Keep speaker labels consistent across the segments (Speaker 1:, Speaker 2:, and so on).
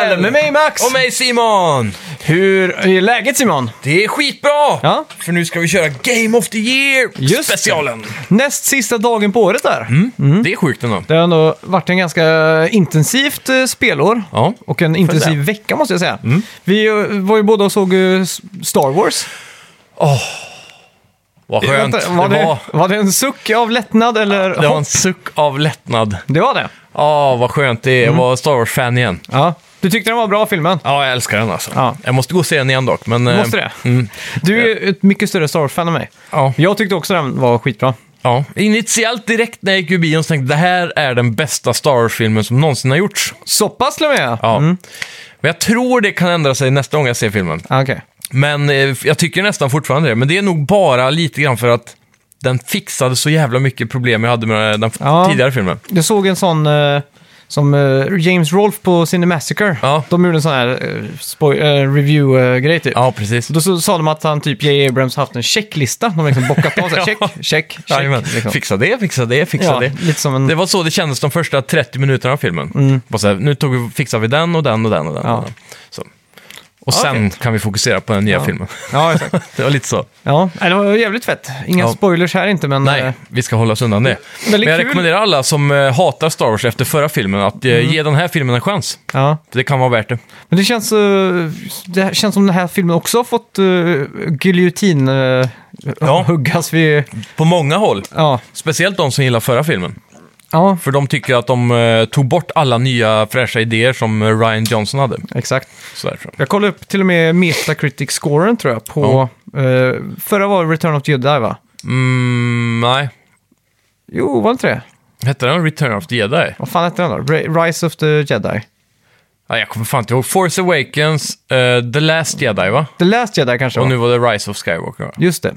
Speaker 1: podden med mig Max!
Speaker 2: Och mig Simon!
Speaker 1: Hur är läget Simon?
Speaker 2: Det är skitbra!
Speaker 1: Ja.
Speaker 2: För nu ska vi köra Game of the Year
Speaker 1: Just det. Mm,
Speaker 2: specialen.
Speaker 1: Näst sista dagen på året där.
Speaker 2: Mm. Det är sjukt ändå.
Speaker 1: Det har ändå varit en ganska intensivt eh, spelår.
Speaker 2: Ja.
Speaker 1: Och en intensiv
Speaker 2: säga. Mm.
Speaker 1: vecka måste jag säga. Vi eh, var ju båda och såg eh, S- Star Wars.
Speaker 2: Vad skönt
Speaker 1: Eh, Vänta,
Speaker 2: det,
Speaker 1: var, det,
Speaker 2: var.
Speaker 1: var det en suck av lättnad eller?
Speaker 2: Det var en
Speaker 1: hopp?
Speaker 2: suck av lättnad.
Speaker 1: det var det.
Speaker 2: Ja, vad skönt det är
Speaker 1: Mm.
Speaker 2: att vara Star Wars-fan igen.
Speaker 1: Ja. Du tyckte den var bra filmen?
Speaker 2: Ja, jag älskar den alltså.
Speaker 1: Ja.
Speaker 2: Jag måste gå och se den igen dock. Men, eh,
Speaker 1: Måste det? Du är ju ett mycket större Star Wars-fan än mig.
Speaker 2: Ja,
Speaker 1: Jag tyckte också den var skitbra.
Speaker 2: ja. Initiellt direkt när jag gick ur bion så tänkte jag det här är den bästa Star Wars-filmen som någonsin har gjorts.
Speaker 1: Så pass till och med?
Speaker 2: Ja. Men jag tror det kan ändra sig nästa gång jag ser filmen.
Speaker 1: Ah, Okej.
Speaker 2: Men eh, jag tycker nästan fortfarande det. Men det är nog bara lite grann för att den fixade så jävla mycket problem jag hade med den f-
Speaker 1: Ja.
Speaker 2: tidigare filmen.
Speaker 1: Jag såg en sån eh, som eh, James Rolfe på Cinemassacre.
Speaker 2: Ja.
Speaker 1: De gjorde en sån här eh, spoil- eh, review-grej typ.
Speaker 2: Ja, precis.
Speaker 1: Då så, sa de att han typ, J. Abrams, haft en checklista. De har liksom bockat av sig. Check, check,
Speaker 2: Jajamän.
Speaker 1: check. Liksom.
Speaker 2: Fixa det, fixa det, fixa
Speaker 1: Ja,
Speaker 2: det.
Speaker 1: lite som en...
Speaker 2: Det var så det kändes de första 30 minuterna av filmen. Bara Så här, nu tog vi, fixar vi den och den och den och den.
Speaker 1: Mm. Ja.
Speaker 2: Och, den. Så. och sen kan vi fokusera på den nya filmen.
Speaker 1: Ja, exakt.
Speaker 2: det var lite så.
Speaker 1: Ja, nej, det var jävligt fett. Inga
Speaker 2: Ja.
Speaker 1: spoilers här inte, men... eh,
Speaker 2: Nej, vi ska hålla oss undan det. Men
Speaker 1: Väldigt
Speaker 2: jag
Speaker 1: kul.
Speaker 2: rekommenderar alla som eh, hatar Star Wars efter förra filmen att eh,
Speaker 1: Mm.
Speaker 2: ge den här filmen en chans.
Speaker 1: Ja.
Speaker 2: För det kan vara värt det.
Speaker 1: Men det känns, eh, det här- känns som den här filmen också har fått uh, giljotin eh,
Speaker 2: Ja.
Speaker 1: huggas vid...
Speaker 2: På många håll.
Speaker 1: Ja.
Speaker 2: Speciellt de som gillar förra filmen.
Speaker 1: ja,
Speaker 2: För de tycker att de eh, tog bort alla nya fräscha idéer som eh, Ryan Johnson hade.
Speaker 1: exakt.
Speaker 2: Så därför.
Speaker 1: Jag kollade upp till och med Metacritic-scoren tror jag på... eh, förra var Return of the Jedi va?
Speaker 2: Mm, nej.
Speaker 1: Jo, var det inte det?
Speaker 2: Hette den Return of the Jedi?
Speaker 1: Vad fan hette den då? Ra- Rise of the Jedi?
Speaker 2: Nej, jag kommer fan inte ihåg. Force Awakens, eh, The Last Jedi va?
Speaker 1: The Last Jedi kanske
Speaker 2: Och
Speaker 1: var?
Speaker 2: nu Mm. var det Rise of Skywalker va?
Speaker 1: Just det.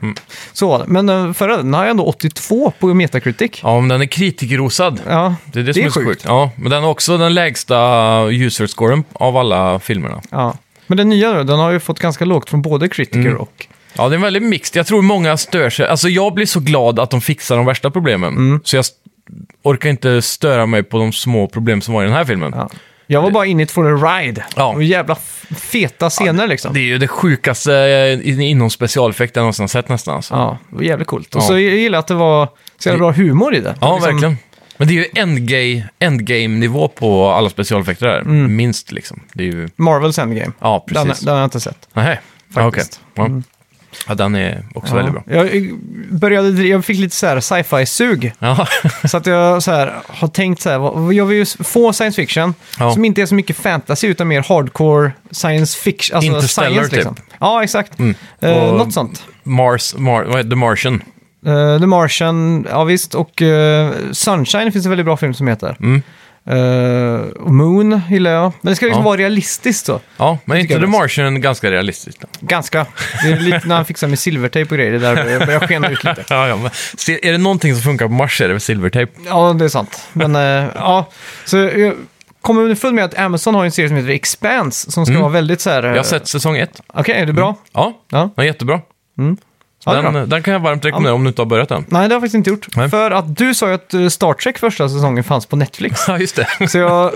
Speaker 1: Så var det. Men eh, förra, den har jag ändå 82 på Metacritic. Ja,
Speaker 2: Ja, men den är kritikerrosad.
Speaker 1: ja.
Speaker 2: Det är det, som är, så sjukt. Ja, men den har också den lägsta user-scoren av alla filmerna.
Speaker 1: Men den nya då, den har ju fått ganska lågt från både critiker
Speaker 2: Mm.
Speaker 1: och...
Speaker 2: Ja, det är väldigt mixed. Jag tror många stör sig. Alltså, jag blir så glad att de fixar de värsta problemen.
Speaker 1: Mm.
Speaker 2: Så jag s- orkar inte störa mig på de små problem som var i den här filmen.
Speaker 1: Ja. Jag var bara inne i it for a ride.
Speaker 2: Ja.
Speaker 1: Och jävla f- feta scener liksom.
Speaker 2: Det är ju det sjukaste eh, in- inom specialeffekt jag någonsin har sett nästan. Alltså.
Speaker 1: Ja, det var jävligt coolt. Och
Speaker 2: Ja.
Speaker 1: så jag gillar att det var så jävla bra humor i det.
Speaker 2: Ja,
Speaker 1: Liksom-
Speaker 2: verkligen. Men det är ju endgame- endgame-nivå på alla specialeffekter där.
Speaker 1: Mm.
Speaker 2: Minst liksom. Det är ju...
Speaker 1: Marvels Endgame.
Speaker 2: Ja,
Speaker 1: Den,
Speaker 2: precis.
Speaker 1: den har jag inte sett.
Speaker 2: Nähä. Ja, okej.
Speaker 1: Faktiskt. Mm.
Speaker 2: Ja. ja, den är också
Speaker 1: Ja.
Speaker 2: väldigt bra.
Speaker 1: Jag, började, dri- jag fick lite så här sci-fi-sug.
Speaker 2: Ja,
Speaker 1: Så att jag så här, har tänkt så här, vad- jag vill ju få science fiction
Speaker 2: Ja.
Speaker 1: som inte är så mycket fantasy utan mer hardcore science fiction. Alltså
Speaker 2: Interstellar
Speaker 1: science,
Speaker 2: typ. Mm.
Speaker 1: liksom. Ja, exakt. Eh,
Speaker 2: Och-
Speaker 1: något sånt.
Speaker 2: Mars, Mar vad heter The Martian.
Speaker 1: Eh, The Martian, ja visst. Och eh, Sunshine finns en väldigt bra film som heter.
Speaker 2: Mm.
Speaker 1: Eh, och Moon gillar jag. Men det ska liksom
Speaker 2: Ja.
Speaker 1: vara realistiskt så.
Speaker 2: Ja, men inte
Speaker 1: jag
Speaker 2: The
Speaker 1: är bra.
Speaker 2: Martian ganska realistiskt? då?
Speaker 1: Ganska. Det är lite när han fixar med silvertejp och grejer, det där börjar- börjar skena ut lite.
Speaker 2: Ja, ja, men se, är det någonting som funkar på Mars är det väl silvertejp.
Speaker 1: Ja, det är sant. Men eh, ja, så jag kommer underfund med att Amazon har en serie som heter Expanse som ska vara väldigt så här... eh,
Speaker 2: Mm. Jag har sett Mm. säsong ett. Mm.
Speaker 1: Okej, är det bra?
Speaker 2: Ja,
Speaker 1: Ja.
Speaker 2: den är jättebra. Så
Speaker 1: Ja, det är
Speaker 2: den, den kan jag varmt rekommendera om du inte har börjat den.
Speaker 1: Nej, det har jag faktiskt inte gjort.
Speaker 2: Nej.
Speaker 1: För att du sa ju att eh, Star Trek första säsongen fanns på Netflix.
Speaker 2: Ja, just det.
Speaker 1: Så jag har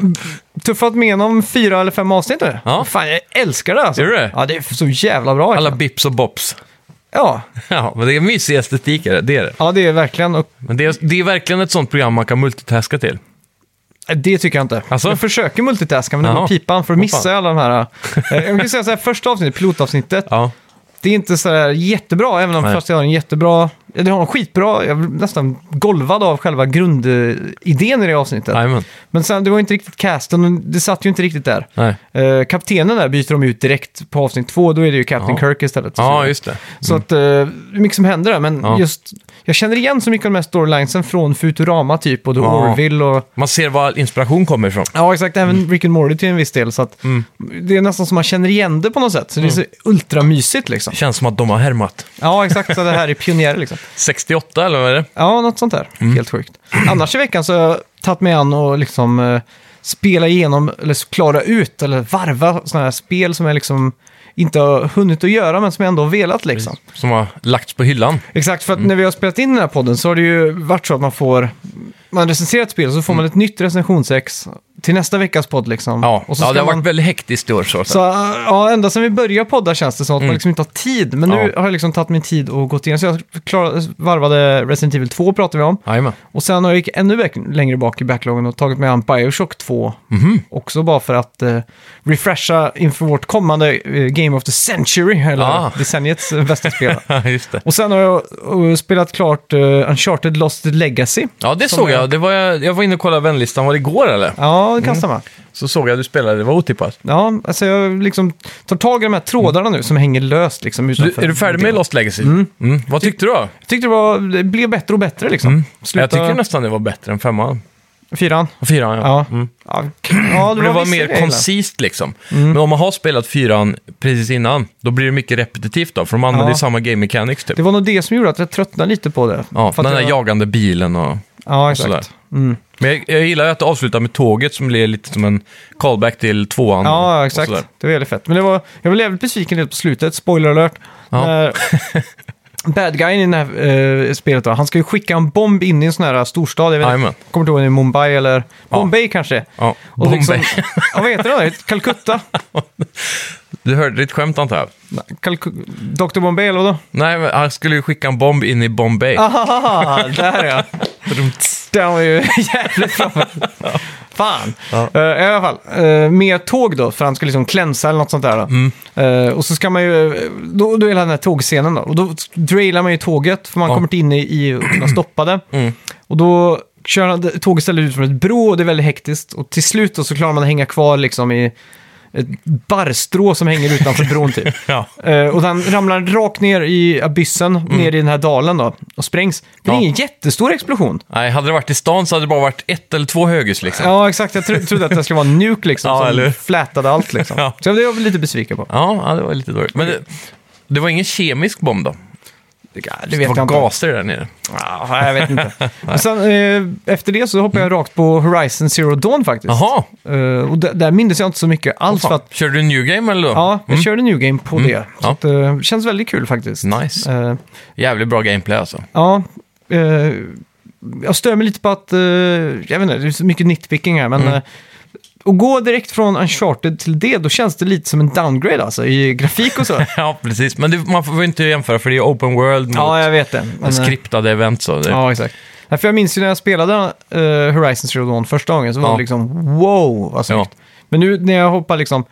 Speaker 1: tuffat mig igenom fyra eller fem avsnitt nu.
Speaker 2: Ja.
Speaker 1: Fan, jag älskar det alltså.
Speaker 2: Gör du det?
Speaker 1: Ja, det är så jävla bra.
Speaker 2: Alla
Speaker 1: verkligen.
Speaker 2: bips och bops.
Speaker 1: Ja.
Speaker 2: Ja, men det är mysig estetik, är det. det är det.
Speaker 1: ja, det är verkligen. Och
Speaker 2: Men det är, det är verkligen ett sånt program man kan multitaska till.
Speaker 1: det tycker jag inte.
Speaker 2: Alltså?
Speaker 1: Jag försöker multitaska, men det
Speaker 2: Jaha.
Speaker 1: går pipan för att
Speaker 2: Åh,
Speaker 1: missa
Speaker 2: fan.
Speaker 1: alla de här. eh, Jag kan säga så här, första avsnittet, pilotavsnittet,
Speaker 2: Ja,
Speaker 1: det är inte så här jättebra, även om
Speaker 2: Nej.
Speaker 1: fast jag har en jättebra, ja, det har en skitbra, jag blev nästan golvad av själva grundidén i det avsnittet.
Speaker 2: jajamän.
Speaker 1: Men sen, det var inte riktigt casten, och det satt ju inte riktigt där.
Speaker 2: Nej.
Speaker 1: Eh, kaptenen där byter de ut direkt på avsnitt två, då är det ju Captain
Speaker 2: Ja.
Speaker 1: Kirk istället.
Speaker 2: Ja, just det.
Speaker 1: Så att, eh, det är mycket som händer där, men
Speaker 2: Ja.
Speaker 1: just, jag känner igen så mycket av de här storylinesen från Futurama typ, och då
Speaker 2: Ja.
Speaker 1: Orville och...
Speaker 2: Man ser var inspiration kommer ifrån.
Speaker 1: Ja, exakt, Mm. även Rick and Morty till en viss del, så att det är nästan som man känner igen det på något sätt, så det är så ultramysigt liksom.
Speaker 2: Känns som att de har härmat.
Speaker 1: Mm. Ja, exakt, så det här är pionjärer liksom.
Speaker 2: 68 eller vad är det?
Speaker 1: Ja, något sånt där.
Speaker 2: Mm.
Speaker 1: Helt sjukt. Annars i veckan så har jag tagit mig an och liksom eh, spela igenom, eller klara ut, eller varva sådana här spel som jag liksom inte har hunnit att göra, men som jag ändå har velat liksom.
Speaker 2: Som har lagts på hyllan.
Speaker 1: Exakt, för att
Speaker 2: Mm.
Speaker 1: när vi har spelat in den här podden så har det ju varit så att man får, man recenserar ett spel så får man ett nytt recensionsex till nästa veckas podd liksom.
Speaker 2: Mm. Ja,
Speaker 1: och så
Speaker 2: ja
Speaker 1: ska
Speaker 2: det har
Speaker 1: man-
Speaker 2: varit väldigt hektiskt i år. Så.
Speaker 1: Så ja, ända sedan vi började podda känns det som att man liksom inte har tid. Men nu
Speaker 2: Mm. Ja.
Speaker 1: har jag liksom tagit min tid och gått igen. Så jag klarade, varvade Resident Evil 2 pratade vi om.
Speaker 2: Jajamän.
Speaker 1: Och sen har jag gick ännu bäck- längre bak i backloggen och tagit med an Bioshock 2.
Speaker 2: Mhm.
Speaker 1: Också bara för att eh, refresha inför vårt kommande eh, Game of the Century, eller
Speaker 2: Ah.
Speaker 1: decenniets eh, bästa spel.
Speaker 2: Ja, just det.
Speaker 1: Och sen har jag eh, spelat klart eh, Uncharted Lost Legacy.
Speaker 2: Ja, det
Speaker 1: Som
Speaker 2: såg
Speaker 1: jag-
Speaker 2: jag. Det var jag. Jag var inne och kollade vänlistan. Var det igår eller?
Speaker 1: Ja,
Speaker 2: Mm.
Speaker 1: det kan stämma.
Speaker 2: Så såg jag att du spelade. Det var otippat.
Speaker 1: Ja, alltså jag liksom tar tag i de här trådarna nu som hänger löst liksom
Speaker 2: Du,
Speaker 1: utanför.
Speaker 2: är du färdig med Lost Legacy? Mm. Vad tyckte du då?
Speaker 1: Jag tyckte det, var, det blev bättre och bättre liksom.
Speaker 2: Mm. Jag
Speaker 1: Sluta
Speaker 2: tycker nästan det var bättre än femman.
Speaker 1: fyran.
Speaker 2: Och Fyran, ja.
Speaker 1: Ja. Ja, k- ja,
Speaker 2: Men Mm. det var
Speaker 1: vissa
Speaker 2: mer
Speaker 1: grejer.
Speaker 2: koncist liksom. Men om man har spelat fyran precis innan, då blir det mycket repetitivt då, för de använder
Speaker 1: Ja.
Speaker 2: ju samma game mechanics typ.
Speaker 1: Det var nog det som gjorde att jag tröttnade lite på det.
Speaker 2: Ja,
Speaker 1: För
Speaker 2: den
Speaker 1: att
Speaker 2: där
Speaker 1: jag-
Speaker 2: jagande bilen och...
Speaker 1: Ja,
Speaker 2: sådär.
Speaker 1: exakt. Mm.
Speaker 2: Men jag, jag gillar ju att det avslutar med tåget som blir lite som en callback till tvåan.
Speaker 1: Ja,
Speaker 2: Mm. och- och
Speaker 1: exakt.
Speaker 2: sådär.
Speaker 1: Det var jävligt fett. Men det var, jag blev jävligt besviken lite på slutet, spoiler alert.
Speaker 2: Ja.
Speaker 1: När bad guyen i det här eh, spelet då, han ska ju skicka en bomb in i en sån här eh, storstad. Jag vet inte,
Speaker 2: Jajamän.
Speaker 1: kommer inte ihåg om det är Mumbai eller
Speaker 2: Ja.
Speaker 1: Bombay kanske.
Speaker 2: Ja,
Speaker 1: Och
Speaker 2: Bombay.
Speaker 1: Liksom, ja, vad heter det? där? Calcutta?
Speaker 2: Du hörde ditt skämt antar jag?
Speaker 1: Calcu- Dr. Bombay eller vadå?
Speaker 2: Nej, men han skulle ju skicka en bomb in i Bombay.
Speaker 1: Ah, där ja. Den var ju jävligt framme. Fan. Eh, I alla fall, eh, med tåg då, för han ska liksom klänsa eller något sånt där. Då. Eh, och så ska man ju, då, då är hela den här tågscenen då. Och då drailar man ju tåget, för man
Speaker 2: Ja.
Speaker 1: kommer inte in i, i och kunna stoppa det. Och då kör han- tåget ställer ut från ett bro och det är väldigt hektiskt. Och till slut då så klarar man att hänga kvar liksom i ett barrstrå som hänger utanför bron typ.
Speaker 2: Ja.
Speaker 1: Eh, och den ramlar rakt ner i abyssen, ner i den här dalen då, och sprängs. Det är
Speaker 2: Mm. Ja.
Speaker 1: ingen jättestor explosion.
Speaker 2: Nej, hade det varit i stan så hade det bara varit ett eller två höghus liksom. Ja,
Speaker 1: Ja, exakt. Jag tro trodde att det skulle vara en nuke liksom,
Speaker 2: Ja,
Speaker 1: som
Speaker 2: eller hur?
Speaker 1: flätade allt liksom.
Speaker 2: Ja.
Speaker 1: Så det var jag lite besviken på.
Speaker 2: ja, det var lite dåligt. Men det, det var ingen kemisk bomb då?
Speaker 1: Det
Speaker 2: Det
Speaker 1: vet
Speaker 2: var
Speaker 1: jag inte.
Speaker 2: gaser där nere.
Speaker 1: Ja, jag vet inte. Men sen, eh, efter det så hoppade jag rakt på Horizon Zero Dawn faktiskt.
Speaker 2: Mm. Jaha,
Speaker 1: Eh, och där, där mindes jag inte så mycket alls för
Speaker 2: fan.
Speaker 1: att
Speaker 2: körde du New Game eller då?
Speaker 1: Ja, jag körde New Game på det. Så
Speaker 2: Ja.
Speaker 1: att, eh, känns väldigt kul faktiskt.
Speaker 2: Nice.
Speaker 1: Eh,
Speaker 2: Jävligt bra gameplay alltså.
Speaker 1: Ja, eh, jag stör mig lite på att, eh, jag vet inte, det är så mycket nitpicking här, men eh, att gå direkt från Uncharted till det, då känns det lite som en downgrade alltså, i grafik och så.
Speaker 2: Ja, precis. Men det, man får inte jämföra för det är open world mot
Speaker 1: ja, jag vet det. Men, eh,
Speaker 2: skriptade event. Så det,
Speaker 1: typ. ja, exakt. Nej, för jag minns ju när jag spelade eh, Horizon Zero Dawn första gången, så var
Speaker 2: Ja.
Speaker 1: det liksom wow, vad snyggt.
Speaker 2: Ja.
Speaker 1: Men nu när jag hoppar liksom,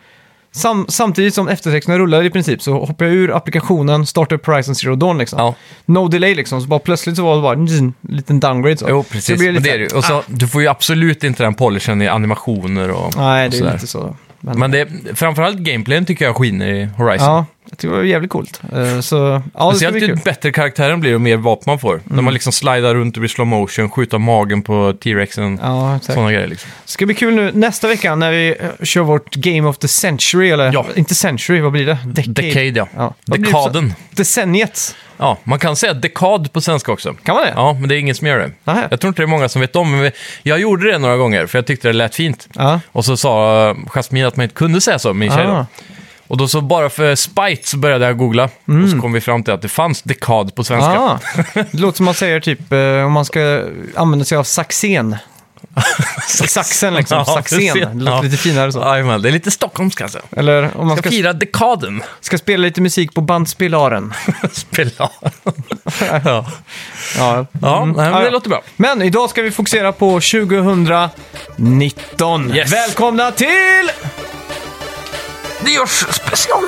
Speaker 1: sam, samtidigt som eftertexterna rullar i princip, så hoppar jag ur applikationen, startar upp Horizon Zero Dawn liksom.
Speaker 2: Ja.
Speaker 1: No delay liksom, så bara plötsligt så var det bara en liten downgrade. Så.
Speaker 2: Jo,
Speaker 1: Så det
Speaker 2: precis.
Speaker 1: blir
Speaker 2: Men
Speaker 1: lite-
Speaker 2: det är det. ju. Och så, Du får ju absolut inte den polishen i animationer och,
Speaker 1: Nej,
Speaker 2: och
Speaker 1: det är
Speaker 2: sådär.
Speaker 1: lite så. Men,
Speaker 2: Men det, framförallt gameplayen tycker jag skiner i Horizon.
Speaker 1: ja, jag tycker det var jävligt coolt. Eh, så, Mm. ja, det ska
Speaker 2: Speciellt
Speaker 1: bli
Speaker 2: ju
Speaker 1: kul.
Speaker 2: bättre karaktären blir och mer vapen man får. När man liksom slidar runt och blir slow motion, skjuta magen på T-rexen.
Speaker 1: Ja, exakt.
Speaker 2: Sådana grejer liksom.
Speaker 1: Det ska bli kul nu nästa vecka när vi eh, kör vårt Game of the Century, eller
Speaker 2: Ja.
Speaker 1: inte Century, vad blir det? Decade.
Speaker 2: Decade, ja.
Speaker 1: Ja. Vad blir det för-
Speaker 2: Dekaden.
Speaker 1: Decenniet.
Speaker 2: Ja, man kan säga dekad på svenska också.
Speaker 1: Kan man det?
Speaker 2: Ja, men det är ingen som gör det.
Speaker 1: Nähä.
Speaker 2: Jag tror inte det är många som vet om, men vi- jag gjorde det några gånger för jag tyckte det lät fint.
Speaker 1: Ja.
Speaker 2: Och så sa Jasmine att man inte kunde säga så, min tjej då.
Speaker 1: Ah.
Speaker 2: Och då så bara för spite så började jag googla. Och så kom vi fram till att det fanns dekad på svenska.
Speaker 1: Mm. Ah. Det låter som man säger typ eh, om man ska använda sig av saxen. Saxen liksom,
Speaker 2: Ja,
Speaker 1: saxen.
Speaker 2: precis.
Speaker 1: Det låter
Speaker 2: Ja.
Speaker 1: lite finare så.
Speaker 2: Jajamän, det är lite stockholmskt alltså.
Speaker 1: Eller om man
Speaker 2: Ska
Speaker 1: ska,
Speaker 2: fira dekaden.
Speaker 1: ska spela lite musik på bandspelaren.
Speaker 2: Spela. ja,
Speaker 1: Ja,
Speaker 2: ja nej, men
Speaker 1: Ah, ja.
Speaker 2: det låter bra.
Speaker 1: Men idag ska vi fokusera på 2019.
Speaker 2: Yes.
Speaker 1: Välkomna till...
Speaker 2: Det görs special.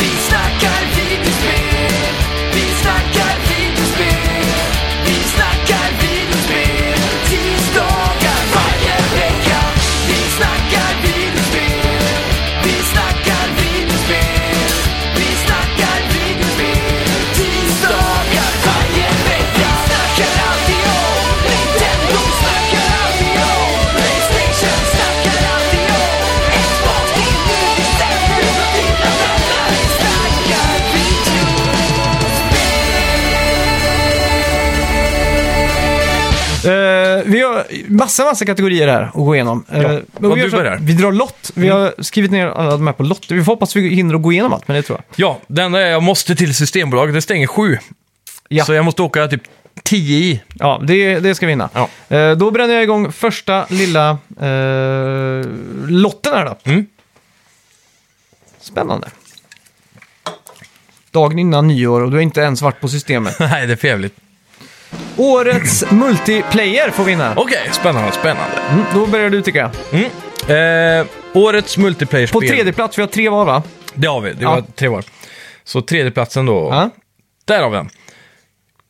Speaker 3: Vi snackar videospel, vi snackar videospel, vi snackar videospel, tisdagar varje vecka. Vi snackar videospel, vi snackar videospel, vi snackar videospel, tisdagar varje vecka. Vi snackar alltid om Nintendo, snackar alltid om Playstation, snackar alltid om Xbox, det är nu vi sätter upp dina vänner. Vi snackar video.
Speaker 1: Eh, vi har massa, massa kategorier här att gå igenom. Eh, men vi,
Speaker 2: och
Speaker 1: gör
Speaker 2: du
Speaker 1: så-
Speaker 2: börjar. Mm.
Speaker 1: vi drar lott. Vi har skrivit ner alla de här på lotter. Vi får hoppas vi hinner att gå igenom allt, men det tror jag.
Speaker 2: Ja, det enda är jag måste till Systembolaget. Det stänger sju.
Speaker 1: Ja.
Speaker 2: Så jag måste åka typ 10 i.
Speaker 1: Ja, det, det ska vi vinna.
Speaker 2: Ja.
Speaker 1: Eh, då bränner jag igång första lilla eh, lotten här då.
Speaker 2: Mm.
Speaker 1: Spännande. Dagen innan nyår och du har inte ens varit på systemet.
Speaker 2: Nej, det är för jävligt.
Speaker 1: Årets multiplayer får vinna.
Speaker 2: Okej, spännande, spännande.
Speaker 1: Mm, då börjar du tycker jag.
Speaker 2: Mm. Eh, årets multiplayer-spel.
Speaker 1: På tredje plats, vi har tre var va?
Speaker 2: Det har vi, det
Speaker 1: Ja.
Speaker 2: var tre var. Så tredjeplatsen då.
Speaker 1: Ja.
Speaker 2: Där har vi den.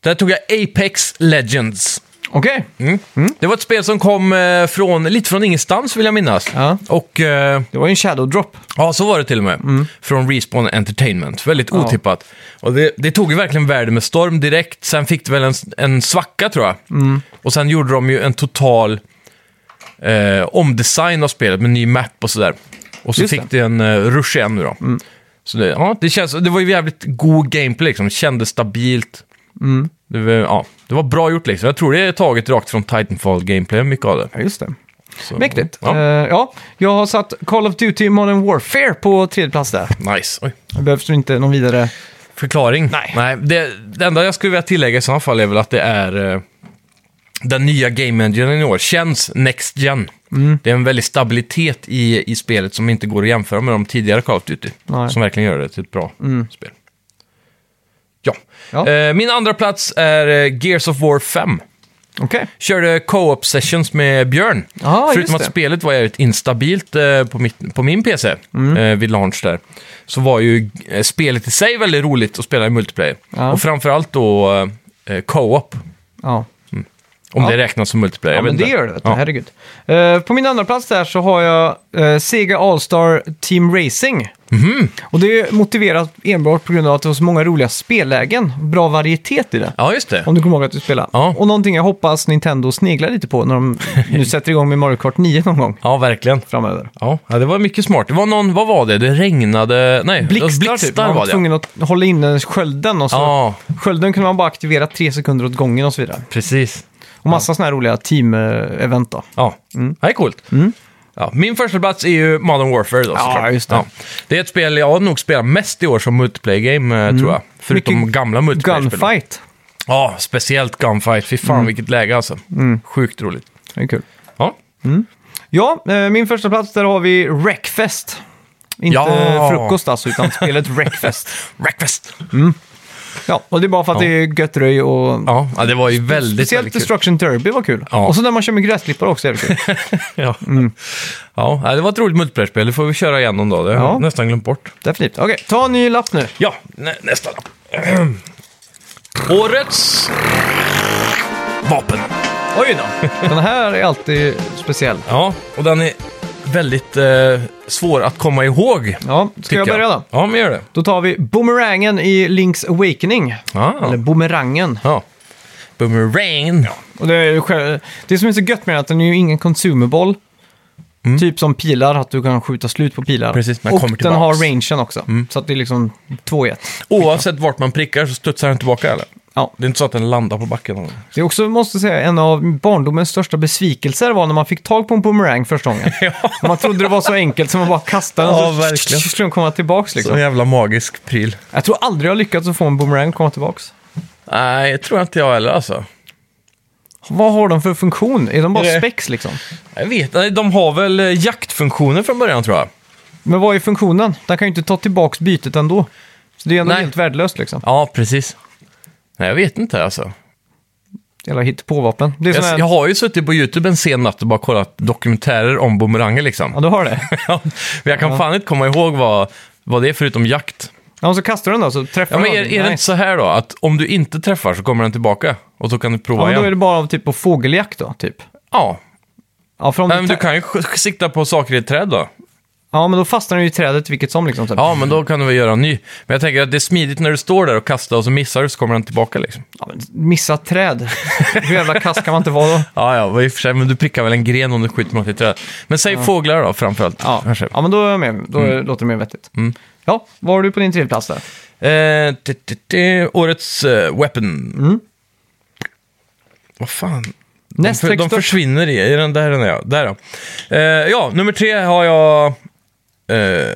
Speaker 2: Där tog jag Apex Legends.
Speaker 1: Okej.
Speaker 2: Mm. Det var ett spel som kom eh, från, lite från ingenstans vill jag minnas.
Speaker 1: Ja.
Speaker 2: Och eh,
Speaker 1: Det var ju en shadow drop.
Speaker 2: ja, så var det till och med.
Speaker 1: Mm.
Speaker 2: Från Respawn Entertainment. Väldigt otippat. Och det, det tog ju verkligen världen med storm direkt. Sen fick det väl en, en svacka tror jag.
Speaker 1: Mm.
Speaker 2: Och sen gjorde de ju en total eh, omdesign av spelet med ny map och sådär. Och så
Speaker 1: Just Mm.
Speaker 2: fick det en eh, rush igen nu då. Så det, ja, det, känns, det var ju jävligt god gameplay liksom. Kändes stabilt.
Speaker 1: Mm.
Speaker 2: Det, var, ja, det var bra gjort liksom. Jag tror det är taget rakt från Titanfall-gameplay, mycket av det.
Speaker 1: Ja, just det.
Speaker 2: Så,
Speaker 1: Mäktigt.
Speaker 2: Ja,
Speaker 1: Eh, ja, jag har satt Call of Duty Modern Warfare på tredje plats där.
Speaker 2: nice. Oj.
Speaker 1: Det behövs ju inte någon vidare...
Speaker 2: Förklaring?
Speaker 1: Nej.
Speaker 2: det, det enda jag skulle vilja tillägga i sådana fall är väl att det är eh, den nya Game Enginen i år. Känns Next Gen.
Speaker 1: Mm.
Speaker 2: Det är en väldig stabilitet i, i spelet som inte går att jämföra med de tidigare Call of Duty.
Speaker 1: Nej. Mm.
Speaker 2: Som verkligen gör det till ett bra spel. Ja.
Speaker 1: Ja.
Speaker 2: Eh, min andra plats är eh, Gears of War 5.
Speaker 1: Okej.
Speaker 2: Körde co-op sessions med Björn.
Speaker 1: Ja, just
Speaker 2: Förutom att
Speaker 1: det.
Speaker 2: spelet var jävligt instabilt eh, på, mitt, på min PC
Speaker 1: Mm.
Speaker 2: eh, vid launch där. Så var ju eh, spelet i sig väldigt roligt att spela i multiplayer.
Speaker 1: Ja.
Speaker 2: Och framförallt då eh, co-op.
Speaker 1: Ja.
Speaker 2: Om
Speaker 1: Ja.
Speaker 2: det räknas som multiplayer.
Speaker 1: Ja,
Speaker 2: jag vet
Speaker 1: men det
Speaker 2: inte.
Speaker 1: gör det. Vet du.
Speaker 2: Ja.
Speaker 1: Herregud. Eh, på min andra plats där så har jag eh, Sega All-Star Team Racing. Och det är motiverat enbart på grund av att det var så många roliga spellägen. Bra varietet i det.
Speaker 2: ja, just det.
Speaker 1: Om du kommer ihåg att du spelade.
Speaker 2: Ja.
Speaker 1: Och någonting jag hoppas Nintendo sneglar lite på när de nu sätter igång med Mario Kart 9 någon gång
Speaker 2: Ja, verkligen.
Speaker 1: framöver.
Speaker 2: Ja. ja, det var mycket smart. Det var någon, vad var det? Det regnade... Nej, det var
Speaker 1: Blixtar, typ.
Speaker 2: blixtar
Speaker 1: Man
Speaker 2: var
Speaker 1: var
Speaker 2: det.
Speaker 1: tvungen att hålla inne skölden och så.
Speaker 2: Ja,
Speaker 1: Skölden kunde man bara aktivera tre sekunder åt gången och så vidare.
Speaker 2: precis.
Speaker 1: Och massa sådana här roliga team-event då.
Speaker 2: Ja,
Speaker 1: Mm.
Speaker 2: det är coolt. Ja, min första plats är ju Modern Warfare då,
Speaker 1: Ja,
Speaker 2: såklart.
Speaker 1: just det.
Speaker 2: Det är ett spel jag nog spelar mest i år som multiplayer game, eh, tror jag. Förutom
Speaker 1: Mm. Mycket
Speaker 2: gamla multiplayer-spel.
Speaker 1: Gunfight. Mm.
Speaker 2: Ja, speciellt Gunfight. Fy fan vilket läge alltså. Sjukt roligt.
Speaker 1: Det är kul.
Speaker 2: Ja,
Speaker 1: Ja, eh, min första plats där har vi Wreckfest. Inte
Speaker 2: Ja.
Speaker 1: frukost alltså, utan spelet Wreckfest.
Speaker 2: breakfast!
Speaker 1: Ja, och det är bara för att det är gött röj och...
Speaker 2: Ja, ja, det var ju väldigt,
Speaker 1: Speciellt
Speaker 2: väldigt kul.
Speaker 1: Destruction Derby var kul.
Speaker 2: Ja.
Speaker 1: Och så när man kör med gräsklippare också är det kul.
Speaker 2: Ja.
Speaker 1: Mm.
Speaker 2: ja, det var ett roligt multiplayer-spel. Det får vi köra igen någon dag. Det har
Speaker 1: Ja.
Speaker 2: jag nästan glömt bort.
Speaker 1: Definitivt. Okej, ta en ny lapp nu.
Speaker 2: Ja, nä nästa då. Årets vapen.
Speaker 1: Oj då. Den här är alltid speciell.
Speaker 2: Ja, och den är väldigt eh, svår att komma ihåg.
Speaker 1: Ja, ska
Speaker 2: tycker
Speaker 1: jag börja då?
Speaker 2: Ja, men gör det.
Speaker 1: Då tar vi boomerangen i Link's Awakening.
Speaker 2: Ah.
Speaker 1: Eller boomerangen.
Speaker 2: Ja. Boomerang. Ja.
Speaker 1: Och det, är ju själv... det som är så gött med den är att den är ju ingen consumable. Typ som pilar, att du kan skjuta slut på pilar.
Speaker 2: Mm. Precis, man
Speaker 1: och
Speaker 2: kommer
Speaker 1: den har
Speaker 2: tillbaks. Mm.
Speaker 1: rangen också. Så att det är liksom två i ett.
Speaker 2: Oavsett vart man prickar så studsar den tillbaka, eller?
Speaker 1: Ja.
Speaker 2: Det är inte så att den landar på backen.
Speaker 1: Det är också, måste säga, en av barndomens största besvikelser var när man fick tag på en boomerang första gången. Man trodde det var så enkelt så man bara kastade den
Speaker 2: Ja,
Speaker 1: och så
Speaker 2: verkligen.
Speaker 1: skulle den komma tillbaks
Speaker 2: Så
Speaker 1: liksom.
Speaker 2: jävla magisk pryl.
Speaker 1: Jag tror aldrig jag har lyckats att få en boomerang att komma tillbaks.
Speaker 2: Nej, det tror jag inte jag heller alltså.
Speaker 1: Vad har de för funktion? Är de bara
Speaker 2: Är det-
Speaker 1: spex liksom?
Speaker 2: Jag vet nej, De har väl eh, jaktfunktioner från början, tror jag.
Speaker 1: Men vad är funktionen? Den kan ju inte ta tillbaks bytet ändå. Så det är ändå
Speaker 2: Nej.
Speaker 1: helt värdelöst liksom.
Speaker 2: Ja, precis. Nej, jag vet inte alltså.
Speaker 1: Jävla hittepåvapen. Det är sån här...
Speaker 2: Jag, jag har ju suttit på YouTube en sen natt och bara kollat dokumentärer om boomeranger liksom.
Speaker 1: Ja, du har det.
Speaker 2: Ja, men jag kan fan inte komma ihåg vad, vad det är förutom jakt.
Speaker 1: Ja, och så kastar du den då så träffar
Speaker 2: Ja, men
Speaker 1: den
Speaker 2: är,
Speaker 1: aldrig.
Speaker 2: är det
Speaker 1: Nej.
Speaker 2: inte så här då, att om du inte träffar så kommer den tillbaka? Och så kan du prova
Speaker 1: Ja, men då
Speaker 2: igen?
Speaker 1: är det bara av typ på fågeljakt då, typ.
Speaker 2: Ja,
Speaker 1: Ja, för om
Speaker 2: Nej, men
Speaker 1: du
Speaker 2: du
Speaker 1: tä-
Speaker 2: kan ju sk- sikta på saker i ett träd då.
Speaker 1: ja, men då fastnar den ju i trädet vilket som liksom. Typ.
Speaker 2: Ja, men då kan du väl göra en ny. Men jag tänker att det är smidigt när du står där och kastar och så missar du så kommer den tillbaka liksom.
Speaker 1: Ja, men missa träd. Hur jävla kass kan man inte vara då?
Speaker 2: Ja, ja, vad i och för sig, men du prickar väl en gren om du skjuter mot ett träd. Men säg fåglar då, framförallt.
Speaker 1: Ja,
Speaker 2: Kanske.
Speaker 1: ja men då är jag med. Då
Speaker 2: Mm.
Speaker 1: låter det mer vettigt. Ja, vad har du på din tredje plats där?
Speaker 2: Eh, t- t- t- årets eh, weapon. Vad fan? De,
Speaker 1: Mm. Näst
Speaker 2: för, de
Speaker 1: högst upp.
Speaker 2: försvinner i, i den där den är jag. Där då. Eh, ja, nummer tre har jag eh,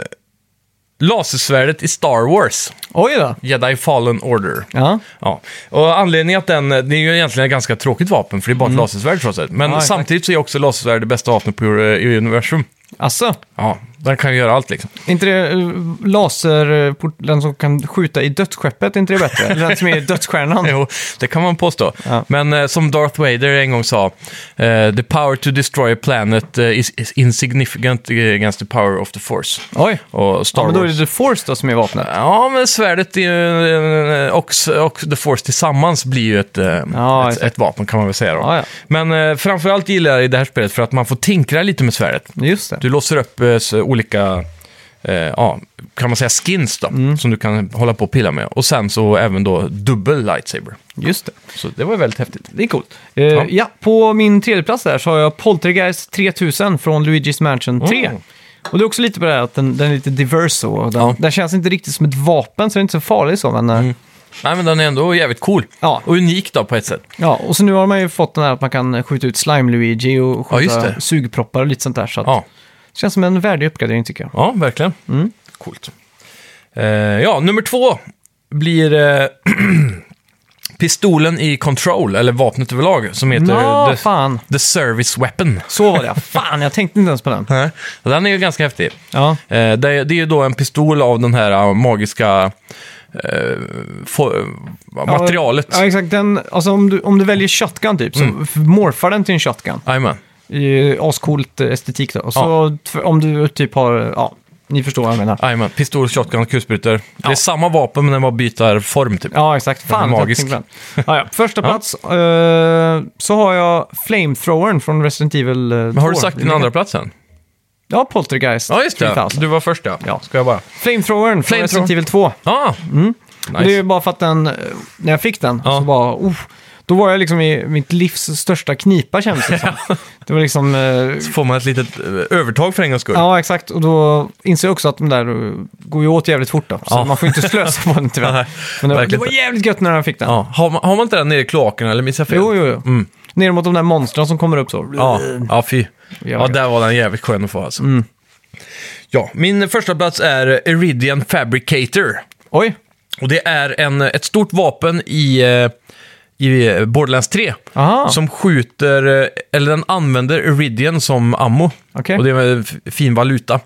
Speaker 2: lasersvärdet i Star Wars.
Speaker 1: Oj då.
Speaker 2: Jedi Fallen Order.
Speaker 1: Ja.
Speaker 2: Ja. Och anledningen att den, det är ju egentligen ett ganska tråkigt vapen, för det är bara ett lasersvärd trots allt. Men
Speaker 1: Mm. Ja, exakt.
Speaker 2: samtidigt så är också lasersvärd det bästa vapnet på eh, i universum.
Speaker 1: Alltså,
Speaker 2: Ja, den kan ju göra allt liksom.
Speaker 1: är inte det eh, laser... eh, port- Den som kan skjuta i dödsskeppet, är inte det bättre? Eller den som är i dödsstjärnan?
Speaker 2: Jo, det kan man påstå.
Speaker 1: Ja.
Speaker 2: Men eh, som Darth Vader en gång sa, eh, the power to destroy a planet eh, is, is insignificant eh, against the power of the force.
Speaker 1: Oj.
Speaker 2: Och Star
Speaker 1: Ja, men då är det
Speaker 2: Wars.
Speaker 1: The Force då som är vapnet.
Speaker 2: Ja, men svärdet är ju, eh, och, och The Force tillsammans blir ju ett, eh,
Speaker 1: Ja,
Speaker 2: ett, ett vapen kan man väl säga. Då.
Speaker 1: Ja, ja.
Speaker 2: Men eh, framförallt gillar jag i det här spelet för att man får tinkra lite med svärdet.
Speaker 1: Just det.
Speaker 2: Du låser upp eh, så olika, eh, ja, kan man säga skins då,
Speaker 1: Mm.
Speaker 2: som du kan hålla på och pilla med. Och sen så även då dubbel lightsaber.
Speaker 1: Just det.
Speaker 2: Så det var ju väldigt häftigt.
Speaker 1: Det är coolt. Eh, ja. på min tredje plats där så har jag Poltergeist 3000 från Luigi's Mansion 3.
Speaker 2: Mm.
Speaker 1: Och det är också lite på det här att den, den är lite diverse och den,
Speaker 2: Ja. Mm.
Speaker 1: den känns inte riktigt som ett vapen så den är inte så farlig så. Men, eh,
Speaker 2: Nej, men den är ändå jävligt cool.
Speaker 1: Ja.
Speaker 2: Och unik då på ett sätt.
Speaker 1: ja, och så nu har man ju fått den här att man kan skjuta ut Slime-Luigi och
Speaker 2: Ja, just
Speaker 1: skjuta
Speaker 2: det.
Speaker 1: sugproppar och lite sånt där. Så att,
Speaker 2: Ja,
Speaker 1: det känns som en värdig uppgradering tycker jag.
Speaker 2: ja verkligen.
Speaker 1: Mm.
Speaker 2: Coolt. Eh, ja, nummer två blir eh, pistolen i Control, eller vapnet överlag, som heter
Speaker 1: Nå,
Speaker 2: the,
Speaker 1: fan.
Speaker 2: the Service Weapon.
Speaker 1: Så var det ja. Fan, jag tänkte inte ens på den.
Speaker 2: Och Den är ju ganska häftig.
Speaker 1: Ja,
Speaker 2: Eh, det, är- det är ju då en pistol av den här eh, magiska eh, fo- materialet. Mm.
Speaker 1: Ja, exakt. Den, alltså, om, du, om du väljer shotgun typ så morfar den till en shotgun.
Speaker 2: Jajamän.
Speaker 1: I ascoolt eh, estetik då. Och så
Speaker 2: Ja.
Speaker 1: tv- om du typ har, ja, ni förstår vad jag menar.
Speaker 2: Jajamän. Pistol, shotgun, kulsprutor. Det är
Speaker 1: Ja.
Speaker 2: samma vapen men den bara byter form typ.
Speaker 1: Ja, exakt.
Speaker 2: Den är
Speaker 1: Fan, jag
Speaker 2: magisk.
Speaker 1: tänkte på den. Ja, ja. Första plats eh, så har jag Flamethrowern från Resident Evil eh, 2.
Speaker 2: Men har du sagt din andra plats än?
Speaker 1: Ja, Poltergeist.
Speaker 2: Ja, just det.
Speaker 1: 3000.
Speaker 2: Du var först ja.
Speaker 1: Ja.
Speaker 2: Ska jag bara...
Speaker 1: Flamethrowern från
Speaker 2: Flamethrower.
Speaker 1: Resident Evil 2.
Speaker 2: Ah,
Speaker 1: Det är ju
Speaker 2: nice.
Speaker 1: bara för att den, eh, när jag fick den,
Speaker 2: Ja.
Speaker 1: så bara, oh, då var jag liksom i mitt livs största knipa kändes det som. Det var liksom, eh,
Speaker 2: Så får man ett litet eh, övertag för en gångs skull.
Speaker 1: ja exakt, och då inser jag också att de där eh, går ju åt jävligt fort då. Så
Speaker 2: Ja.
Speaker 1: man får inte slösa på den tyvärr.
Speaker 2: Nej,
Speaker 1: Men det, det
Speaker 2: verkligen
Speaker 1: var
Speaker 2: inte.
Speaker 1: jävligt gött när jag fick den.
Speaker 2: Ja. Har, man, har man inte den nere i kloakerna eller missar jag fel?
Speaker 1: Jo, jo, jo.
Speaker 2: Mm.
Speaker 1: Ner mot de där monstren som kommer upp så.
Speaker 2: Ja, ja fy. Ja,
Speaker 1: det...
Speaker 2: där var den jävligt skön att få alltså.
Speaker 1: Mm.
Speaker 2: Ja, min första plats är Iridian Fabricator.
Speaker 1: Oj,
Speaker 2: Och det är en, ett stort vapen i, eh, i eh, Borderlands 3.
Speaker 1: Aha.
Speaker 2: Som skjuter, eh, eller den använder Iridian som ammo.
Speaker 1: Okej. Mhm.
Speaker 2: Och det är en eh, f- fin valuta.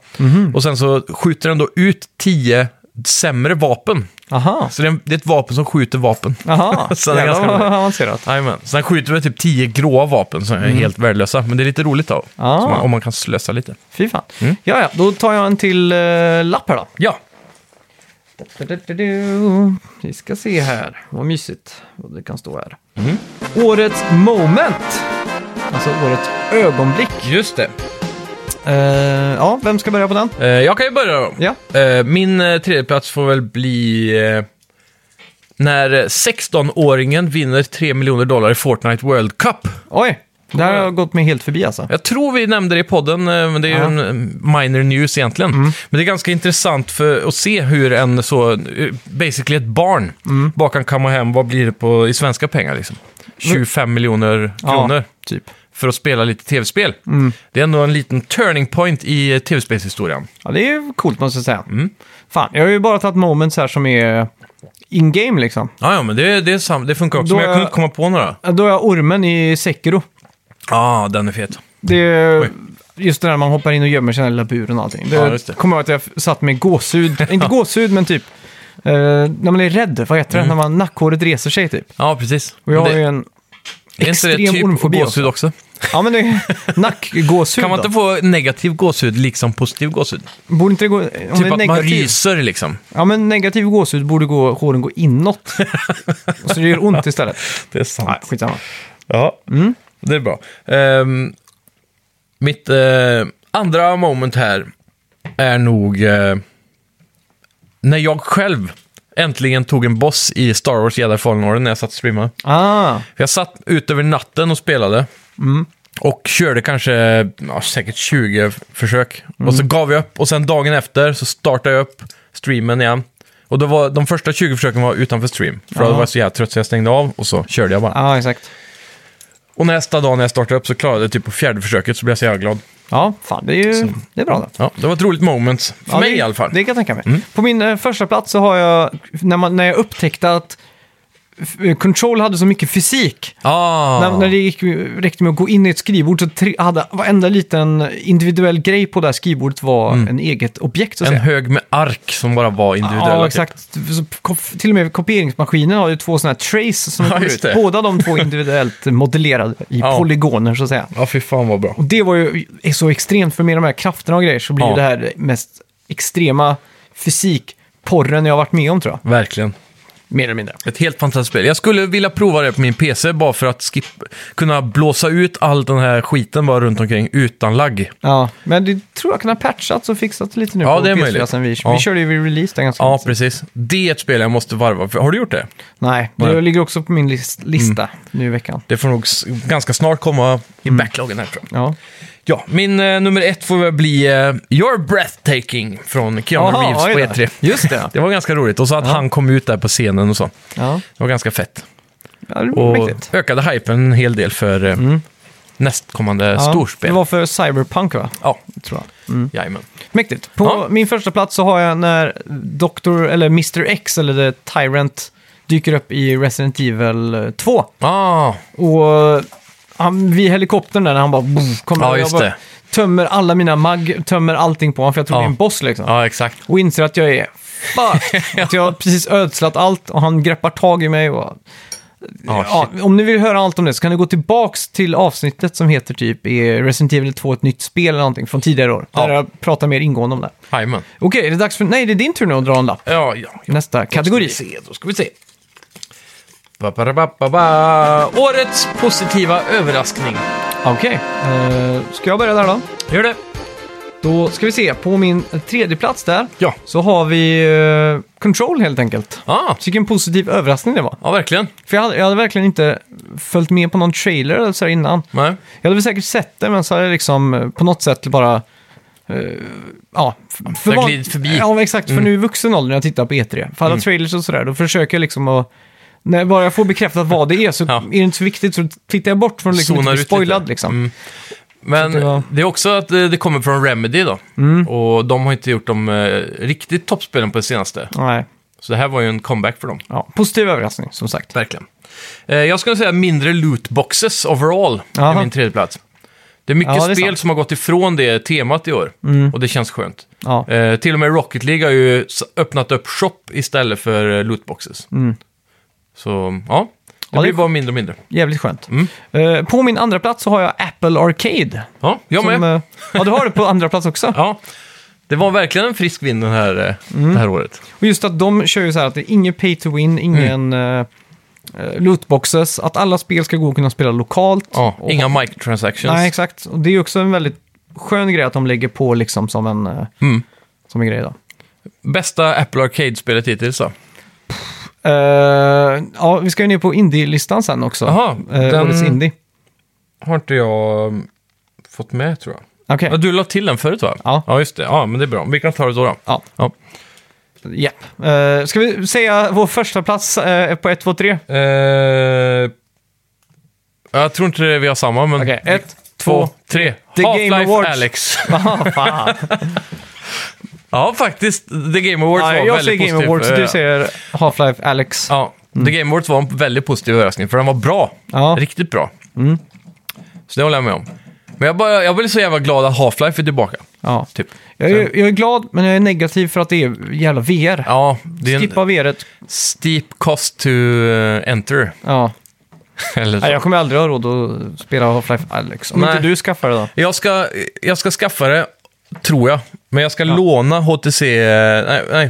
Speaker 2: Och sen så skjuter den då ut tio sämre vapen.
Speaker 1: aha.
Speaker 2: Så det är, en- det är ett vapen som skjuter vapen.
Speaker 1: Aha,
Speaker 2: Så det
Speaker 1: jävlar
Speaker 2: är ganska
Speaker 1: vad
Speaker 2: bra.
Speaker 1: avancerat.
Speaker 2: Jajamän. Sen skjuter vi typ tio gråa vapen som är
Speaker 1: Mhm.
Speaker 2: helt värdelösa. Men det är lite roligt då.
Speaker 1: Ah.
Speaker 2: Så man, om man kan slösa lite.
Speaker 1: Fy fan.
Speaker 2: Mm.
Speaker 1: Ja, ja, då tar jag en till eh, lapp här då.
Speaker 2: Ja,
Speaker 1: Du-du-du-du. Vi ska se här, vad mysigt vad det kan stå här. Årets moment! Alltså årets ögonblick.
Speaker 2: just det.
Speaker 1: Eh, ja, vem ska börja på den?
Speaker 2: Eh, jag kan ju börja då.
Speaker 1: Ja.
Speaker 2: Eh, min eh, tredjeplats får väl bli eh, när eh, 16-åringen vinner 3 miljoner dollar i Fortnite World Cup.
Speaker 1: Oj, det här har jag gått mig helt förbi alltså.
Speaker 2: Jag tror vi nämnde det i podden, eh, men det är ju
Speaker 1: Ja. Mm.
Speaker 2: en eh, minor news egentligen. Men det är ganska intressant för att se hur en så, eh, basically ett barn,
Speaker 1: Mm.
Speaker 2: bara kan komma hem, vad blir det på, i svenska pengar liksom? 25 miljoner kronor.
Speaker 1: typ.
Speaker 2: För att spela lite tv-spel.
Speaker 1: Mm.
Speaker 2: Det är ändå en liten turning point i eh, tv-spelshistorien.
Speaker 1: Ja, det är ju coolt måste jag säga. Fan, jag har ju bara tagit moments här som är in-game liksom.
Speaker 2: Ja, ja, men det, det, är sam- det funkar också,
Speaker 1: Då
Speaker 2: men jag
Speaker 1: är-
Speaker 2: kunde inte komma på några.
Speaker 1: Då har jag ormen i Sekiro.
Speaker 2: Ja, ah, den är fet.
Speaker 1: Det
Speaker 2: Oj.
Speaker 1: är just det där man hoppar in och gömmer sig i den där lilla buren och allting. Det,
Speaker 2: Ja, just det.
Speaker 1: kommer jag att jag f- satt med gåshud, inte gåshud men typ, eh, när man är rädd, vad heter det, när man, nackhåret reser sig typ.
Speaker 2: Ja, precis.
Speaker 1: Och jag har
Speaker 2: Mm. Men
Speaker 1: ju
Speaker 2: det,
Speaker 1: en,
Speaker 2: är inte det
Speaker 1: extrem
Speaker 2: typ
Speaker 1: ormfobi alltså.
Speaker 2: gåshud också?
Speaker 1: ja men det är nackgåshud
Speaker 2: Kan man inte
Speaker 1: då.
Speaker 2: få negativ gåshud liksom positiv gåshud?
Speaker 1: Borde inte det gå, om typ det är
Speaker 2: Typ att man
Speaker 1: negativ,
Speaker 2: ryser liksom.
Speaker 1: ja men negativ gåshud borde gå, håren gå inåt. och så det gör ont istället.
Speaker 2: Det är
Speaker 1: Nej,
Speaker 2: sant.
Speaker 1: skitsamma.
Speaker 2: Ja,
Speaker 1: Mm.
Speaker 2: det är bra. Ehm, mitt eh, andra moment här är nog eh, när jag själv äntligen tog en boss i Star Wars Jedi Fallen Order när jag satt och streamade.
Speaker 1: Ah,
Speaker 2: Jag satt ut över natten och spelade.
Speaker 1: Mm.
Speaker 2: Och körde kanske ja, säkert 20 försök. Och
Speaker 1: Mm.
Speaker 2: så gav jag upp och sen dagen efter så startade jag upp streamen igen. Och då var, de första 20 försöken var utanför stream. För då
Speaker 1: Ja. ah,
Speaker 2: var jag så jävla trött så jag stängde av och så körde jag bara.
Speaker 1: ja exakt.
Speaker 2: Och nästa dag när jag startade upp så klarade jag det typ på fjärde försöket, så blev jag så jävla glad.
Speaker 1: Ja, fan, det är ju det är bra då.
Speaker 2: Ja, det var ett roligt moment. För
Speaker 1: Ja,
Speaker 2: mig
Speaker 1: det,
Speaker 2: i alla fall. Mm.
Speaker 1: Det kan jag tänka mig. På min eh, första plats så har jag, när, man, när jag upptäckte att f- eh, Control hade så mycket fysik.
Speaker 2: Ah.
Speaker 1: När, när det gick, räckte med att gå in i ett skrivbord så tre, hade varenda liten individuell grej på det här skrivbordet var en eget objekt. Så att
Speaker 2: Mm. en
Speaker 1: säga.
Speaker 2: hög med ark som bara var individuella.
Speaker 1: Ja, exakt. Så ko- Till och med kopieringsmaskinen har ju två sådana här trace som
Speaker 2: Ja,
Speaker 1: kommer
Speaker 2: just
Speaker 1: ut.
Speaker 2: det.
Speaker 1: Båda de två individuellt modellerade i
Speaker 2: Ja.
Speaker 1: polygoner så att säga.
Speaker 2: Ja, fy fan vad bra.
Speaker 1: Och det var ju är så extremt, för med de här krafterna och grejer så blir
Speaker 2: Ja.
Speaker 1: ju det här mest extrema fysikporren jag har varit med om tror jag.
Speaker 2: Verkligen.
Speaker 1: Mer eller mindre.
Speaker 2: Ett helt fantastiskt spel. Jag skulle vilja prova det på min PC bara för att skip... kunna blåsa ut all den här skiten bara runt omkring utan lagg.
Speaker 1: Ja, men det tror jag kan ha patchats och fixats lite nu
Speaker 2: Ja,
Speaker 1: på
Speaker 2: det är
Speaker 1: PS4
Speaker 2: möjligt.
Speaker 1: sen vi,
Speaker 2: Ja.
Speaker 1: vi körde ju vid release där ganska
Speaker 2: Ja,
Speaker 1: mycket.
Speaker 2: precis. Det är ett spel jag måste varva. För- Har du gjort det?
Speaker 1: Nej, det
Speaker 2: Nej. Mm.
Speaker 1: ligger också på min list- lista nu i veckan.
Speaker 2: Det får nog s- ganska snart komma i
Speaker 1: Mm.
Speaker 2: backloggen här tror jag.
Speaker 1: Ja,
Speaker 2: Ja, min eh, nummer ett får väl bli eh, You're Breathtaking från Keanu
Speaker 1: Aha,
Speaker 2: Reeves på
Speaker 1: oj då.
Speaker 2: E3.
Speaker 1: Just det.
Speaker 2: Det var ganska roligt. Och så att han kom ut där på scenen och så.
Speaker 1: ja.
Speaker 2: Det var ganska fett.
Speaker 1: ja det var
Speaker 2: Och
Speaker 1: mäktigt. Mm.
Speaker 2: ökade hypen en hel del för eh, nästkommande
Speaker 1: Ja,
Speaker 2: storspel.
Speaker 1: Det var Mm. för Cyberpunk va?
Speaker 2: Ja,
Speaker 1: Tror jag.
Speaker 2: jajamän.
Speaker 1: Mäktigt. På
Speaker 2: Ja.
Speaker 1: min första plats så har jag när Dr. eller Mr. X eller The Tyrant dyker upp i Resident Evil eh, 2.
Speaker 2: Ah,
Speaker 1: Och han, vid helikoptern där när han bara boom, kommer
Speaker 2: Ja,
Speaker 1: och jag
Speaker 2: just
Speaker 1: bara
Speaker 2: det.
Speaker 1: tömmer alla mina mag, tömmer allting på honom för jag tror
Speaker 2: Ja.
Speaker 1: det är en boss liksom.
Speaker 2: ja exakt.
Speaker 1: Och inser att jag är fuck, att jag har precis ödslat allt och han greppar tag i mig och
Speaker 2: Ah,
Speaker 1: Ja,
Speaker 2: shit.
Speaker 1: om ni vill höra allt om det så kan ni gå tillbaks till avsnittet som heter typ är Resident Evil 2 ett nytt spel eller någonting från tidigare år. Där
Speaker 2: Ja.
Speaker 1: jag pratar mer ingående om det.
Speaker 2: Jajamän.
Speaker 1: Okej, det är dags för... Nej, det är din tur nu att dra en lapp.
Speaker 2: Ja, ja.
Speaker 1: Nästa kategori.
Speaker 2: Då ska vi se, då ska vi se. Ba, ba, ba, ba, ba. Årets positiva överraskning.
Speaker 1: Okej, eh, ska jag börja där då?
Speaker 2: Gör det.
Speaker 1: Då ska vi se, på min tredje plats där
Speaker 2: Ja.
Speaker 1: så har vi eh, Control helt enkelt.
Speaker 2: Ah,
Speaker 1: Så Vilken positiv överraskning det var.
Speaker 2: ja, verkligen.
Speaker 1: För jag hade, jag hade verkligen inte följt med på någon trailer eller så här innan.
Speaker 2: Nej.
Speaker 1: Jag hade väl säkert sett det, men så hade jag liksom eh, på något sätt bara... eh, ja, f- för
Speaker 2: har
Speaker 1: van-
Speaker 2: glidit förbi. Mm.
Speaker 1: Ja, men exakt. För nu i vuxen ålder när jag tittar på E3, för alla trailers och sådär, då försöker jag liksom att... När bara jag får bekräftat vad det är så
Speaker 2: Ja.
Speaker 1: är det inte så viktigt, så tittar jag bort från att liksom
Speaker 2: Zonar
Speaker 1: inte bli
Speaker 2: ut lite. Mm.
Speaker 1: spoilad liksom.
Speaker 2: Men
Speaker 1: Så det var- Mm.
Speaker 2: det är också att eh, det kommer från Remedy då. Och de har inte gjort de eh, riktigt toppspelen på det senaste.
Speaker 1: Nej.
Speaker 2: Så det här var ju en comeback för dem.
Speaker 1: Ja, positiv överraskning, som sagt.
Speaker 2: Verkligen. Eh, jag skulle säga mindre lootboxes overall
Speaker 1: Jaha.
Speaker 2: är min tredje plats. Det är mycket
Speaker 1: Ja, det är
Speaker 2: spel
Speaker 1: sant. Mm.
Speaker 2: som har gått ifrån det temat i år. Och det känns skönt.
Speaker 1: Ja.
Speaker 2: Eh, till och med Rocket League har ju s- öppnat upp shop istället för eh, lootboxes. Så ja, det
Speaker 1: Mm. det
Speaker 2: blir
Speaker 1: är-
Speaker 2: bara mindre och mindre.
Speaker 1: Jävligt skönt.
Speaker 2: Mm.
Speaker 1: Eh, på min andra plats så har jag Apple Arcade.
Speaker 2: Ja, jag
Speaker 1: som,
Speaker 2: med.
Speaker 1: eh, ja, du har det på andra plats också.
Speaker 2: Ja. Det var verkligen en frisk vind den här, eh,
Speaker 1: Mm.
Speaker 2: det här året.
Speaker 1: Och just att de kör ju så här att det är ingen pay to win, ingen mm. lootboxes, att alla spel ska gå och kunna spela lokalt.
Speaker 2: Ja,
Speaker 1: och,
Speaker 2: inga microtransactions.
Speaker 1: Nej, exakt. Och det är ju också en väldigt skön grej att de lägger på liksom som en, eh,
Speaker 2: Mm.
Speaker 1: som en grej då.
Speaker 2: Bästa Apple Arcade-spelet hittills då?
Speaker 1: Eh, ja, vi ska ju ner på indie-listan sen också.
Speaker 2: Jaha,
Speaker 1: Eh,
Speaker 2: den-
Speaker 1: Årets indie.
Speaker 2: Har inte jag mm, fått med tror jag.
Speaker 1: Okej,
Speaker 2: Ja, du la till den förut va?
Speaker 1: Ja.
Speaker 2: Ja, just det. Ja, men det är bra. Vi kan ta det då. då.
Speaker 1: ja.
Speaker 2: Ja.
Speaker 1: Japp. Eh, ska vi säga vår första plats eh, på 1, 2, 3?
Speaker 2: Eh, jag tror inte det vi har samma, men...
Speaker 1: Okej, ett,
Speaker 2: två,
Speaker 1: två,
Speaker 2: tre.
Speaker 1: The Game Awards.
Speaker 2: Alex.
Speaker 1: Aha, fan.
Speaker 2: ja, faktiskt. The Game Awards
Speaker 1: Ja,
Speaker 2: var
Speaker 1: jag säger
Speaker 2: väldigt
Speaker 1: Game
Speaker 2: positiv.
Speaker 1: Awards,
Speaker 2: Eh,
Speaker 1: du säger Half-Life Alex.
Speaker 2: Ja, The Game Awards var en väldigt positiv överraskning, för den var bra.
Speaker 1: Ja. Mm.
Speaker 2: Riktigt bra. Så det håller jag med om. Men jag, bara, jag blir så jävla glad att Half-Life är tillbaka.
Speaker 1: Ja.
Speaker 2: Typ.
Speaker 1: Jag är, jag är glad, men jag är negativ för att det är jävla VR.
Speaker 2: Ja, det är en
Speaker 1: Skippa VR. -et.
Speaker 2: steep cost to eh, enter.
Speaker 1: Ja.
Speaker 2: Eller så.
Speaker 1: Nej, jag kommer aldrig ha råd att spela Half-Life Alex. Om
Speaker 2: Nej.
Speaker 1: inte du skaffar det då.
Speaker 2: Jag ska, jag ska skaffa det, tror jag. Men jag ska låna HTC... eh, Nej, nej.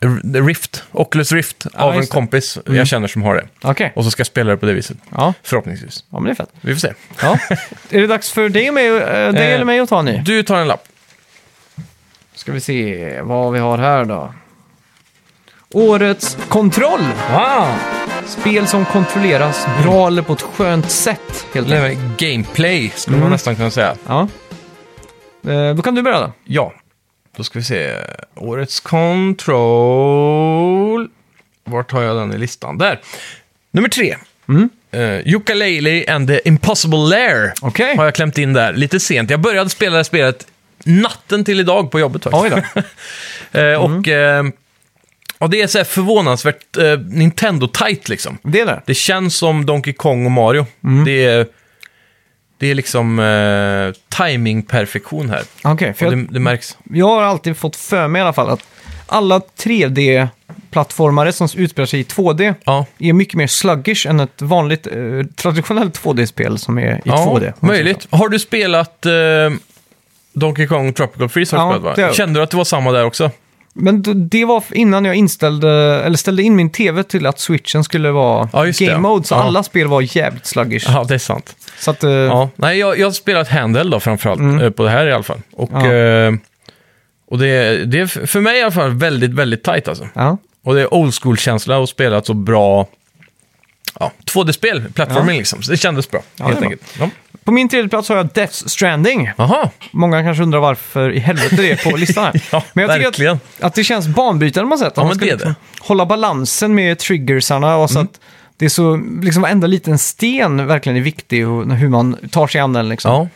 Speaker 2: R- Rift, Oculus Rift, av en
Speaker 1: just det. Mm.
Speaker 2: kompis jag känner som har det.
Speaker 1: Okej.
Speaker 2: Och så ska jag spela det på det viset.
Speaker 1: Ja.
Speaker 2: Förhoppningsvis.
Speaker 1: ja, men det är fett.
Speaker 2: Vi får se.
Speaker 1: Ja. är det dags för dig, och mig, eh, dig
Speaker 2: Eh,
Speaker 1: eller mig att ta nu?
Speaker 2: Du tar en lapp.
Speaker 1: Ska vi se vad vi har här då. Årets kontroll!
Speaker 2: Wow!
Speaker 1: Spel som kontrolleras bra eller på ett skönt sätt, helt enkelt.
Speaker 2: Det här med gameplay, skulle man
Speaker 1: Mm.
Speaker 2: nästan kunna säga.
Speaker 1: Ja. Eh, Då kan du börja då.
Speaker 2: Ja, då ska vi se. Årets control. Vart har jag den i listan? Där! Nummer tre. Uh, Yooka-Laylee and the Impossible Lair
Speaker 1: Okej.
Speaker 2: har jag klämt in där lite sent. Jag började spela det här spelet natten till idag på jobbet faktiskt.
Speaker 1: Oj då.
Speaker 2: Eh, Och, eh, och det är så här förvånansvärt eh, Nintendo-tight liksom.
Speaker 1: Det är det.
Speaker 2: Det känns som Donkey Kong och Mario.
Speaker 1: Mm.
Speaker 2: Det, är, det är liksom eh, timing-perfektion här.
Speaker 1: Okej, för
Speaker 2: Och
Speaker 1: jag,
Speaker 2: det, det märks.
Speaker 1: jag har alltid fått för mig i alla fall att alla 3D-plattformare som utspelar sig i 2D
Speaker 2: Ja,
Speaker 1: är mycket mer sluggish än ett vanligt eh, traditionellt 2D-spel som är i
Speaker 2: ja
Speaker 1: 2D.
Speaker 2: möjligt. Har du spelat eh, Donkey Kong Tropical Freeze? Har
Speaker 1: Ja,
Speaker 2: du spelat,
Speaker 1: det har
Speaker 2: va?
Speaker 1: jag.
Speaker 2: Kände du att det var samma där också?
Speaker 1: Men d- det var f- innan jag inställde, eller ställde in min tv till att switchen skulle vara
Speaker 2: Ja, just det,
Speaker 1: game
Speaker 2: ja.
Speaker 1: mode, så
Speaker 2: Ja.
Speaker 1: alla spel var jävligt sluggish.
Speaker 2: Ja, det är sant.
Speaker 1: Så att, eh,
Speaker 2: Ja. Nej, jag, jag har spelat Handheld då framförallt, eh, på det här i alla fall. Och,
Speaker 1: Mm. Ja.
Speaker 2: eh, och det, det är för mig i alla fall väldigt, väldigt tight alltså.
Speaker 1: ja.
Speaker 2: Och det är old school-känsla och spela ett så bra ja, 2D-spel, plattformen liksom. Så det kändes bra,
Speaker 1: Ja,
Speaker 2: helt
Speaker 1: det är
Speaker 2: enkelt. Ja.
Speaker 1: På min tredje plats har jag Death Stranding.
Speaker 2: Jaha,
Speaker 1: Många kanske undrar varför i helvete det är på listan här.
Speaker 2: Ja,
Speaker 1: men jag tycker
Speaker 2: verkligen.
Speaker 1: att, att det känns banbrytande man sett.
Speaker 2: Ja,
Speaker 1: man
Speaker 2: men
Speaker 1: ska
Speaker 2: det Mm. är
Speaker 1: liksom hålla balansen med triggersarna och så att det är så, liksom varenda liten sten verkligen är viktig och hur man tar sig an den liksom.
Speaker 2: ja.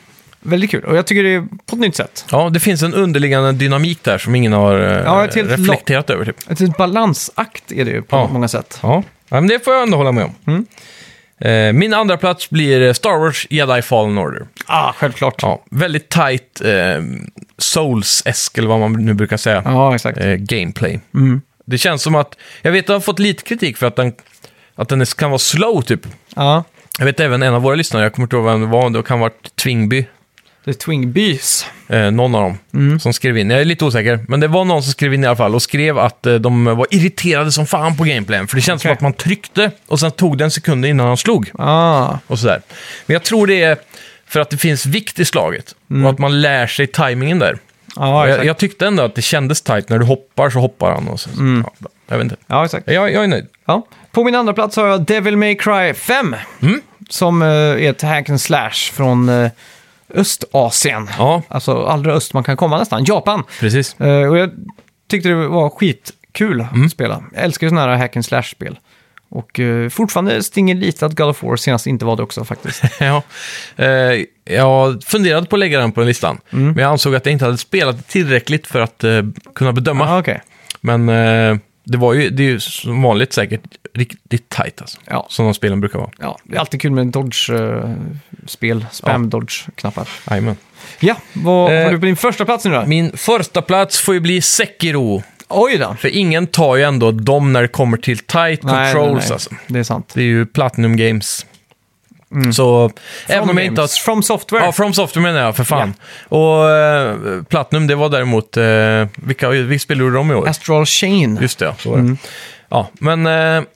Speaker 1: Väldigt kul och jag tycker det är på ett nytt sätt.
Speaker 2: ja, det finns en underliggande dynamik där som ingen har eh,
Speaker 1: Ja, ett helt
Speaker 2: reflekterat över. Typ.
Speaker 1: Ett litet balansakt är det ju på
Speaker 2: Ja.
Speaker 1: många sätt.
Speaker 2: Ja. ja, men det får jag ändå hålla med om.
Speaker 1: Mm.
Speaker 2: Eh, min andra plats blir eh, Star Wars Jedi Fallen Order.
Speaker 1: Ah, självklart.
Speaker 2: Ja, väldigt tight eh, Souls-esk, eller vad man nu brukar säga.
Speaker 1: Ja, Mm. exakt.
Speaker 2: eh, gameplay. Det känns som att, jag vet att jag har fått lite kritik för att den, att den är- kan vara slow typ.
Speaker 1: Ja,
Speaker 2: Jag vet även en av våra lyssnare, jag kommer inte ihåg vem det var, det kan ha varit Twingby,
Speaker 1: det är Twingbys.
Speaker 2: eh, någon av dem,
Speaker 1: Mm.
Speaker 2: som skrev in. Jag är lite osäker, men det var någon som skrev in i alla fall och skrev att eh, de var irriterade som fan på gameplayen. För det känns som
Speaker 1: Okej.
Speaker 2: att man tryckte och sen tog det en sekund innan han slog
Speaker 1: Ah,
Speaker 2: och sådär. Men jag tror det är för att det finns vikt i slaget och att man lär sig tajmingen där.
Speaker 1: Mm. ja,
Speaker 2: jag,
Speaker 1: exakt.
Speaker 2: jag tyckte ändå att det kändes tight, när du hoppar så hoppar han och så.
Speaker 1: Mm.
Speaker 2: Ja, jag vet inte.
Speaker 1: Ja, exakt.
Speaker 2: Jag, jag är nöjd.
Speaker 1: Ja. På min andra plats har jag Devil May Cry 5.
Speaker 2: Mm.
Speaker 1: Som eh, är ett hack and slash från eh, Östasien.
Speaker 2: Ja,
Speaker 1: Alltså allra öst man kan komma nästan, Japan.
Speaker 2: precis.
Speaker 1: Eh, och jag tyckte det var skitkul
Speaker 2: Mm.
Speaker 1: att spela. Jag älskar ju sådana här hack and slash-spel. Och eh, fortfarande stinger lite att God of War senast inte var det också faktiskt.
Speaker 2: ja. Eh, jag funderade på att lägga den på listan,
Speaker 1: Mm.
Speaker 2: men jag ansåg att jag inte hade spelat tillräckligt för att eh, kunna bedöma.
Speaker 1: ah, okej.
Speaker 2: Men eh, det, var ju, det är ju som vanligt säkert riktigt tight alltså.
Speaker 1: Ja.
Speaker 2: Som de spelen brukar vara.
Speaker 1: Ja, det är alltid kul med eh, dodge-spel, spam-dodge-knappar.
Speaker 2: Jajamän.
Speaker 1: Ja, vad
Speaker 2: Eh,
Speaker 1: har du på din första plats nu då?
Speaker 2: Min första plats får ju bli Sekiro.
Speaker 1: Oj då!
Speaker 2: För ingen tar ju ändå dem när det kommer till tight
Speaker 1: Nej,
Speaker 2: controls
Speaker 1: nej, nej.
Speaker 2: alltså.
Speaker 1: Det är sant.
Speaker 2: Det är ju Platinum Games. Så även om jag inte har
Speaker 1: Mm. Games. From Software.
Speaker 2: Ja, From Software menar jag, för fan. Och eh, Platinum, det var däremot... Eh, vilka, vilka spelade de i år?
Speaker 1: Astral Chain.
Speaker 2: Just det, ja. Så var det. Ja, men... Eh,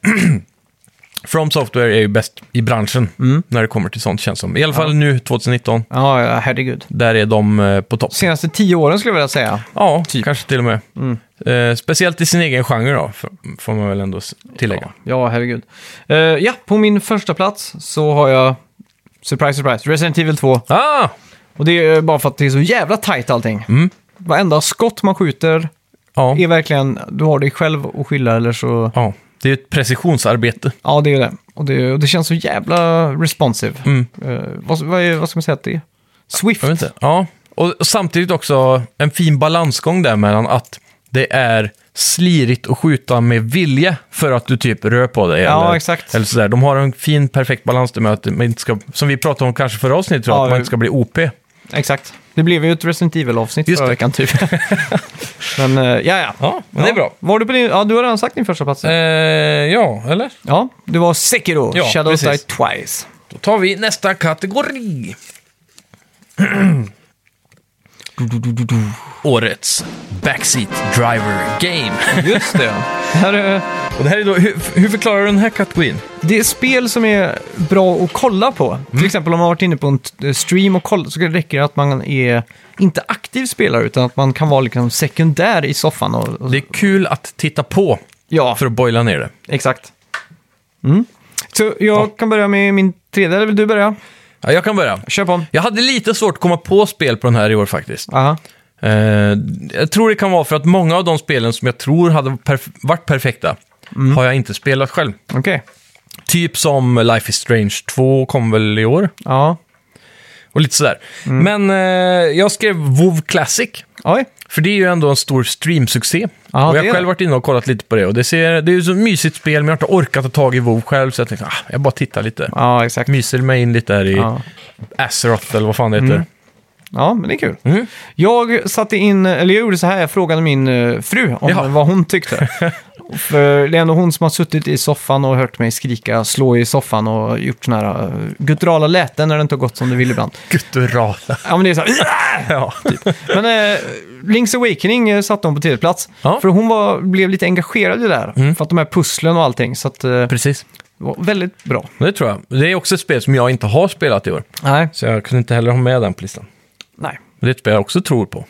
Speaker 2: From Software är ju bäst i branschen när det kommer till sånt, känns som. I alla fall nu, 2019.
Speaker 1: Ja, ja, herregud.
Speaker 2: Där är de eh, på topp.
Speaker 1: Senaste tio åren skulle jag vilja säga.
Speaker 2: Ja, kanske till och med. Eh, speciellt i sin egen genre då, f- får man väl ändå s- tillägga.
Speaker 1: Ja, herregud. Eh, ja, på min första plats så har jag, surprise, surprise, Resident Evil 2.
Speaker 2: Ah!
Speaker 1: Och det är bara för att det är så jävla tajt allting.
Speaker 2: Mm.
Speaker 1: Varenda skott man skjuter
Speaker 2: Ja.
Speaker 1: är verkligen, du har dig själv att skylla eller så...
Speaker 2: ja. Det är ju ett precisionsarbete.
Speaker 1: Ja, det är det. Och det, och det känns så jävla responsive.
Speaker 2: Mm.
Speaker 1: Eh, vad, vad, är, vad ska man säga att det är? Swift.
Speaker 2: Jag vet inte. Ja, och och samtidigt också en fin balansgång där mellan att det är slirigt att skjuta med vilja för att du typ rör på dig.
Speaker 1: Ja,
Speaker 2: eller,
Speaker 1: exakt.
Speaker 2: Eller sådär. De har en fin, perfekt balans där med att man inte ska, som vi pratade om kanske förra avsnittet, tror jag,
Speaker 1: Ja,
Speaker 2: att man
Speaker 1: det-
Speaker 2: inte ska bli OP.
Speaker 1: Exakt. Det blev ju ett Resident Evil-avsnitt
Speaker 2: Just
Speaker 1: förra
Speaker 2: det.
Speaker 1: veckan typ. men eh, ja, ja.
Speaker 2: Ja, men det är bra.
Speaker 1: Var du, på din, ja, du har redan sagt din första plats.
Speaker 2: Eh, ja, eller?
Speaker 1: Ja, det var Sekiro,
Speaker 2: Ja,
Speaker 1: Shadows Die
Speaker 2: precis.
Speaker 1: Twice.
Speaker 2: Då tar vi nästa kategori. Årets Backseat Driver Game.
Speaker 1: Just det. här är,
Speaker 2: Och det här är då, hur, hur förklarar du den här kategorin?
Speaker 1: det är spel som är bra att kolla på.
Speaker 2: Mm.
Speaker 1: Till exempel om man har varit inne på en t- eh, stream och kollat så räcker det att man är inte aktiv spelare utan att man kan vara liksom sekundär i soffan. Och, och,
Speaker 2: Det är kul att titta på,
Speaker 1: ja,
Speaker 2: för att boila ner det.
Speaker 1: exakt. Mm. Så jag kan börja med min tredje, eller vill du börja?
Speaker 2: Ja, jag kan börja.
Speaker 1: Kör på.
Speaker 2: Jag hade lite svårt att komma på spel på den här i år faktiskt.
Speaker 1: Aha.
Speaker 2: Eh, jag tror det kan vara för att många av de
Speaker 1: Mm.
Speaker 2: spelen som jag tror hade perf- varit perfekta har jag inte spelat själv.
Speaker 1: Okej.
Speaker 2: Typ som Life is Strange 2 kom väl i år.
Speaker 1: Ja.
Speaker 2: Och lite sådär.
Speaker 1: Mm.
Speaker 2: Men eh, jag skrev WoW Classic.
Speaker 1: Oj.
Speaker 2: För det är ju ändå en stor streamsuccé.
Speaker 1: Ja,
Speaker 2: och jag
Speaker 1: det är
Speaker 2: har själv
Speaker 1: det.
Speaker 2: varit inne och kollat lite på det. Och det, ser, det är ju så mysigt spel, men jag har inte orkat ta tag i WoW själv. Så jag tänkte, ah, jag bara tittar lite.
Speaker 1: Ja, exakt.
Speaker 2: Myser mig in lite här i
Speaker 1: Ja.
Speaker 2: Azeroth, eller vad fan det heter.
Speaker 1: ja, men det är kul.
Speaker 2: Mm.
Speaker 1: Jag satte in, eller jag gjorde så här, jag frågade min eh, fru om
Speaker 2: Ja.
Speaker 1: vad hon tyckte. För det är ändå hon som har suttit i soffan och hört mig skrika, slå i soffan och gjort sådana här eh, gutturala läten när det inte har gått som det vill ibland.
Speaker 2: Gutturala.
Speaker 1: Ja, men det är så här,
Speaker 2: ja, typ.
Speaker 1: Men eh, Link's Awakening eh, satte hon på tredje plats.
Speaker 2: Ja.
Speaker 1: För hon var, blev lite engagerad i det där. För att de här pusslen och allting. Så att, eh, det
Speaker 2: Precis.
Speaker 1: var väldigt bra.
Speaker 2: Det tror jag. Det är också ett spel som jag inte har spelat i år.
Speaker 1: Nej.
Speaker 2: Så jag kunde inte heller ha med den på listan.
Speaker 1: Nej.
Speaker 2: Men Det är ett spel jag också tror på.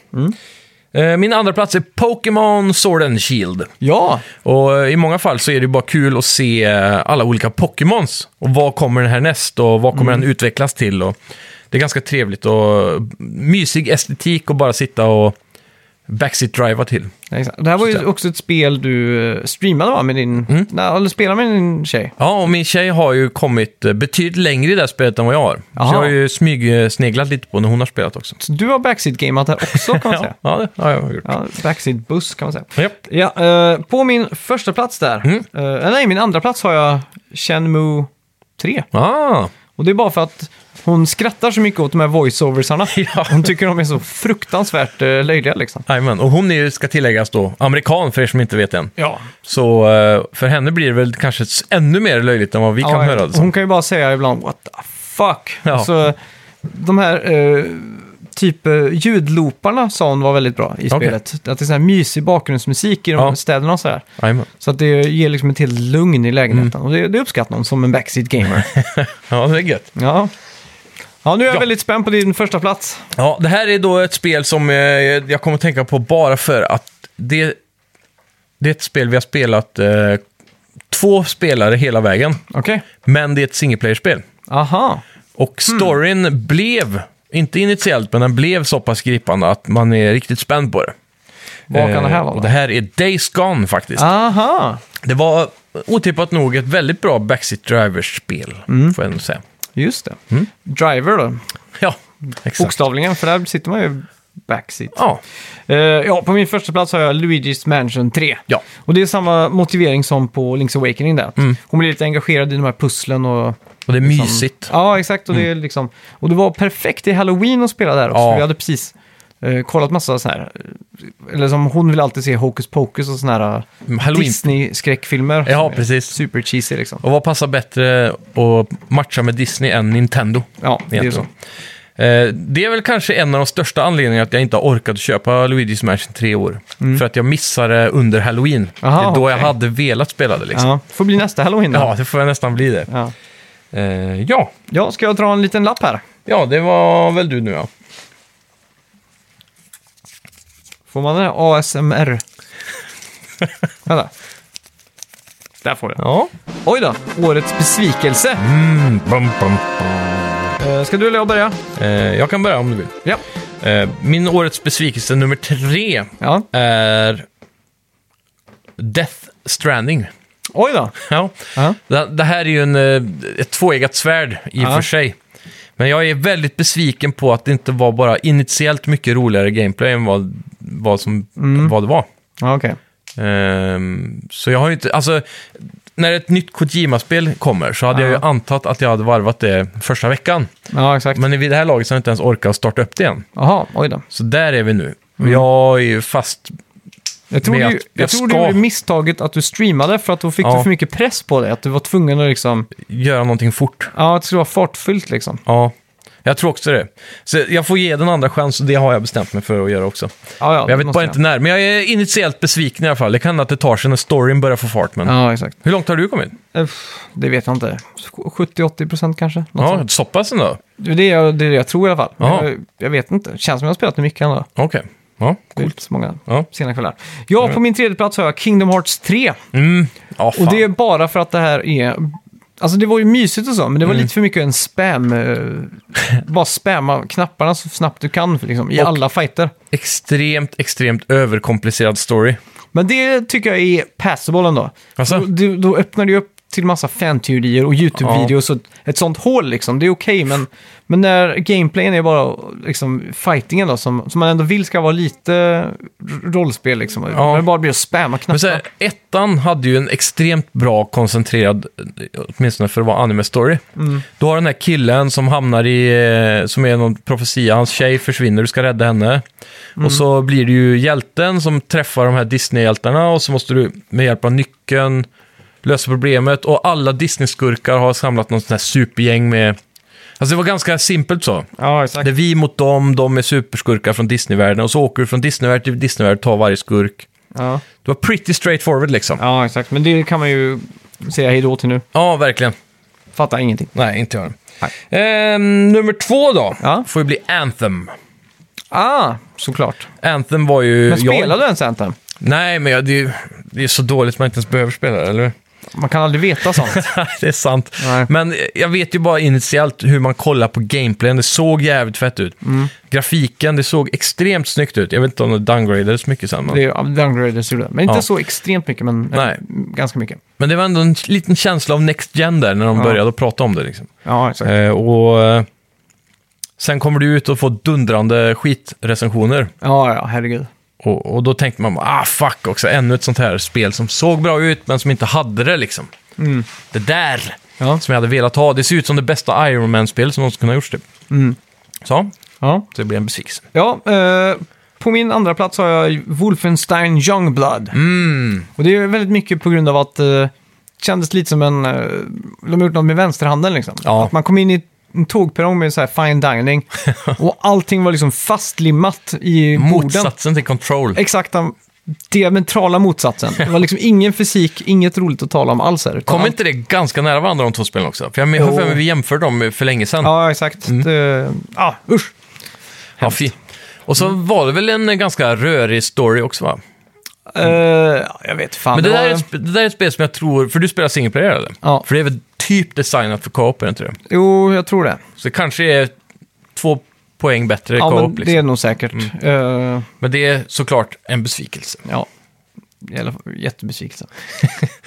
Speaker 2: Eh, Min andra plats är Pokémon Sword and Shield.
Speaker 1: Ja,
Speaker 2: Och eh, i många fall så är det ju bara kul att se eh, alla olika Pokémons. Och vad kommer den här näst och vad kommer den utvecklas till? Och det är ganska trevligt och eh, mysig estetik och bara sitta och backseat-driva till.
Speaker 1: exakt. Det här var
Speaker 2: Så
Speaker 1: ju
Speaker 2: där.
Speaker 1: också ett spel du eh, streamade va? Med din, nej, eller spelade med din tjej.
Speaker 2: Ja, och min tjej har ju kommit eh, betydligt längre i det här spelet än vad jag har.
Speaker 1: Jaha.
Speaker 2: Så jag har ju smygsneglat lite på när hon har spelat också.
Speaker 1: Så du har backseat-gamat här också kan man
Speaker 2: Ja,
Speaker 1: säga.
Speaker 2: ja, det har jag gjort.
Speaker 1: Ja, backseat-buss kan man säga.
Speaker 2: Japp.
Speaker 1: Ja, eh, på min första plats där, eh, nej min andra plats har jag Shenmue 3.
Speaker 2: Ah,
Speaker 1: Och det är bara för att hon skrattar så mycket åt de här voiceoversarna. Hon tycker de är så fruktansvärt eh, löjliga liksom.
Speaker 2: jajamän. och hon är ju, ska tilläggas då, amerikan för er som inte vet än.
Speaker 1: Ja,
Speaker 2: Så eh, för henne blir det väl kanske s- ännu mer löjligt än vad vi kan höra det som.
Speaker 1: hon kan ju bara säga ibland what the fuck.
Speaker 2: alltså. Ja.
Speaker 1: Så de här eh, typ eh, ljudlooparna sa hon var väldigt bra i
Speaker 2: Okej.
Speaker 1: spelet. Att det är så här mysig bakgrundsmusik i de
Speaker 2: Ja.
Speaker 1: här städerna och så här.
Speaker 2: Jajamän.
Speaker 1: Så att det ger liksom ett helt lugn i lägenheten.
Speaker 2: Mm.
Speaker 1: Och det, det uppskattar hon som en backseat gamer.
Speaker 2: Ja, det är gött.
Speaker 1: ja. ja, nu är jag
Speaker 2: Ja.
Speaker 1: väldigt spänd på din första plats.
Speaker 2: Ja, det här är då ett spel som eh, jag kommer att tänka på bara för att det, det är ett spel vi har spelat eh, två spelare hela vägen.
Speaker 1: Okej.
Speaker 2: Men det är ett singleplayer-spel.
Speaker 1: Aha.
Speaker 2: Och
Speaker 1: Hmm.
Speaker 2: storyn blev, inte initiellt, men den blev så pass gripande att man är riktigt spänd på det.
Speaker 1: Vad kan det här
Speaker 2: Eh,
Speaker 1: vara? Ah.
Speaker 2: och Det här är Days Gone faktiskt.
Speaker 1: Aha.
Speaker 2: Det var otippat nog ett väldigt bra Backseat Drivers-spel,
Speaker 1: Mm.
Speaker 2: får jag nog säga.
Speaker 1: Just det.
Speaker 2: Mm.
Speaker 1: Driver då.
Speaker 2: Ja, exakt.
Speaker 1: Bokstavligen, för där sitter man ju backseat.
Speaker 2: Ja,
Speaker 1: Eh, ja, på min första plats har jag Luigi's Mansion 3.
Speaker 2: ja. Mm.
Speaker 1: Och det är samma motivering som på Link's Awakening där. Hon blir lite engagerad i de här pusslen och...
Speaker 2: Och det är
Speaker 1: Liksom-
Speaker 2: mysigt.
Speaker 1: Ja, exakt. Och, det är liksom... och det var perfekt i Halloween att spela där också.
Speaker 2: Mm. Ja.
Speaker 1: för Vi hade precis eh, kollat massa sådana här... Eller som hon vill alltid se Hocus Pocus och sådana här eh,
Speaker 2: Mm, Halloween.
Speaker 1: Disney-skräckfilmer.
Speaker 2: Ja,
Speaker 1: som är
Speaker 2: precis.
Speaker 1: Super cheesy liksom.
Speaker 2: Och vad passar bättre att matcha med Disney än Nintendo?
Speaker 1: Ja, det är ju så.
Speaker 2: egentligen? Eh, Det är väl kanske en av de största anledningarna att jag inte har orkat köpa Luigi's Mansion 3 i år. För att jag missade det under Halloween.
Speaker 1: Mm. Aha,
Speaker 2: det är då jag
Speaker 1: okej.
Speaker 2: hade velat spela det liksom.
Speaker 1: Ja, får bli nästa Halloween då.
Speaker 2: Ja, det får jag nästan bli det.
Speaker 1: Ja.
Speaker 2: Eh, Ja,
Speaker 1: ja, ska jag dra en liten lapp här?
Speaker 2: ja det var väl du nu ja.
Speaker 1: Får man det? ASMR. Vänta. Där får jag.
Speaker 2: Ja.
Speaker 1: Oj då, årets besvikelse.
Speaker 2: Mm, bum, bum, bum.
Speaker 1: Eh, ska du eller jag börja?
Speaker 2: Eh, Jag kan börja om du vill.
Speaker 1: Ja.
Speaker 2: Eh, Min årets besvikelse nummer tre
Speaker 1: ja.
Speaker 2: är Death Stranding.
Speaker 1: Oj då.
Speaker 2: Ja.
Speaker 1: Ja.
Speaker 2: Det, det här är ju en, eh, ett tvåeggat svärd i och
Speaker 1: Ja.
Speaker 2: för sig. Men jag är väldigt besviken på att det inte var bara initiellt mycket roligare gameplay än vad, vad, som,
Speaker 1: Mm.
Speaker 2: vad det var.
Speaker 1: Ja, okej.
Speaker 2: Ehm, så jag har ju inte, alltså, när ett nytt Kojima-spel kommer så hade jag ju
Speaker 1: Ja.
Speaker 2: antat att jag hade varvat det första veckan.
Speaker 1: Ja, exakt.
Speaker 2: Men vid det här laget så har jag inte ens orkat starta upp det igen.
Speaker 1: Jaha, oj då.
Speaker 2: Så där är vi nu.
Speaker 1: Mm.
Speaker 2: Jag är ju fast...
Speaker 1: Jag tror,
Speaker 2: Men jag-
Speaker 1: du, jag
Speaker 2: jag
Speaker 1: tror du
Speaker 2: ska-
Speaker 1: gjorde misstaget att du streamade för att då fick
Speaker 2: Ja.
Speaker 1: du för mycket press på dig. Att du var tvungen att liksom...
Speaker 2: Göra någonting fort.
Speaker 1: Ja, att det skulle vara fartfyllt liksom.
Speaker 2: Ja, jag tror också det. Så jag får ge den andra chans och det har jag bestämt mig för att göra också.
Speaker 1: Ja, ja,
Speaker 2: Jag
Speaker 1: det
Speaker 2: vet
Speaker 1: måste
Speaker 2: bara inte när, men jag är initiellt besviken i alla fall. Det kan att det tar sig när storyn börjar få fart, men...
Speaker 1: Ja, exakt.
Speaker 2: Hur långt har du kommit?
Speaker 1: Uff, det vet jag inte. 70-80 procent kanske? Något
Speaker 2: Ja,
Speaker 1: sånt.
Speaker 2: så pass ändå?
Speaker 1: Det är det jag, det är det jag tror i alla fall. Men
Speaker 2: Ja.
Speaker 1: Jag, jag vet inte. Känns som jag har spelat det mycket ändå.
Speaker 2: Okej. Ja,
Speaker 1: Det är
Speaker 2: coolt.
Speaker 1: inte så många
Speaker 2: Ja.
Speaker 1: sena kvällar. Ja, på min tredje plats har jag Kingdom Hearts 3.
Speaker 2: Mm. Ja, fan.
Speaker 1: Och det är bara för att det här är... Alltså det var ju mysigt och så, men det var
Speaker 2: Mm.
Speaker 1: lite för mycket en spam... eh, bara spamma knapparna så snabbt du kan liksom, i
Speaker 2: Och-
Speaker 1: alla fighter.
Speaker 2: Extremt, extremt överkomplicerad story.
Speaker 1: Men det tycker jag är passable ändå.
Speaker 2: Alltså?
Speaker 1: Då, då- då öppnar det ju upp till massa fanteorier och YouTube-videos och ett sånt hål liksom. Det är okej, men, men när gameplayen är bara liksom fightingen då, som, som man ändå vill ska vara lite r- rollspel liksom. När det bara blir att spamma
Speaker 2: Men
Speaker 1: knappar.
Speaker 2: så här, ettan hade ju en extremt bra koncentrerad, eh, åtminstone för att vara anime-story. Du har den här killen som hamnar i, eh, som är någon profetia, hans tjej försvinner, du ska rädda henne. Och så blir det ju hjälten som träffar de här Disney-hjältarna och så måste du med hjälp av nyckeln lösa problemet. Och alla Disney-skurkar har samlat någon sån här supergäng med... Alltså det var ganska simpelt så.
Speaker 1: ja,
Speaker 2: Det
Speaker 1: exakt.
Speaker 2: är vi mot dem, de är superskurkar från Disneyvärlden och så åker du från Disneyvärld till Disneyvärld och tar varje skurk.
Speaker 1: Ja.
Speaker 2: Det var pretty straightforward liksom. Ja,
Speaker 1: ja, exakt. Men det kan man ju säga hej då till nu.
Speaker 2: verkligen.
Speaker 1: Fattar ingenting.
Speaker 2: Nej, inte jag. Eh, nummer två då,
Speaker 1: Ja.
Speaker 2: får ju bli Anthem.
Speaker 1: Ah, såklart.
Speaker 2: Anthem var ju...
Speaker 1: Men
Speaker 2: jag-
Speaker 1: spelar du ens Anthem?
Speaker 2: Nej, men jag, det, är ju, det är så dåligt man inte ens behöver spela det, eller hur?
Speaker 1: Man kan aldrig veta sånt.
Speaker 2: det är sant.
Speaker 1: Nej.
Speaker 2: Men jag vet ju bara initialt hur man kollar på gameplayen. Det såg jävligt fett ut.
Speaker 1: Mm.
Speaker 2: Grafiken, det såg extremt snyggt ut. Jag vet inte om det downgradades så mycket sen. Men...
Speaker 1: det är downgraders gjorde. Men inte
Speaker 2: Ja.
Speaker 1: så extremt mycket, men eh,
Speaker 2: Nej.
Speaker 1: ganska mycket.
Speaker 2: men det var ändå en liten känsla av Next Gen där när de
Speaker 1: Ja.
Speaker 2: började att prata om det. Liksom.
Speaker 1: Ja, exakt.
Speaker 2: Eh, och eh, sen kommer du ut och får dundrande skitrecensioner.
Speaker 1: Ja, ja, herregud.
Speaker 2: Och, och då tänkte man, bara, ah fuck också, ännu ett sånt här spel som såg bra ut men som inte hade det liksom.
Speaker 1: Mm.
Speaker 2: Det där
Speaker 1: Ja.
Speaker 2: som jag hade velat ha. Det ser ut som det bästa Iron Man-spel som någonsin kunde ha gjorts typ.
Speaker 1: Mm.
Speaker 2: Så,
Speaker 1: Ja,
Speaker 2: så det blir en besvikelse.
Speaker 1: ja eh, på min andra plats har jag Wolfenstein Youngblood.
Speaker 2: Mm.
Speaker 1: Och det är väldigt mycket på grund av att eh, det kändes lite som en... Eh, de har gjort något med vänsterhanden liksom.
Speaker 2: Ja.
Speaker 1: Att man kom in i en tågperrong med så här fine dining och allting var liksom fastlimmat i borden.
Speaker 2: Motsatsen till Control.
Speaker 1: Exakt den diametrala motsatsen. Det var liksom ingen fysik, inget roligt att tala om alls här.
Speaker 2: Kom
Speaker 1: Allt-
Speaker 2: inte det ganska nära varandra de två spelen också? För jag men- jag har
Speaker 1: Jo.
Speaker 2: för mig vi jämförde dem för länge sedan.
Speaker 1: Ja, exakt.
Speaker 2: Mm.
Speaker 1: Det, ah, usch.
Speaker 2: Ja, fy. Och så
Speaker 1: Mm.
Speaker 2: var det väl en ganska rörig story också va?
Speaker 1: Eh, jag vet fan.
Speaker 2: Mm. Men det,
Speaker 1: det
Speaker 2: där är
Speaker 1: var-
Speaker 2: ett, sp- det där är ett spel som jag tror, för du spelar single player eller?
Speaker 1: Ja.
Speaker 2: För det är väl typ designat för co-op, är det inte det?
Speaker 1: Jo, jag tror det.
Speaker 2: Så det kanske är två poäng bättre
Speaker 1: Ja, men
Speaker 2: co-op liksom.
Speaker 1: det är nog säkert. Eh,
Speaker 2: Men det är såklart en besvikelse.
Speaker 1: ja, i alla fall jättebesvikelse.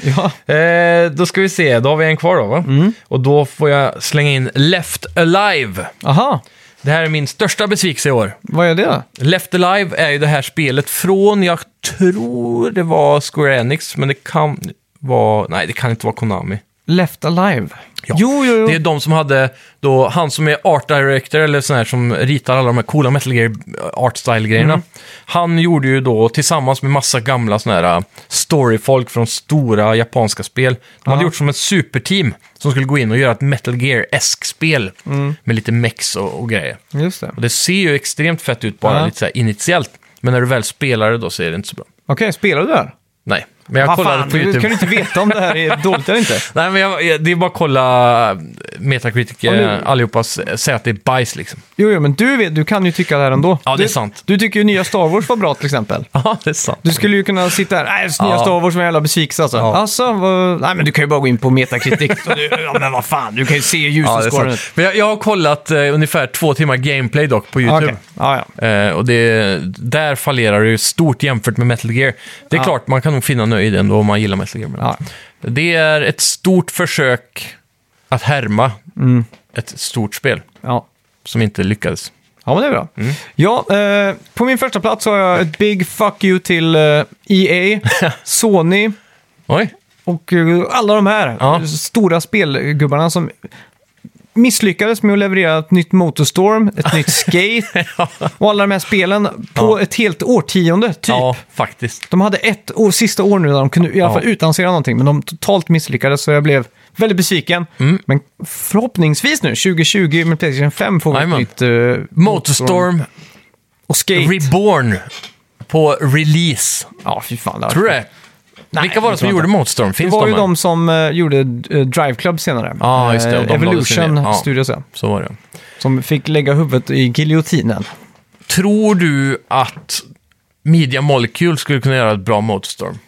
Speaker 1: ja.
Speaker 2: Eh, då ska vi se, då har vi en kvar då va? Och då får jag slänga in Left Alive.
Speaker 1: Aha,
Speaker 2: Det här är min största besvikelse i år.
Speaker 1: vad är det då?
Speaker 2: Left Alive är ju det här spelet från, jag tror det var Square Enix, men det kan vara, nej det kan inte vara Konami.
Speaker 1: Left Alive.
Speaker 2: Ja.
Speaker 1: Jo, jo, jo.
Speaker 2: Det är de som hade då, han som är art director eller sån här som ritar alla de här coola metal gear art style grejerna.
Speaker 1: Mm.
Speaker 2: Han gjorde ju då tillsammans med massa gamla såna här uh, storyfolk från stora japanska spel. De hade
Speaker 1: Ja.
Speaker 2: gjort som ett superteam som skulle gå in och göra ett metal gear-esk spel
Speaker 1: Mm.
Speaker 2: med lite mex och, och grejer.
Speaker 1: Just det.
Speaker 2: Och det ser ju extremt fett ut bara
Speaker 1: Ja.
Speaker 2: lite så här initiellt. Men när du väl spelar det då så är det inte så bra.
Speaker 1: Okej, spelar du där?
Speaker 2: Nej, men jag
Speaker 1: Vad
Speaker 2: kollade
Speaker 1: fan,
Speaker 2: på
Speaker 1: du
Speaker 2: YouTube.
Speaker 1: kan ju inte veta om det här är dåligt eller inte.
Speaker 2: Nej, men jag, jag- det är bara att kolla eh, Metacritic,
Speaker 1: nu-
Speaker 2: nu... allihopa s- säger att det är bajs liksom.
Speaker 1: Jo, jo, men du, vet, du kan ju tycka det här ändå.
Speaker 2: Ja, det är
Speaker 1: Du-
Speaker 2: sant.
Speaker 1: Du tycker ju nya Star Wars var bra till exempel.
Speaker 2: Ja, det är sant.
Speaker 1: Du skulle ju kunna sitta här, nej, nya
Speaker 2: Ja.
Speaker 1: Star Wars var en jävla besvikelse alltså.
Speaker 2: Ja.
Speaker 1: Alltså, vad... nej men du kan ju bara gå in på Metacritic. så du, ja men vad fan, du kan ju se
Speaker 2: Ja, det är sant.
Speaker 1: ljusåskåren.
Speaker 2: Men jag, jag har kollat eh, ungefär två timmar gameplay dock på
Speaker 1: Ja,
Speaker 2: YouTube.
Speaker 1: Okej, ja, ja.
Speaker 2: Eh, och det, där fallerar det ju stort jämfört med Metal Gear. Det är
Speaker 1: Ja.
Speaker 2: klart, man kan nog finna nöjd ändå om man gillar Metal Gear. Men
Speaker 1: Ja.
Speaker 2: Det är ett stort försök att härma ett stort spel
Speaker 1: ja.
Speaker 2: som inte lyckades.
Speaker 1: Ja, men det är bra.
Speaker 2: Mm.
Speaker 1: Ja, eh, på min första plats har jag ett big fuck you till eh, EA, Sony
Speaker 2: Oj,
Speaker 1: och eh, alla de här
Speaker 2: Ja.
Speaker 1: stora spelgubbarna som misslyckades med att leverera ett nytt Motorstorm, ett nytt Skate och alla de här spelen på ett helt årtionde, typ.
Speaker 2: ja faktiskt.
Speaker 1: De hade ett år, sista år nu där de kunde i alla
Speaker 2: Ja.
Speaker 1: fall utannonsera någonting, men de totalt misslyckades så jag blev väldigt besviken.
Speaker 2: Mm.
Speaker 1: Men förhoppningsvis nu, 2020 med Playstation 5 får vi ett
Speaker 2: Jajamän.
Speaker 1: nytt eh,
Speaker 2: Motorstorm
Speaker 1: och Skate.
Speaker 2: Reborn på release.
Speaker 1: Ja, fy fan. Det
Speaker 2: Tror du
Speaker 1: det?
Speaker 2: det? Vilka var det
Speaker 1: det
Speaker 2: som
Speaker 1: tror jag
Speaker 2: gjorde Motorstorm?
Speaker 1: Det
Speaker 2: Finns
Speaker 1: var ju
Speaker 2: än?
Speaker 1: de som eh, gjorde eh, Drive Club senare.
Speaker 2: Ja, just det, och
Speaker 1: Eh,
Speaker 2: de lades ju
Speaker 1: Evolution
Speaker 2: ner. Ja.
Speaker 1: Studios, ja.
Speaker 2: Så var det.
Speaker 1: Som fick lägga huvudet i giljotinen.
Speaker 2: Tror du att Media Molecule skulle kunna göra ett bra Motorstorm?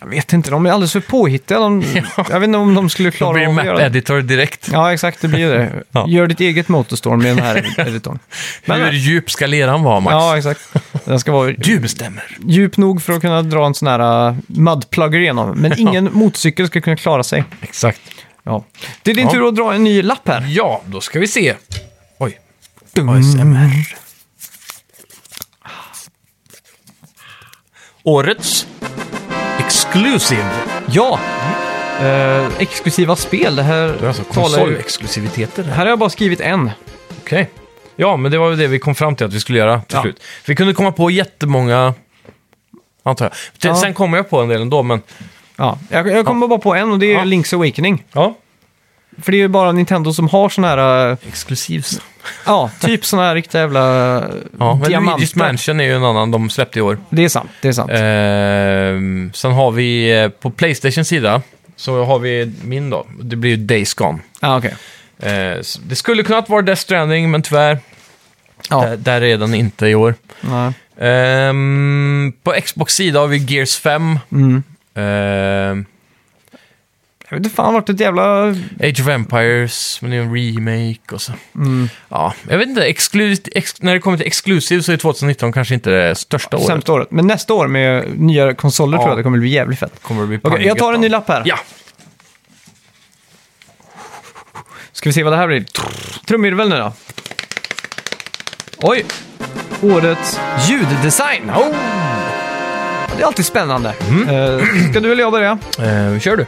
Speaker 1: Jag vet inte, de är alldeles för påhittiga. De, Jag vet inte om de skulle
Speaker 2: Då
Speaker 1: klara
Speaker 2: blir
Speaker 1: av att
Speaker 2: map
Speaker 1: göra det.
Speaker 2: editor direkt.
Speaker 1: Ja, exakt, det blir ju det.
Speaker 2: Ja.
Speaker 1: Gör ditt eget motorstorm med den här editorn.
Speaker 2: Hur
Speaker 1: Men,
Speaker 2: djup ska leran vara, Max?
Speaker 1: ja, exakt. Den ska vara
Speaker 2: Du bestämmer.
Speaker 1: djup nog för att kunna dra en sån här uh, mudplugger igenom. Men ingen motorcykel ska kunna klara sig.
Speaker 2: Exakt.
Speaker 1: Ja. Det är din
Speaker 2: Ja.
Speaker 1: tur att dra en ny lapp här.
Speaker 2: Ja, då ska vi se. Oj. ASMR. Årets Exclusive.
Speaker 1: Ja! Eh, exklusiva spel, det här
Speaker 2: Det är alltså
Speaker 1: talar ju...
Speaker 2: konsolexklusiviteter.
Speaker 1: Här har jag bara skrivit en.
Speaker 2: Okej. Ja, men det var ju det vi kom fram till att vi skulle göra till
Speaker 1: Ja.
Speaker 2: slut. Vi kunde komma på jättemånga, antar jag. Sen-
Speaker 1: Ja.
Speaker 2: Sen kommer jag på en del ändå, men
Speaker 1: Ja, jag, jag kommer bara på en och det är
Speaker 2: Ja.
Speaker 1: Link's Awakening.
Speaker 2: ja.
Speaker 1: För det är ju bara Nintendo som har sån här, eh,
Speaker 2: Exklusivs.
Speaker 1: ja, typ sån här riktiga jävla eh,
Speaker 2: Ja, men Luigi's
Speaker 1: diamanter.
Speaker 2: Mansion är ju Eh. en annan de släppte i år.
Speaker 1: Det är sant, det är sant.
Speaker 2: Ehm, sen har vi eh, på Playstations sida, så har vi min då. Det blir ju Days Gone.
Speaker 1: Ja, okej.
Speaker 2: Eh, s- det skulle kunnat vara Death Stranding, men tyvärr,
Speaker 1: Ja,
Speaker 2: där, där är den inte i år.
Speaker 1: nej.
Speaker 2: Ehm, på Xbox sida har vi Gears 5.
Speaker 1: Mm.
Speaker 2: Ehm,
Speaker 1: Jag vet inte fan vart ett jävla...
Speaker 2: Age of Empires, men det är en remake och så.
Speaker 1: Mm,
Speaker 2: Ja, jag vet inte, exklu- ex- när det kommer till Exclusive så är 2019 kanske inte det största året.
Speaker 1: sämsta året. Men nästa år med nya konsoler
Speaker 2: Ja.
Speaker 1: tror jag det kommer bli jävligt fett.
Speaker 2: Kommer det bli
Speaker 1: Okej,
Speaker 2: pang i
Speaker 1: jag tar en
Speaker 2: gatan.
Speaker 1: ny lapp här.
Speaker 2: Ja,
Speaker 1: Ska vi se vad det här blir. Trumvirvel nu då. Oj! Årets ljuddesign. Oh. Det är alltid spännande.
Speaker 2: Mm.
Speaker 1: Eh, ska du eller jag börja?
Speaker 2: Ehm, kör du.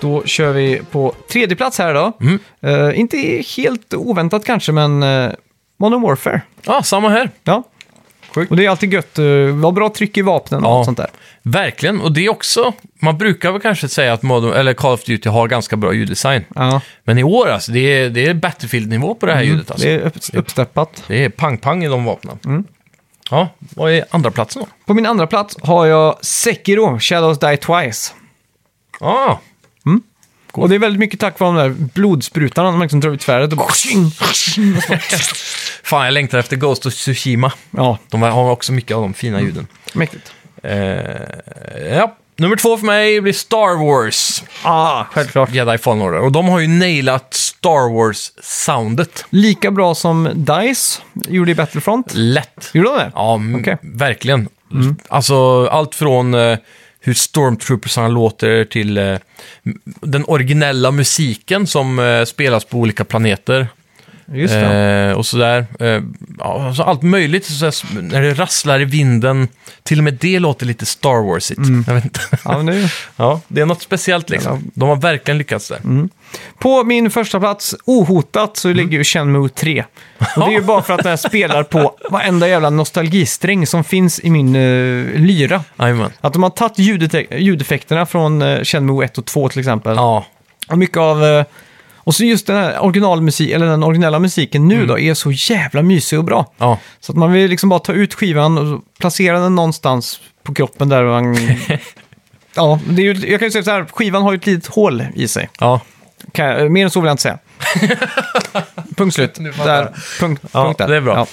Speaker 1: Då kör vi på tredje plats här då.
Speaker 2: Mm.
Speaker 1: Eh, inte helt oväntat kanske, men uh, Modern Warfare.
Speaker 2: Ja, samma här.
Speaker 1: Ja.
Speaker 2: Sjukt.
Speaker 1: Och det är alltid gött. Uh, vad bra tryck i vapnen och
Speaker 2: Ja.
Speaker 1: allt sånt där.
Speaker 2: Verkligen, och det är också, man brukar väl kanske säga att Modern, eller Call of Duty har ganska bra ljuddesign.
Speaker 1: Ja.
Speaker 2: Men i år alltså, det är, det är Battlefield-nivå på det här ljudet alltså.
Speaker 1: Mm, Det är upp- uppsteppat.
Speaker 2: Det är pang-pang i de vapnen. Ja, vad är andra platsen då?
Speaker 1: På min andra plats har jag Sekiro, Shadows Die Twice.
Speaker 2: Ah,
Speaker 1: Och det är väldigt mycket tack vare de där blodsprutarna som liksom drar ut svärdet och bara...
Speaker 2: fan jag längtar efter Ghost of Tsushima.
Speaker 1: Ja,
Speaker 2: De har också mycket av de fina ljuden.
Speaker 1: mäktigt.
Speaker 2: Eh, ja. Nummer två för mig blir Star Wars.
Speaker 1: Ah, självklart.
Speaker 2: Jedi Fallen Order. Och de har ju nailat Star Wars-soundet.
Speaker 1: Lika bra som DICE gjorde i Battlefront.
Speaker 2: Lätt.
Speaker 1: Gjorde de det?
Speaker 2: Ja, m-
Speaker 1: Okej. Mm.
Speaker 2: verkligen. Alltså, allt från eh, hur stormtroopersarna låter till eh, m- den originella musiken som eh, spelas på olika planeter.
Speaker 1: Just det.
Speaker 2: Eh, och sådär. Eh, ja, alltså allt möjligt. Sådär, s- när det rasslar i vinden. Till och med det låter lite Star Wars-igt. Jag vet inte.
Speaker 1: Mm. Ja, men det är ju...
Speaker 2: Ja, det är något speciellt liksom. De har verkligen lyckats där.
Speaker 1: Mm. På min första plats, ohotat, så ligger ju Shenmue 3. Och det är ju bara för att det här spelar på varenda jävla nostalgisträng som finns i min eh, lyra.
Speaker 2: Jajamän.
Speaker 1: Att de har tagit ljudete- ljudeffekterna från uh, Shenmue 1 och 2 till exempel.
Speaker 2: Ja,
Speaker 1: Och mycket av... eh, och så just den här originalmusik, eller den originella musiken nu då, är så jävla mysig och bra.
Speaker 2: ja.
Speaker 1: Så att man vill liksom bara ta ut skivan och placera den någonstans på kroppen där man... ja, det är ju, jag kan ju säga så här, skivan har ju ett litet hål i sig.
Speaker 2: ja.
Speaker 1: Kan jag, mer än så vill jag inte säga. punkt slut.
Speaker 2: Nu fattar jag.
Speaker 1: Där, punkt,
Speaker 2: Ja,
Speaker 1: punkt där.
Speaker 2: det är bra.
Speaker 1: Ja.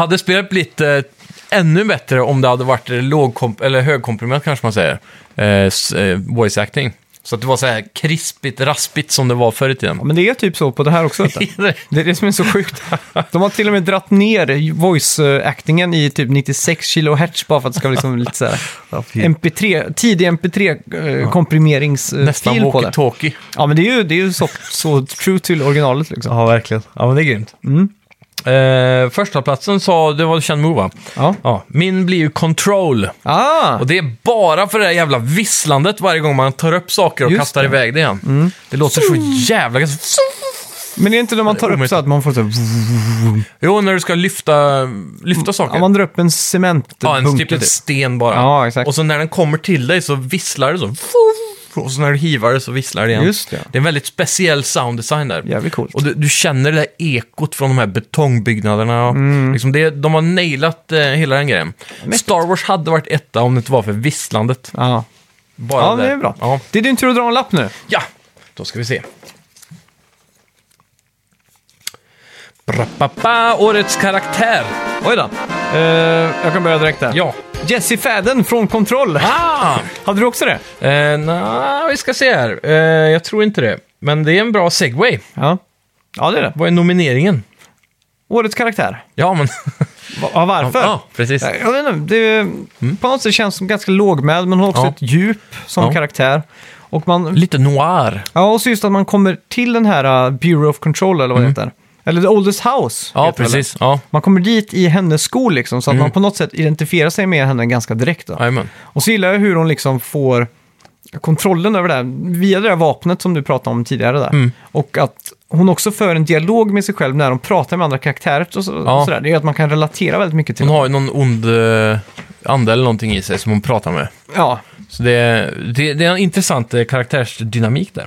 Speaker 2: Hade spelet blivit eh, ännu bättre om det hade varit lågkomp- eller högkomprimerat kanske man säger, eh, s- eh, voice acting. Så att det var så här krispigt, raspigt som det var förr i tiden.
Speaker 1: Ja, men det är typ så på det här också. vet du. Det är det som är så sjukt. De har till och med dratt ner voice-actingen i typ 96 kHz bara för att det ska vara liksom lite så här MP3, tidig
Speaker 2: Nästan
Speaker 1: MP3-komprimeringsstil eh, på det.
Speaker 2: walkie-talkie.
Speaker 1: Ja, men det är ju, det är ju så, så true till originalet liksom.
Speaker 2: Ja, verkligen. Ja, men det är grymt.
Speaker 1: Mm.
Speaker 2: Eh, första platsen sa, det var Shenmue va?
Speaker 1: Ja.
Speaker 2: Ja, min blir ju Control.
Speaker 1: Ah,
Speaker 2: Och det är bara för det där jävla visslandet varje gång man tar upp saker och
Speaker 1: Just
Speaker 2: kastar
Speaker 1: det. Mm.
Speaker 2: iväg det igen. Det låter så jävla...
Speaker 1: men det är inte när man tar upp
Speaker 2: omöjligt.
Speaker 1: så att man får så här,
Speaker 2: Jo, när du ska lyfta, lyfta saker.
Speaker 1: Mm. ja, man drar upp en cementbunke.
Speaker 2: Ja, en typ en
Speaker 1: typ.
Speaker 2: sten bara.
Speaker 1: Ja, exakt.
Speaker 2: Och så när den kommer till dig så visslar det så. Och så när du hivar det så visslar det igen.
Speaker 1: Just det.
Speaker 2: är en väldigt speciell sounddesign där.
Speaker 1: Jävligt coolt.
Speaker 2: Och du, du känner det där ekot från de här betongbyggnaderna. och
Speaker 1: Mm.
Speaker 2: Liksom det, de har nailat eh, hela den grejen. Star Wars hade varit etta om det inte var för visslandet.
Speaker 1: Ja,
Speaker 2: Bara
Speaker 1: ja
Speaker 2: där.
Speaker 1: men det är bra.
Speaker 2: Ja.
Speaker 1: Det är din tur att dra en lapp nu.
Speaker 2: ja, då ska vi se. Bra, ba, ba, årets karaktär.
Speaker 1: Oj då. Eh, jag kan börja direkt där.
Speaker 2: Ja,
Speaker 1: Jesse Fadden från Kontroll.
Speaker 2: Ah!
Speaker 1: Hade du också det?
Speaker 2: Eh, Nja, vi ska se här. Eh, jag tror inte det. Men det är en bra segway.
Speaker 1: Ja. Ja, det är det.
Speaker 2: Vad är nomineringen?
Speaker 1: Årets karaktär.
Speaker 2: Ja, men...
Speaker 1: Va- varför?
Speaker 2: Ja, precis.
Speaker 1: Jag vet inte, det på något sätt känns som ganska lågmäld, men har också
Speaker 2: Ja.
Speaker 1: ett djup som
Speaker 2: Ja.
Speaker 1: karaktär. Och man
Speaker 2: Lite noir.
Speaker 1: Ja, och så just att man kommer till den här uh, Bureau of Control eller vad det heter. Eller The Oldest House.
Speaker 2: Mm. Ja,
Speaker 1: heter det,
Speaker 2: precis. Mm.
Speaker 1: eller?
Speaker 2: Ja,
Speaker 1: Man kommer dit i hennes skor liksom, så att man på något sätt identifierar sig med henne ganska direkt. Då.
Speaker 2: jajamän.
Speaker 1: Och så gillar jag hur hon liksom får kontrollen över det här, via det där vapnet som du pratade om tidigare där.
Speaker 2: Mm.
Speaker 1: Och att hon också för en dialog med sig själv när hon pratar med andra karaktärer och, så,
Speaker 2: Ja.
Speaker 1: och sådär. Det gör att man kan relatera väldigt mycket till
Speaker 2: Hon
Speaker 1: dem.
Speaker 2: har ju någon ond eh, ande eller någonting i sig som hon pratar med.
Speaker 1: Ja,
Speaker 2: Så det, det, det är en intressant eh, karaktärsdynamik där.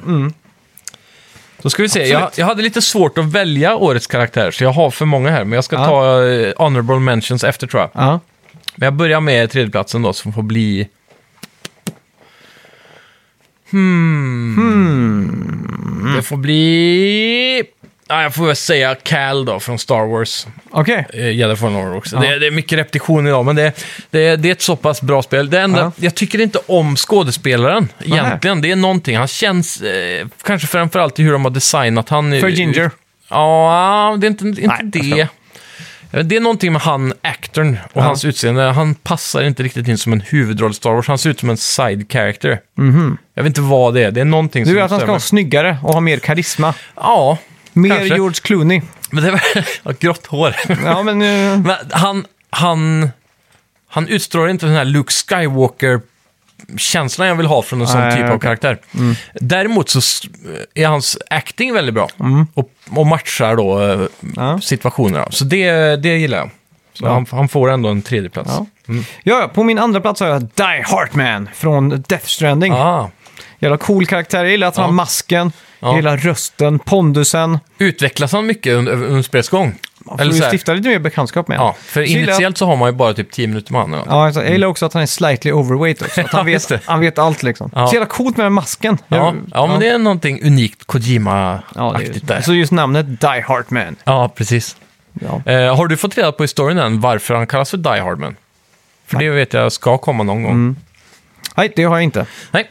Speaker 2: Då ska vi se. Jag, jag hade lite svårt att välja årets karaktär, så jag har för många här. Men jag ska
Speaker 1: Ja.
Speaker 2: ta eh, honorable mentions efter, tror jag.
Speaker 1: ja.
Speaker 2: Men jag börjar med tredjeplatsen då, som får bli... Hmm. Det får bli... Ja, jag får väl säga Cal då, från Star Wars.
Speaker 1: okej.
Speaker 2: eh, Jedi Fallen Order också.
Speaker 1: Ja.
Speaker 2: Det, är- det är mycket repetition idag, men det, det, det är ett så pass bra spel. Det enda,
Speaker 1: Ja.
Speaker 2: Jag tycker inte om skådespelaren egentligen. Det är någonting. Han känns, eh, kanske framförallt i hur de har designat han. i-
Speaker 1: För Ginger.
Speaker 2: Ja, det är inte, inte
Speaker 1: Nej, jag
Speaker 2: det. Det är någonting med han, actorn,
Speaker 1: Ja.
Speaker 2: och hans utseende. Han passar inte riktigt in som en huvudroll i Star Wars. Han ser ut som en side character. Jag vet inte vad det är. Det är någonting
Speaker 1: Mhm. Du
Speaker 2: som
Speaker 1: vill att han ska
Speaker 2: stämmer.
Speaker 1: vara snyggare och ha mer karisma.
Speaker 2: Ja,
Speaker 1: Mer
Speaker 2: Kanske.
Speaker 1: George Clooney.
Speaker 2: men det var grått hår.
Speaker 1: Ja, men... eh,
Speaker 2: Men han, han, han utstrålar inte den här Luke Skywalker-känslan jag vill ha från en sån
Speaker 1: Nej,
Speaker 2: typ av
Speaker 1: okej. Mm.
Speaker 2: karaktär. Däremot så s- är hans acting väldigt bra och, och matchar då eh,
Speaker 1: Mm. Ja.
Speaker 2: situationerna. Så det, det gillar jag. Så
Speaker 1: Ja.
Speaker 2: han, han får ändå en tredjeplats.
Speaker 1: Ja. Ja, ja, på min andra plats har jag Die Hartman från Death Stranding.
Speaker 2: Ah,
Speaker 1: Jävla cool karaktär. Jag gillar att han
Speaker 2: Ja.
Speaker 1: har masken,
Speaker 2: Ja.
Speaker 1: jag gillar rösten, pondusen.
Speaker 2: utvecklas han mycket under, under spelets gång?
Speaker 1: Man får
Speaker 2: Eller
Speaker 1: ju
Speaker 2: så här,
Speaker 1: stifta lite mer bekantskap med
Speaker 2: ja, för
Speaker 1: Så gillar jag-
Speaker 2: initiellt så har man ju bara typ 10 minuter med honom. eller något.
Speaker 1: Ja, alltså, jag gillar också att han är slightly overweight också. Att han,
Speaker 2: Ja, just det.
Speaker 1: vet, han vet allt liksom.
Speaker 2: Ja.
Speaker 1: Så jävla coolt med den masken.
Speaker 2: Ja,
Speaker 1: Jag-
Speaker 2: ja, men det är någonting unikt
Speaker 1: Ja, det är-
Speaker 2: Kojima-aktigt där.
Speaker 1: Så just namnet Die Hartman.
Speaker 2: Ja, precis.
Speaker 1: Ja.
Speaker 2: Eh, har du fått reda på historien än varför han kallas för Die Hardman? För det vet jag ska komma någon gång.
Speaker 1: Mm. Nej, det har jag inte.
Speaker 2: Nej.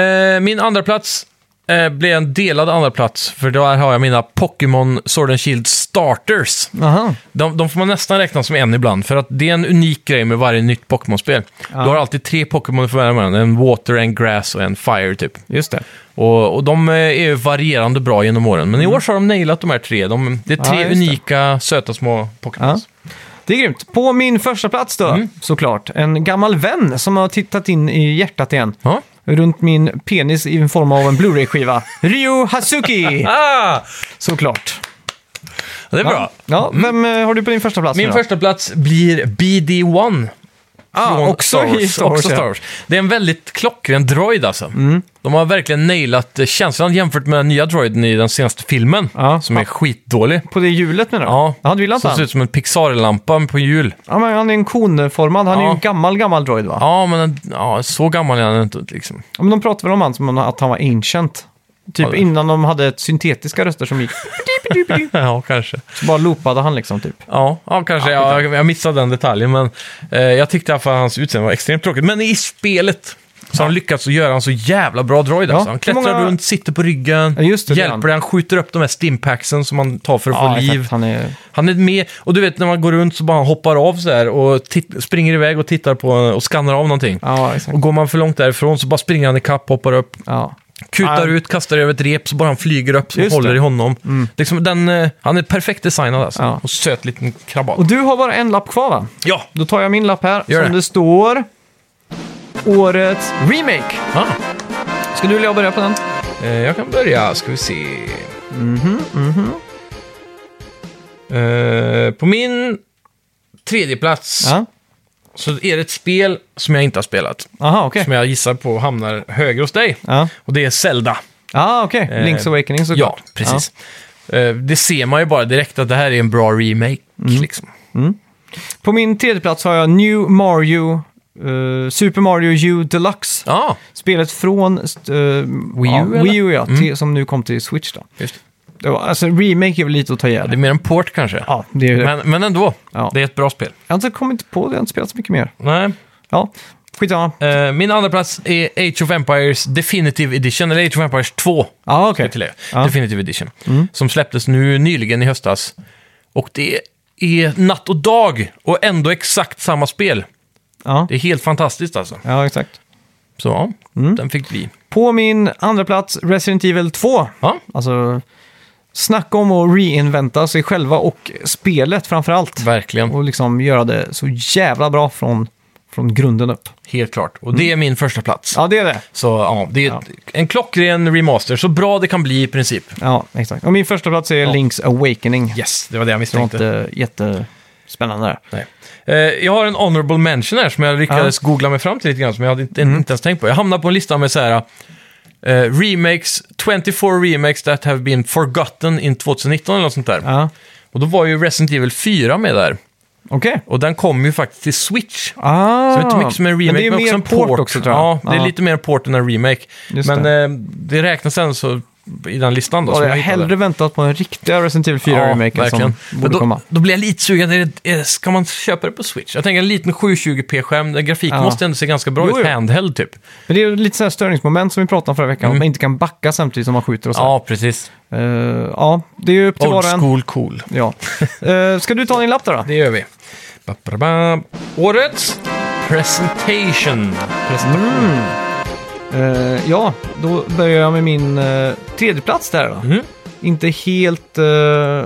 Speaker 2: Eh, min andra plats eh, blev en delad andra plats för där har jag mina Pokémon Sword and Shield Starters.
Speaker 1: Aha.
Speaker 2: De, de får man nästan räkna som en ibland, för att det är en unik grej med varje nytt Pokémon-spel. Du har alltid tre Pokémon för varje man, en Water, en Grass och en Fire typ.
Speaker 1: Just det.
Speaker 2: Och, och de eh, är ju varierande bra genom åren, men i år så har de nailat de här tre. De, det är
Speaker 1: Mm. Ja,
Speaker 2: tre
Speaker 1: just det.
Speaker 2: unika, söta små Pokémons.
Speaker 1: Det är grymt. På min första plats då,
Speaker 2: Mm.
Speaker 1: såklart, en gammal vän som har tittat in i hjärtat igen.
Speaker 2: Ja.
Speaker 1: Runt min penis i en form av en Blu-ray-skiva. Ryu Hazuki,
Speaker 2: Ah!
Speaker 1: såklart.
Speaker 2: Ja, det är
Speaker 1: Ja.
Speaker 2: bra.
Speaker 1: Ja, vem eh, har du på din första plats nu
Speaker 2: Mm. Min
Speaker 1: då?
Speaker 2: första plats blir BD-1.
Speaker 1: Ah,
Speaker 2: från
Speaker 1: också i Star Wars,
Speaker 2: också
Speaker 1: ja. Mm.
Speaker 2: Star Wars. Det är en väldigt klockren droid alltså. De har verkligen nailat eh, känslan jämfört med den nya droiden i den senaste filmen,
Speaker 1: Ja.
Speaker 2: som är skitdålig.
Speaker 1: På det hjulet menar du?
Speaker 2: Ja,
Speaker 1: Jaha, du gillar inte
Speaker 2: som
Speaker 1: han?
Speaker 2: ser ut som en Pixar-lampa på hjul.
Speaker 1: Ja, men han är en konformad. Han är
Speaker 2: Ja.
Speaker 1: ju en gammal, gammal droid va?
Speaker 2: Ja, men den- ja, så gammal är han inte. Liksom.
Speaker 1: Ja, Men de pratar väl om han som att han var ancient. Typ
Speaker 2: Ja, det-
Speaker 1: innan de hade ett syntetiska röster som gick.
Speaker 2: ja, kanske.
Speaker 1: Så bara loopade han liksom typ.
Speaker 2: Ja, ja kanske. jag, jag missade den detaljen, men eh, jag tyckte i alla fall att hans utseende var extremt tråkigt. Men i spelet så har han lyckats att göra en så jävla bra droid.
Speaker 1: Ja,
Speaker 2: Alltså. Han
Speaker 1: hur
Speaker 2: klättrar
Speaker 1: många-
Speaker 2: runt, sitter på ryggen,
Speaker 1: Ja, just det, det är
Speaker 2: hjälper
Speaker 1: han.
Speaker 2: dig, han skjuter upp de här stimpacksen som man tar för att få
Speaker 1: exakt.
Speaker 2: liv.
Speaker 1: Han är...
Speaker 2: Han är med, och du vet när man går runt så bara han hoppar av så här och titt- springer iväg och tittar på och skannar av någonting.
Speaker 1: Ja, exakt.
Speaker 2: Och går man för långt därifrån så bara springer han ikapp, hoppar upp,
Speaker 1: Ja.
Speaker 2: kutar
Speaker 1: Ja.
Speaker 2: ut, kastar över ett rep så bara han flyger upp så
Speaker 1: Just
Speaker 2: håller
Speaker 1: det. Mm.
Speaker 2: i honom. Liksom den, eh, han är perfekt designad alltså.
Speaker 1: Ja.
Speaker 2: Och söt liten krabat.
Speaker 1: Och du har bara en lapp kvar va?
Speaker 2: Ja!
Speaker 1: Då tar jag min lapp här.
Speaker 2: Gör
Speaker 1: som
Speaker 2: det.
Speaker 1: det står... Årets remake.
Speaker 2: Ah.
Speaker 1: Ska du eller jag börja på den?
Speaker 2: Eh, jag kan börja, ska vi se. Mhm, Eh, på min tredje plats
Speaker 1: Ja.
Speaker 2: så är det ett spel som jag inte har spelat.
Speaker 1: Aha, okej.
Speaker 2: Som jag gissar på hamnar högre hos dig.
Speaker 1: Ja,
Speaker 2: Och det är Zelda.
Speaker 1: ah, okej. Link's
Speaker 2: Eh,
Speaker 1: Awakening såklart.
Speaker 2: Ja, precis. Eh, det ser man ju bara direkt att det här är en bra remake.
Speaker 1: Mhm.
Speaker 2: Liksom.
Speaker 1: Ja. På min tredje plats har jag New Mario... eh, Super Mario U Deluxe.
Speaker 2: Ja,
Speaker 1: Spelet från eh,
Speaker 2: Wii
Speaker 1: ja,
Speaker 2: U, eller? Mm.
Speaker 1: Wii U ja, till, som nu kom till Switch. Då.
Speaker 2: just det.
Speaker 1: Det var, alltså remake är väl lite att ta
Speaker 2: Det är
Speaker 1: ihjäl.
Speaker 2: mer en port kanske.
Speaker 1: Ja, det är ju det.
Speaker 2: Men, men ändå,
Speaker 1: Ja.
Speaker 2: det är ett bra spel.
Speaker 1: Jag har inte kommit på det, jag har inte spelat så mycket mer.
Speaker 2: Nej.
Speaker 1: Ja, skitsamma.
Speaker 2: Eh, min andra plats är Age of Empires Definitive Edition, eller Age of Empires 2.
Speaker 1: Ja, Ah, okej. Mm.
Speaker 2: till det.
Speaker 1: Ja.
Speaker 2: Definitive Edition. Som släpptes nu nyligen i höstas. Och det är natt och dag och ändå exakt samma spel.
Speaker 1: Ja.
Speaker 2: Det är helt fantastiskt alltså.
Speaker 1: ja, exakt.
Speaker 2: Så ja,
Speaker 1: Mm.
Speaker 2: den fick vi.
Speaker 1: På min andra plats Resident Evil 2.
Speaker 2: Ja,
Speaker 1: Alltså, snacka om att reinventa sig själva och spelet framför allt.
Speaker 2: verkligen.
Speaker 1: Och liksom göra det så jävla bra från, från grunden upp.
Speaker 2: Helt klart. Och det är min första plats.
Speaker 1: Mm. Ja, det är det.
Speaker 2: Så ja, det är en klockren remaster. Så bra det kan bli i princip.
Speaker 1: Ja, exakt. Och min första plats är Link's Awakening.
Speaker 2: Yes, det var det jag
Speaker 1: Det var
Speaker 2: misstänkte.
Speaker 1: inte jättespännande där.
Speaker 2: Nej. Eh, jag har en honorable mention här som jag lyckades googla mig fram till lite grann, som jag hade inte,
Speaker 1: Mm.
Speaker 2: inte ens tänkt på. Jag hamnade på en lista med så här, eh, remakes, 24 remakes that have been forgotten in 2019 eller något sånt där.
Speaker 1: Ja,
Speaker 2: Och då var ju Resident Evil 4 med där.
Speaker 1: okej.
Speaker 2: Och den kom ju faktiskt till Switch.
Speaker 1: Ah,
Speaker 2: Så det är inte mycket som en remake,
Speaker 1: men
Speaker 2: men,
Speaker 1: det är mer
Speaker 2: också en port.
Speaker 1: också tror jag.
Speaker 2: Ja, det är lite mer en port än en remake.
Speaker 1: Just
Speaker 2: men
Speaker 1: det.
Speaker 2: det, eh, det räknas ändå så i den listan då.
Speaker 1: Ja,
Speaker 2: som
Speaker 1: jag
Speaker 2: jag
Speaker 1: hade
Speaker 2: hittade.
Speaker 1: hellre väntat på den riktiga Resident Evil 4-remaken som
Speaker 2: Men
Speaker 1: borde
Speaker 2: då,
Speaker 1: komma.
Speaker 2: Då blir jag lite sugen. Är det- är- Ska man köpa det på Switch? Jag tänker en liten 720p-skärm. där Grafiken
Speaker 1: Ja.
Speaker 2: måste ändå se ganska bra
Speaker 1: Jo,
Speaker 2: ut.
Speaker 1: jo.
Speaker 2: Handheld typ.
Speaker 1: Men det är ju lite sådär störningsmoment som vi pratade om förra veckan, att man inte kan backa samtidigt som man skjuter och så. Ja,
Speaker 2: Mm. Ja, precis.
Speaker 1: ja det är ju upp till
Speaker 2: Old
Speaker 1: var och en.
Speaker 2: school cool.
Speaker 1: Ja. Eh, ska du ta din lapp där då?
Speaker 2: Det gör vi. Ba, ba, ba. Årets presentation. Presentation.
Speaker 1: Eh, ja, då börjar jag med min uh, tredje plats där då.
Speaker 2: Mm.
Speaker 1: Inte helt uh,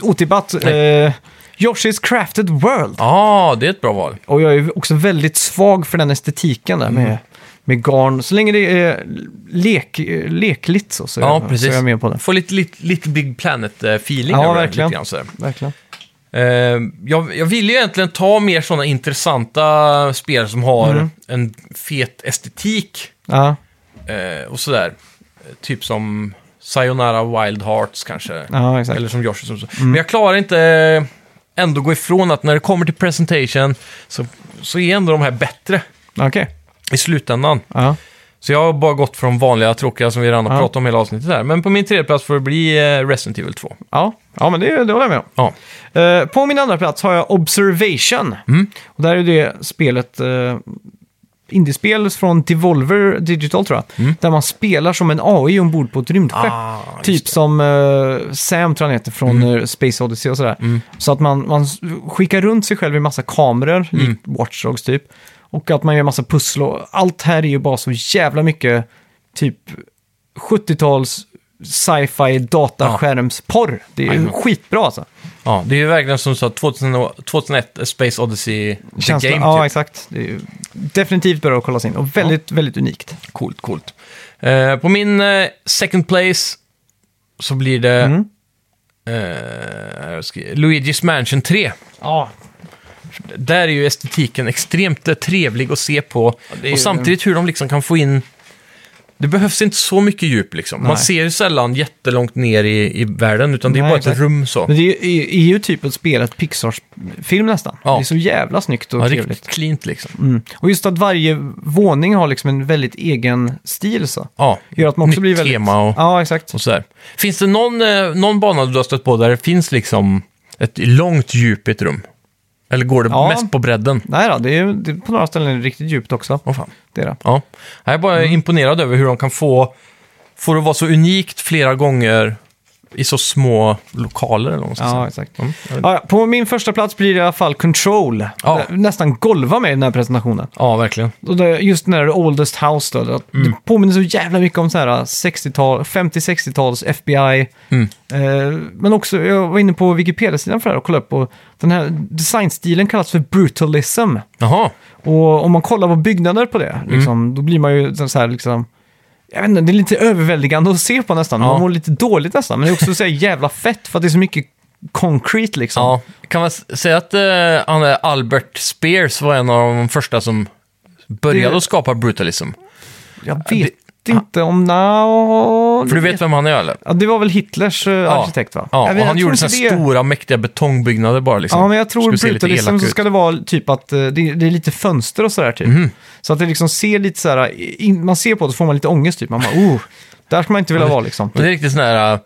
Speaker 1: otippat.
Speaker 2: Nej.
Speaker 1: eh, Yoshi's Crafted World.
Speaker 2: Ja, det är ett bra val.
Speaker 1: Och jag är ju också väldigt svag för den estetiken där
Speaker 2: Mm.
Speaker 1: med, med garn. Så länge det är lek, eh, lekligt så, så, är
Speaker 2: Ja,
Speaker 1: jag, så är
Speaker 2: precis.
Speaker 1: jag med på det.
Speaker 2: Få lite, lite, lite Big Planet-feeling.
Speaker 1: Ja,
Speaker 2: över den,
Speaker 1: verkligen.
Speaker 2: Lite grann, sådär.
Speaker 1: Verkligen.
Speaker 2: Eh, jag, jag vill ju egentligen ta mer sådana intressanta spel som har
Speaker 1: Mm.
Speaker 2: en fet estetik.
Speaker 1: Ja,
Speaker 2: Eh, och sådär. Eh, Typ som Sayonara Wild Hearts kanske.
Speaker 1: ja Mm. exakt.
Speaker 2: Eller som Yoshi. Som så. Men jag klarar inte eh, ändå gå ifrån att när det kommer till presentation så, så är ändå de här bättre
Speaker 1: Okej.
Speaker 2: i slutändan.
Speaker 1: Ja.
Speaker 2: Så jag har bara gått från vanliga tråkiga som vi redan har
Speaker 1: Ja.
Speaker 2: pratat om hela avsnittet här. Men på min tredje plats får det bli eh, Resident Evil 2.
Speaker 1: Ja. ja, men det, det håller jag med om.
Speaker 2: Ja,
Speaker 1: Eh, på min andra plats har jag Observation.
Speaker 2: Mm.
Speaker 1: Och där är det spelet, uh, indiespel från Devolver Digital tror jag, där man spelar som en AI ombord på ett rymdskepp.
Speaker 2: Mm. Ah, just Mm.
Speaker 1: typ som eh, Sam tror jag han heter från eh, Space Odyssey och sådär. Så att man, man s- skickar runt sig själv i massa kameror,
Speaker 2: Mm.
Speaker 1: likt Watch Dogs typ. Och att man gör massa pussel och allt här är ju bara så jävla mycket typ 70-tals sci-fi dataskärmsporr. Det är ju
Speaker 2: Jajamän.
Speaker 1: skitbra alltså.
Speaker 2: ja det är ju verkligen som du sa, 2000 och- 2001 A Space Odyssey The
Speaker 1: Känsla,
Speaker 2: Game.
Speaker 1: ja,
Speaker 2: typ.
Speaker 1: exakt. Det är ju definitivt bra att kolla in och väldigt, väldigt unikt.
Speaker 2: Coolt, coolt. Eh, på min eh, second place så blir det
Speaker 1: Mm.
Speaker 2: eh, jag ska- Luigi's Mansion 3.
Speaker 1: Ja,
Speaker 2: Där är ju estetiken extremt eh, trevlig att se på.
Speaker 1: är ju-
Speaker 2: och samtidigt hur de liksom kan få in... Det behövs inte så mycket djup liksom. Man
Speaker 1: Nej.
Speaker 2: ser ju sällan jättelångt ner i, i världen, utan det är
Speaker 1: Nej,
Speaker 2: bara
Speaker 1: exakt.
Speaker 2: ett rum så.
Speaker 1: men det är ju, är ju typ att spela ett Pixar-film nästan.
Speaker 2: Ja.
Speaker 1: Det är så jävla snyggt och
Speaker 2: Ja,
Speaker 1: trevligt.
Speaker 2: riktigt cleant liksom.
Speaker 1: Mm. Och just att varje våning har liksom en väldigt egen stil så.
Speaker 2: Ja,
Speaker 1: Gör att man också
Speaker 2: nytt
Speaker 1: blir väldigt...
Speaker 2: tema och,
Speaker 1: Ja, exakt.
Speaker 2: och sådär. Finns det någon, eh, någon bana du har stött på där det finns liksom ett långt djup i ett rum? Eller går det
Speaker 1: Ja.
Speaker 2: mest på bredden?
Speaker 1: Nej då, det är ju det är på några ställen riktigt djupt också.
Speaker 2: Åh fan.
Speaker 1: Det är det.
Speaker 2: Ja. Jag är bara
Speaker 1: Mm.
Speaker 2: imponerad över hur de kan få, få det att vara så unikt flera gånger i så små lokaler. Eller vad man ska
Speaker 1: Ja,
Speaker 2: säga.
Speaker 1: exakt.
Speaker 2: Mm, jag vet.
Speaker 1: Ja, ja, på min första plats blir det i alla fall Control.
Speaker 2: Ja.
Speaker 1: Nästan golva med i den här presentationen.
Speaker 2: ja, verkligen.
Speaker 1: Och det, just den här Oldest House då, det,
Speaker 2: Mm.
Speaker 1: det påminner så jävla mycket om så här äh, 60-tal, 50-60-tals FBI.
Speaker 2: Mm.
Speaker 1: Eh, men också, jag var inne på Wikipedia-sidan för det här och kollade upp och den här designstilen kallas för brutalism.
Speaker 2: Jaha,
Speaker 1: Och om man kollar på byggnader på det,
Speaker 2: Mm.
Speaker 1: liksom, då blir man ju så här liksom... Jag vet inte, det är lite överväldigande att se på nästan.
Speaker 2: Ja.
Speaker 1: Man mår lite dåligt nästan, men det är också så här jävla fett för att det är så mycket concrete liksom.
Speaker 2: ja. kan man s- säga att eh, han är Albert Spears var en av de första som började
Speaker 1: Det-
Speaker 2: att skapa brutalism?
Speaker 1: Jag vet inte om... No,
Speaker 2: För du vet vem han är eller?
Speaker 1: Ja, det var väl Hitlers eh, arkitekt va?
Speaker 2: Ja,
Speaker 1: Jag vet-
Speaker 2: och
Speaker 1: jag
Speaker 2: han
Speaker 1: tror
Speaker 2: gjorde
Speaker 1: inte
Speaker 2: sådana stora mäktiga betongbyggnader bara liksom.
Speaker 1: Ja, men jag tror
Speaker 2: Skulle se lite
Speaker 1: brutalism
Speaker 2: elak
Speaker 1: så
Speaker 2: ut. Mhm.
Speaker 1: ska det vara typ att eh, det är, det är lite fönster och sådär typ. Så att det liksom ser lite så här, in, man ser på det så får man lite ångest typ. Man bara, oh, där ska man inte vilja vara liksom.
Speaker 2: Men det är riktigt sån här äh,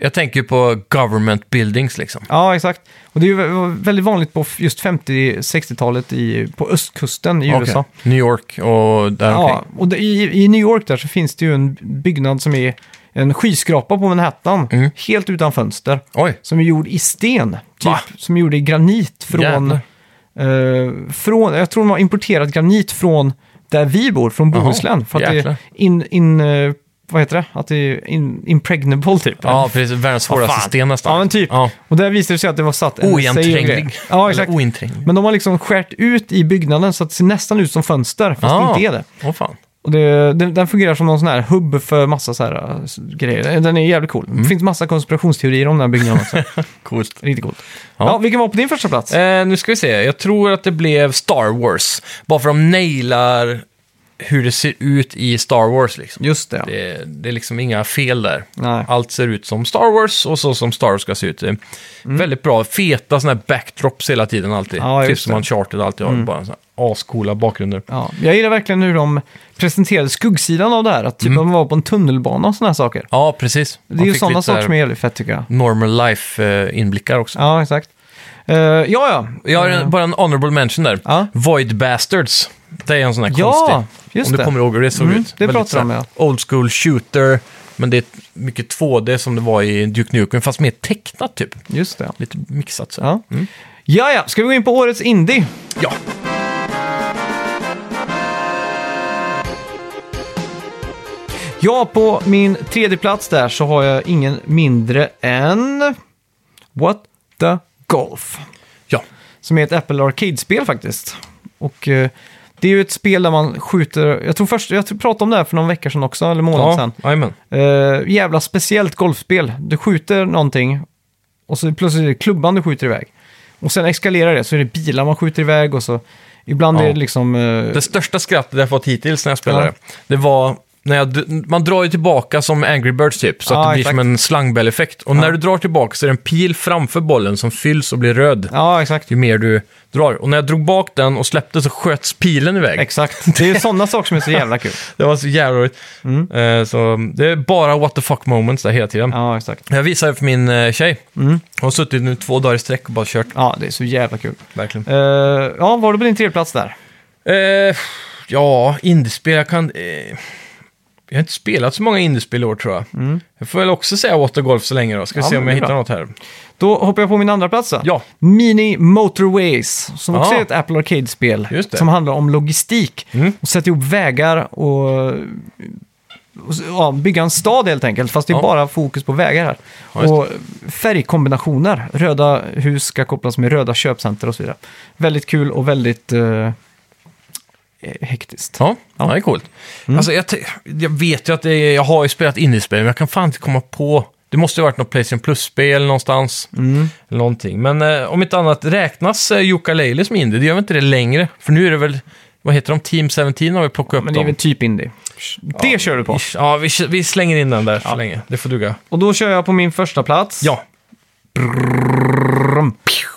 Speaker 2: Jag tänker ju på government buildings liksom.
Speaker 1: Ja, exakt. Och det är ju vä- väldigt vanligt på f- just 50-60-talet i- på östkusten i
Speaker 2: Okej.
Speaker 1: USA.
Speaker 2: New York och där
Speaker 1: Ja,
Speaker 2: omkring.
Speaker 1: och det, i, i New York där så finns det ju en byggnad som är en skyskrapa på Manhattan,
Speaker 2: Mm.
Speaker 1: helt utan fönster,
Speaker 2: Oj,
Speaker 1: som är gjord i sten.
Speaker 2: Va?
Speaker 1: Typ, som är gjord i granit från,
Speaker 2: Jävlar.
Speaker 1: eh, från... Jag tror de har importerat granit från där vi bor, från
Speaker 2: Jaha,
Speaker 1: Bohuslän. För att det
Speaker 2: jäklar.
Speaker 1: är in, in, eh, vad heter det? Att det är in, impregnable typ.
Speaker 2: ja precis. Världens svåraste
Speaker 1: fan.
Speaker 2: sten nästan.
Speaker 1: Ja, men typ.
Speaker 2: Ja.
Speaker 1: Och där visade det sig att det var satt en säg och grej.
Speaker 2: Oigentränlig.
Speaker 1: Ja, exakt.
Speaker 2: Eller ointränglig.
Speaker 1: Men de har liksom skärt ut i byggnaden så att det ser nästan ut som fönster, fast det inte är det.
Speaker 2: Åh fan.
Speaker 1: Och det, den, den fungerar som någon sån här hubb för massa så här äh, s- grejer. Den är jävligt cool. Det finns massa konspirationsteorier om den här byggnaden också.
Speaker 2: Coolt.
Speaker 1: Riktigt coolt.
Speaker 2: Ja.
Speaker 1: Ja. vilken var på din första plats?
Speaker 2: Eh, nu ska vi se. Jag tror att det blev Star Wars. Bara för de nailar hur det ser ut i Star Wars liksom.
Speaker 1: Just det, ja.
Speaker 2: Det, det är liksom inga fel där.
Speaker 1: Nej.
Speaker 2: Allt ser ut som Star Wars och så som Star Wars ska se ut. Det är Väldigt bra, feta sådana här backdrops hela tiden alltid.
Speaker 1: Mm. Ja,
Speaker 2: typ
Speaker 1: just
Speaker 2: som
Speaker 1: det. Mm.
Speaker 2: Uncharted alltid har, bara sådana här ascoola bakgrunder.
Speaker 1: Ja, jag gillar verkligen hur de presenterade skuggsidan av det här. Att typ de var på en tunnelbana och sådana här saker.
Speaker 2: Ja, precis.
Speaker 1: Det är ju sådana saker som är jävligt fett tycker jag.
Speaker 2: Normal life-inblickar också.
Speaker 1: Ja, exakt. Eh, ja, ja.
Speaker 2: Jag har en, bara en honorable mention där.
Speaker 1: Ja.
Speaker 2: Void Bastards. Det är en sån här
Speaker 1: Ja,
Speaker 2: konstig.
Speaker 1: just
Speaker 2: om du
Speaker 1: det.
Speaker 2: kommer ihåg hur det såg
Speaker 1: Mm,
Speaker 2: ut.
Speaker 1: det
Speaker 2: Väldigt
Speaker 1: pratar de om,
Speaker 2: så här Old school shooter, men det är mycket 2D som det var i Duke Nukem, fast mer tecknat typ.
Speaker 1: Just det.
Speaker 2: Lite mixat så. här.
Speaker 1: Ja. ja, ja. Ska vi gå in på årets indie?
Speaker 2: ja.
Speaker 1: Ja, på min tredje plats där så har jag ingen mindre än... What the Golf.
Speaker 2: Ja.
Speaker 1: Som är ett Apple Arcade-spel faktiskt. Och eh, det är ju ett spel där man skjuter... Jag tror först... Jag tror- pratade om det här för någon vecka sedan också, eller månad
Speaker 2: Ja,
Speaker 1: sedan.
Speaker 2: jajamän.
Speaker 1: Eh, jävla speciellt golfspel. Du skjuter någonting och så plötsligt är det klubban du skjuter iväg. Och sen eskalerar det, så är det bilar man skjuter iväg och så... Ibland
Speaker 2: Ja.
Speaker 1: är det liksom... eh,
Speaker 2: Det största skrattet jag fått hittills när jag spelade, det var när jag, man drar ju tillbaka som Angry Birds typ, så att
Speaker 1: Ja,
Speaker 2: det blir
Speaker 1: exakt.
Speaker 2: som en slangbell-effekt. Och när du drar tillbaka så är det en pil framför bollen som fylls och blir röd
Speaker 1: Ja, exakt.
Speaker 2: ju mer du drar. Och när jag drog bak den och släppte så sköts pilen iväg.
Speaker 1: Exakt. Det är ju sådana saker som är så jävla kul.
Speaker 2: Det var så jävla roligt. Eh, så det är bara what the fuck moments där hela tiden.
Speaker 1: Mm. Ja, Mm. exakt.
Speaker 2: Jag visade för min eh, tjej. Hon har suttit nu två dagar i sträck och bara kört.
Speaker 1: Ja, det är så jävla kul.
Speaker 2: Verkligen.
Speaker 1: Eh, ja, var du på din tredje plats där?
Speaker 2: Eh, ja, indiespel. Jag kan... Eh, jag har inte spelat så många indiespel i år tror jag. Jag får väl också säga What the Golf så länge då. Ska vi
Speaker 1: Mm. Ja,
Speaker 2: se om
Speaker 1: men
Speaker 2: jag
Speaker 1: det är
Speaker 2: hittar
Speaker 1: bra.
Speaker 2: något här.
Speaker 1: Då hoppar jag på min andra plats då.
Speaker 2: Ja.
Speaker 1: Mini Motorways, som också
Speaker 2: Ja.
Speaker 1: är ett Apple Arcade-spel.
Speaker 2: Just det. Mm.
Speaker 1: Som handlar om logistik. Och sätta ihop vägar och, och så- ja, bygga en stad helt enkelt. Fast det är
Speaker 2: Ja.
Speaker 1: bara fokus på vägar här.
Speaker 2: Ja, just
Speaker 1: och färgkombinationer. Röda hus ska kopplas med röda köpcenter och så vidare. Väldigt kul och väldigt eh, hektiskt.
Speaker 2: Ja, ja. det är coolt.
Speaker 1: Mm.
Speaker 2: Alltså, jag, t- jag vet ju att det är, jag har ju spelat indiespel, men jag kan fan inte komma på... Det måste ju ha varit något Playstation Plus-spel någonstans.
Speaker 1: Mm.
Speaker 2: Eller någonting. Men eh, om inte annat, räknas eh, Jukka Leili som indie? Det gör väl inte det längre? För nu är det väl... Vad heter de? Team 17 har vi plockat upp
Speaker 1: Men det är väl
Speaker 2: dem.
Speaker 1: typ indie. Det kör du på.
Speaker 2: Ish. Ja, vi, vi slänger in den där så länge. Det får duga.
Speaker 1: Och då kör jag på min första plats.
Speaker 2: Ja,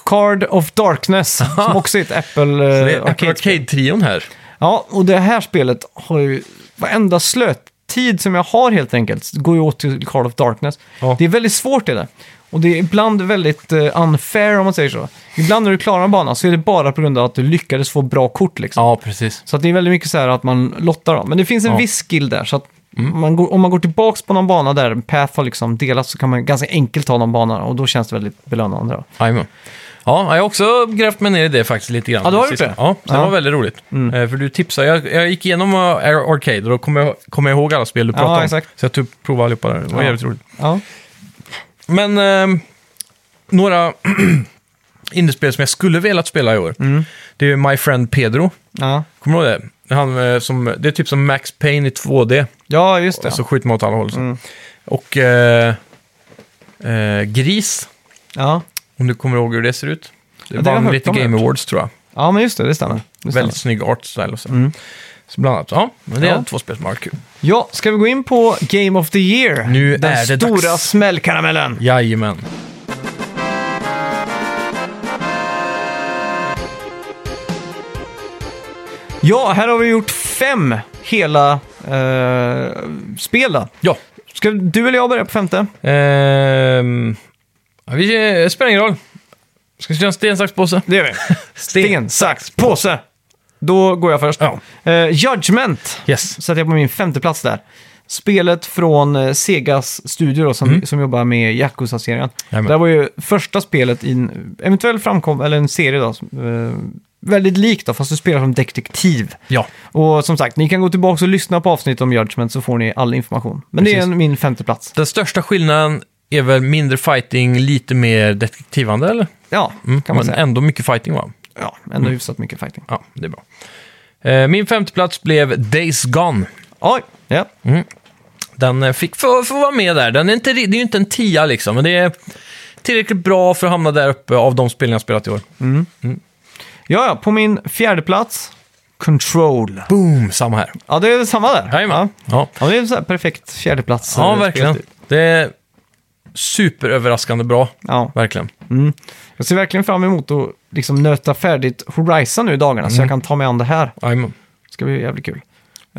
Speaker 1: Card of Darkness, som också är ett Apple
Speaker 2: så
Speaker 1: eh,
Speaker 2: det är
Speaker 1: Arcade.
Speaker 2: Arcade-trion här.
Speaker 1: Ja, och det här spelet har ju varenda slötid som jag har helt enkelt går ju åt till Card of Darkness.
Speaker 2: Ja.
Speaker 1: Det är väldigt svårt i det. Och det är ibland väldigt eh, unfair om man säger så. Ibland när du klarar en bana så är det bara på grund av att du lyckades få bra kort liksom.
Speaker 2: Ja, precis.
Speaker 1: Så att det är väldigt mycket så här att man lottar dem. Men det finns en
Speaker 2: Ja. Mm.
Speaker 1: viss skill där. Så att man går, om man går tillbaka på någon bana där Path har liksom delats så kan man ganska enkelt ta någon bana och då känns det väldigt belönande. Då.
Speaker 2: Jajamän. Ja, jag har också grävt mig ner i det faktiskt lite grann.
Speaker 1: Ja, du har
Speaker 2: Sist.
Speaker 1: gjort det?
Speaker 2: Ja,
Speaker 1: Ja.
Speaker 2: det
Speaker 1: Mm.
Speaker 2: var väldigt roligt. Eh, För du tipsade, jag, jag gick igenom eh, Ar- Arcade och då kom jag, kom jag ihåg alla spel du
Speaker 1: Ja,
Speaker 2: pratade om.
Speaker 1: exakt.
Speaker 2: Så jag typ provade allihopa där, det var
Speaker 1: Ja.
Speaker 2: jävligt roligt.
Speaker 1: Ja.
Speaker 2: Men ehm, några indiespel som jag skulle velat spela i år,
Speaker 1: Mm.
Speaker 2: det är ju My Friend Pedro.
Speaker 1: Ja.
Speaker 2: Kommer du ihåg det? Han, eh, som, det är typ som Max Payne i 2D,
Speaker 1: ja, just det.
Speaker 2: så skjuter man åt alla håll. Så.
Speaker 1: Mm.
Speaker 2: Och eh, eh, Gris,
Speaker 1: Ja.
Speaker 2: om du kommer ihåg hur det ser ut. Det
Speaker 1: Ja, det har jag
Speaker 2: vann
Speaker 1: hört
Speaker 2: lite
Speaker 1: om det.
Speaker 2: Game Awards tror jag.
Speaker 1: ja, men just det, det stämmer. Det stämmer.
Speaker 2: Väldigt snygg art style och så. Så bland annat, ja, men det är
Speaker 1: Ja.
Speaker 2: två spel som har varit kul.
Speaker 1: Ja, ska vi gå in på Game of the Year?
Speaker 2: Nu
Speaker 1: Den
Speaker 2: är det
Speaker 1: stora
Speaker 2: dags.
Speaker 1: smällkaramellen.
Speaker 2: Jajamän.
Speaker 1: Ja, här har vi gjort fem hela eh, spel då.
Speaker 2: Ja,
Speaker 1: Ska du eller jag börja på femte?
Speaker 2: Ehm, ja, vi, eh, spelar ingen roll. Ska vi köra en sten, sax, påse?
Speaker 1: Det gör vi. Sten, sax, påse! Då går jag först.
Speaker 2: Ja.
Speaker 1: Eh, Judgment
Speaker 2: Yes.
Speaker 1: sätter jag på min femte plats där. Spelet från eh, Segas studio då, som, som jobbar med Yakuza-serien.
Speaker 2: Mm. Jajamän.
Speaker 1: Det här var ju första spelet i en eventuell framkom, eller en serie då, som, eh, väldigt likt då, fast du spelar som detektiv.
Speaker 2: Ja.
Speaker 1: Och som sagt, ni kan gå tillbaka och lyssna på avsnitt om Judgment så får ni all information. Men det är
Speaker 2: Precis.
Speaker 1: en- min femte plats.
Speaker 2: Den största skillnaden är väl mindre fighting, lite mer detektivande, eller?
Speaker 1: Ja, Mm, kan man
Speaker 2: Men
Speaker 1: säga.
Speaker 2: ändå mycket fighting, va?
Speaker 1: Ja, ändå
Speaker 2: Mm.
Speaker 1: hyfsat mycket fighting.
Speaker 2: Ja, det är bra. Eh, Min femte plats blev Days Gone.
Speaker 1: Oj, ja.
Speaker 2: Den eh, fick få, få vara med där. Den är inte, ri- det är ju inte en tia liksom, men det är tillräckligt bra för att hamna där uppe av de spel jag spelat i år.
Speaker 1: Ja, ja, på min fjärde plats, Control.
Speaker 2: Boom, samma här.
Speaker 1: Ja, det är samma där.
Speaker 2: Jajamän. Ja.
Speaker 1: Ja, men det är en sån här perfekt fjärdeplats.
Speaker 2: Ja,
Speaker 1: eh,
Speaker 2: verkligen.
Speaker 1: speltid.
Speaker 2: Det är superöverraskande bra,
Speaker 1: Ja.
Speaker 2: verkligen.
Speaker 1: Jag ser verkligen fram emot att liksom nöta färdigt Horizon nu i dagarna så
Speaker 2: Mm.
Speaker 1: jag kan ta mig an det här.
Speaker 2: Jajamän.
Speaker 1: Det ska bli jävligt kul.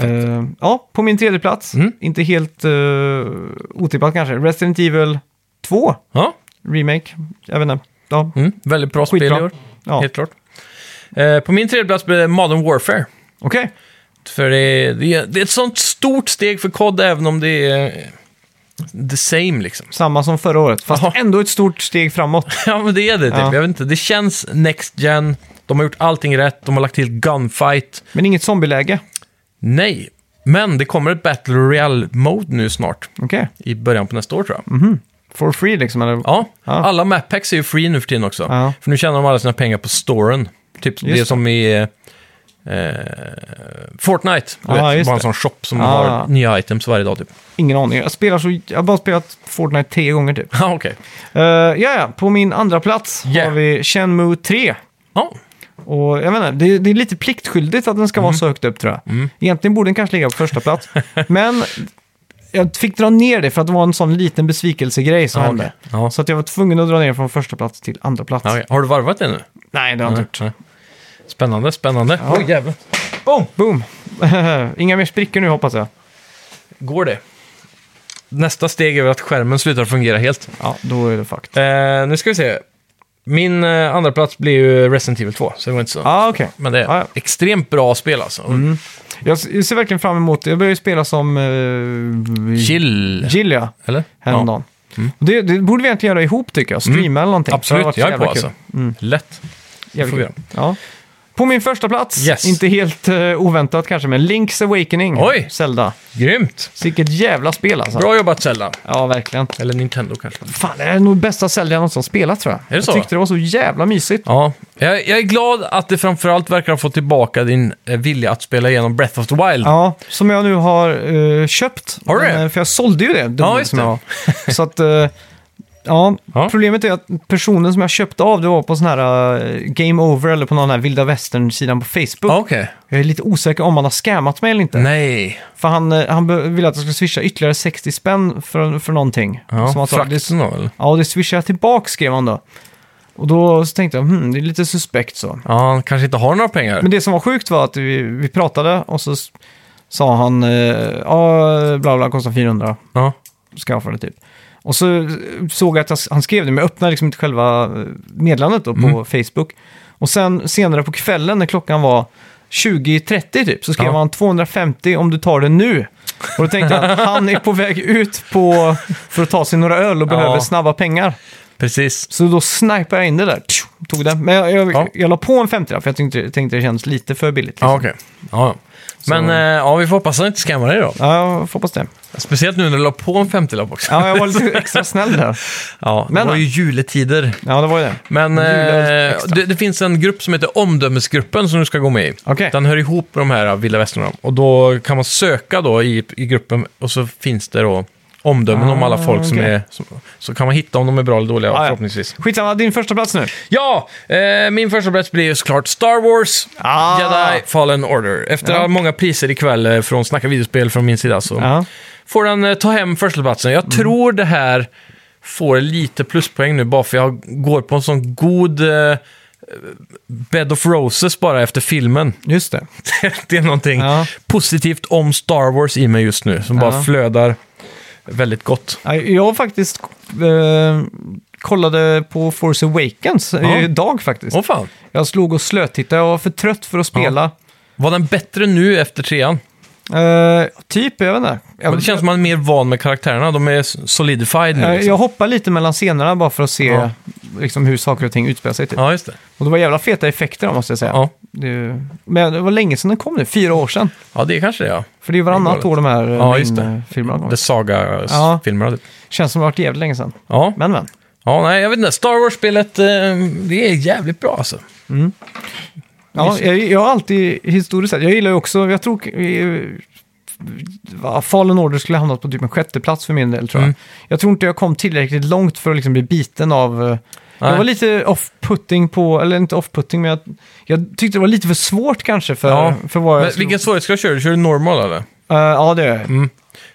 Speaker 1: Eh, ja, på min tredje plats,
Speaker 2: Mm.
Speaker 1: inte helt uh, otippat kanske, Resident Evil 2
Speaker 2: Ja,
Speaker 1: Remake. Jag vet inte. Ja,
Speaker 2: mm. väldigt bra spel i
Speaker 1: skitbra.
Speaker 2: år,
Speaker 1: Ja,
Speaker 2: helt klart. Eh, på min tredje plats blev det Modern Warfare.
Speaker 1: okej.
Speaker 2: För det är, det är, det är ett sånt stort steg för COD även om det är eh, the same liksom.
Speaker 1: Samma som förra året, fast
Speaker 2: Jaha.
Speaker 1: ändå ett stort steg framåt.
Speaker 2: Ja, men det är det typ.
Speaker 1: Ja.
Speaker 2: Jag vet inte, det känns next gen. De har gjort allting rätt, de har lagt till gunfight.
Speaker 1: Men inget zombieläge.
Speaker 2: Nej, men det kommer ett Battle Royale-mode nu snart.
Speaker 1: Okej.
Speaker 2: I början på nästa år tror jag.
Speaker 1: For free liksom, eller?
Speaker 2: Ja,
Speaker 1: Mhm. Ja.
Speaker 2: alla map packs är ju free nu för tiden också.
Speaker 1: Ja.
Speaker 2: För nu tjänar de alla sina pengar på storen. Typ det
Speaker 1: det.
Speaker 2: som i eh, Fortnite. Du
Speaker 1: Ja,
Speaker 2: vet,
Speaker 1: just
Speaker 2: bara en
Speaker 1: det.
Speaker 2: sån shop som
Speaker 1: Ja.
Speaker 2: har nya items varje dag typ.
Speaker 1: Ingen aning. Jag, spelar så, jag har bara spelat Fortnite tre gånger typ.
Speaker 2: Ja, okej.
Speaker 1: Eh, Ja, ja. På min andra plats
Speaker 2: Yeah.
Speaker 1: har vi Shenmue 3.
Speaker 2: Ja,
Speaker 1: Och jag menar, det, det är lite pliktskyldigt att den ska vara
Speaker 2: Mm.
Speaker 1: så högt upp tror jag. Egentligen borde den kanske ligga på första plats. Men jag fick dra ner det för att det var en sån liten besvikelsegrej som
Speaker 2: Ja,
Speaker 1: hände.
Speaker 2: okej. Ja.
Speaker 1: Så att jag var tvungen att dra ner från första plats till andra plats.
Speaker 2: Ja, okej. Har du varvat det nu?
Speaker 1: Nej, det har jag inte gjort.
Speaker 2: Nej. Spännande, spännande.
Speaker 1: Ja.
Speaker 2: Oj, jävlar.
Speaker 1: Boom! Boom! Inga mer sprickor nu hoppas jag.
Speaker 2: Går det? Nästa steg är väl att skärmen slutar fungera helt.
Speaker 1: Ja, då är det fucked.
Speaker 2: Eh, nu ska vi se. Min eh, andra plats blir ju Resident Evil 2, så det var inte så.
Speaker 1: Ja, ah, okej.
Speaker 2: Men det är
Speaker 1: Ja, Mm. ja.
Speaker 2: extremt bra spel alltså.
Speaker 1: Jag s- jag ser verkligen fram emot det. Jag började ju spela som... eh,
Speaker 2: Chill,
Speaker 1: Jill, ja.
Speaker 2: eller?
Speaker 1: Häromdagen. Och Det, det borde vi egentligen göra ihop tycker jag. Streama eller någonting. Det hade
Speaker 2: Mm. Absolut,
Speaker 1: varit
Speaker 2: jag är
Speaker 1: jävla
Speaker 2: på
Speaker 1: kul. Mm.
Speaker 2: alltså. Lätt.
Speaker 1: Jävligt
Speaker 2: får vi
Speaker 1: kul. Ja. På min första plats,
Speaker 2: Yes.
Speaker 1: inte helt eh, oväntat kanske, men Link's Awakening.
Speaker 2: Oj!
Speaker 1: Zelda.
Speaker 2: Grymt!
Speaker 1: Vilket jävla spel alltså.
Speaker 2: Bra jobbat Zelda.
Speaker 1: Ja, verkligen.
Speaker 2: Eller Nintendo kanske.
Speaker 1: Fan, det här är nog bästa Zelda jag någonsin har spelat tror jag.
Speaker 2: det
Speaker 1: jag
Speaker 2: så?
Speaker 1: tyckte det var så jävla mysigt.
Speaker 2: Ja, jag, jag är glad att det framförallt verkar ha fått tillbaka din eh, vilja att spela igenom Breath of the Wild.
Speaker 1: Ja, som jag nu har eh, köpt.
Speaker 2: Har du
Speaker 1: Men,
Speaker 2: det?
Speaker 1: eh, För jag sålde ju det. dummen
Speaker 2: Ja, just
Speaker 1: som
Speaker 2: det.
Speaker 1: jag har. Så att, eh, ja,
Speaker 2: Ja.
Speaker 1: problemet är att personen som jag köpte av det var på sån här eh, Game Over eller på någon här vilda västern-sidan på Facebook.
Speaker 2: Ah, Okej.
Speaker 1: Jag är lite osäker om han har scammat mig eller inte.
Speaker 2: Nej.
Speaker 1: För han, eh, han be- ville att jag skulle swisha ytterligare 60 spänn för, för någonting.
Speaker 2: Ja,
Speaker 1: han sa, det-
Speaker 2: frakten då, eller?
Speaker 1: Ja, det swishar jag tillbaka skrev han då. Och då så tänkte jag, hmm, det är lite suspekt så.
Speaker 2: Ja, han kanske inte har några pengar.
Speaker 1: Men det som var sjukt var att vi, vi pratade och så s- sa han, eh, ja, bla bla, kostar 400,
Speaker 2: Ja.
Speaker 1: ska jag få det typ. Och så såg jag att jag, s- han skrev det, men jag öppnade liksom inte själva eh, meddelandet då på
Speaker 2: Mm.
Speaker 1: Facebook. Och sen senare på kvällen när klockan var 20.30 typ, så skrev
Speaker 2: Ja.
Speaker 1: han 250 om du tar det nu. Och då tänkte jag att han är på väg ut på, för att ta sig några öl och
Speaker 2: Ja.
Speaker 1: behöver snabba pengar.
Speaker 2: Precis.
Speaker 1: Så då snipade jag in det där. Tog den. Men jag, jag,
Speaker 2: Ja.
Speaker 1: jag la på en 50 för jag tänkte, tänkte det kändes lite för billigt. Liksom.
Speaker 2: Ja, okej. Ja. Men
Speaker 1: Så-
Speaker 2: eh, ja, vi får hoppas att han inte scammar dig då.
Speaker 1: Ja, jag får hoppas det.
Speaker 2: Speciellt nu när du la på en 50-lapp också.
Speaker 1: Ja, jag var lite extra snäll där.
Speaker 2: Ja, det
Speaker 1: Men-
Speaker 2: var ju juletider.
Speaker 1: Ja, det var ju det.
Speaker 2: Men eh,
Speaker 1: Julen extra.
Speaker 2: det, det finns en grupp som heter Omdömesgruppen som du ska gå med i.
Speaker 1: Okej.
Speaker 2: Den hör ihop med de här eh, vilda västarna. Och då kan man söka då i, i gruppen och så finns det då omdömen om alla
Speaker 1: Ah,
Speaker 2: folk som
Speaker 1: okej.
Speaker 2: är... Som, så kan man hitta om de är bra eller dåliga
Speaker 1: ja.
Speaker 2: förhoppningsvis.
Speaker 1: Skitsamma, din första plats nu.
Speaker 2: Ja, eh, min första plats blir ju såklart Star Wars
Speaker 1: Ah.
Speaker 2: Jedi Fallen Order. Efter
Speaker 1: Ja.
Speaker 2: många priser ikväll eh, från Snacka videospel från min sida så
Speaker 1: Ja. Mm.
Speaker 2: får den eh, ta hem förstaplatsen. Jag tror det här får lite pluspoäng nu bara för jag går på en sån god eh, bed of roses bara efter filmen.
Speaker 1: Just det.
Speaker 2: det är någonting
Speaker 1: Ja.
Speaker 2: positivt om Star Wars i mig just nu som bara
Speaker 1: Ja.
Speaker 2: flödar. väldigt gott.
Speaker 1: Ja, Jag faktiskt eh, kollade på Force Awakens
Speaker 2: Ja.
Speaker 1: idag faktiskt.
Speaker 2: Åh fan.
Speaker 1: Jag slog och slötittade, jag var för trött för att spela.
Speaker 2: Var den bättre nu efter trean?
Speaker 1: Eh, typ, jag vet inte. Jag,
Speaker 2: Men det känns som man är mer van med karaktärerna. De är s- solidified nu.
Speaker 1: jag,
Speaker 2: Liksom.
Speaker 1: jag hoppar lite mellan scenerna bara för att se
Speaker 2: Ja.
Speaker 1: liksom, hur saker och ting utspelar sig. Typ.
Speaker 2: Ja, just det.
Speaker 1: Och det var jävla feta effekter måste jag säga.
Speaker 2: Ja.
Speaker 1: Det, men det var länge sedan den kom nu, fyra år sedan.
Speaker 2: ja, det är kanske det, ja.
Speaker 1: För det är ju varannat år de här
Speaker 2: Ja, just det.
Speaker 1: ja, filmerna kommer.
Speaker 2: The
Speaker 1: Ja.
Speaker 2: Saga-filmerna, typ.
Speaker 1: Känns som det har varit jävligt länge sedan.
Speaker 2: Ja.
Speaker 1: Men men.
Speaker 2: ja, nej, jag vet inte. Star Wars-spelet, eh, det är jävligt bra alltså.
Speaker 1: Ja,
Speaker 2: Mysigt.
Speaker 1: jag, jag har alltid, historiskt sett, jag gillar ju också, jag tror... eh, va, Fallen Order skulle ha hamnat på typ en sjätte plats för min del tror jag.
Speaker 2: Mm.
Speaker 1: Jag tror inte jag kom tillräckligt långt för att liksom bli biten av... eh, Jag
Speaker 2: Nej.
Speaker 1: var lite off-putting på, eller inte off-putting, men jag, jag tyckte det var lite för svårt kanske för,
Speaker 2: Ja.
Speaker 1: för vad jag...
Speaker 2: Men
Speaker 1: skulle-
Speaker 2: vilken Mm. svårighetsgrad kör du? Kör du normal, eller?
Speaker 1: Eh, ja, det gör jag.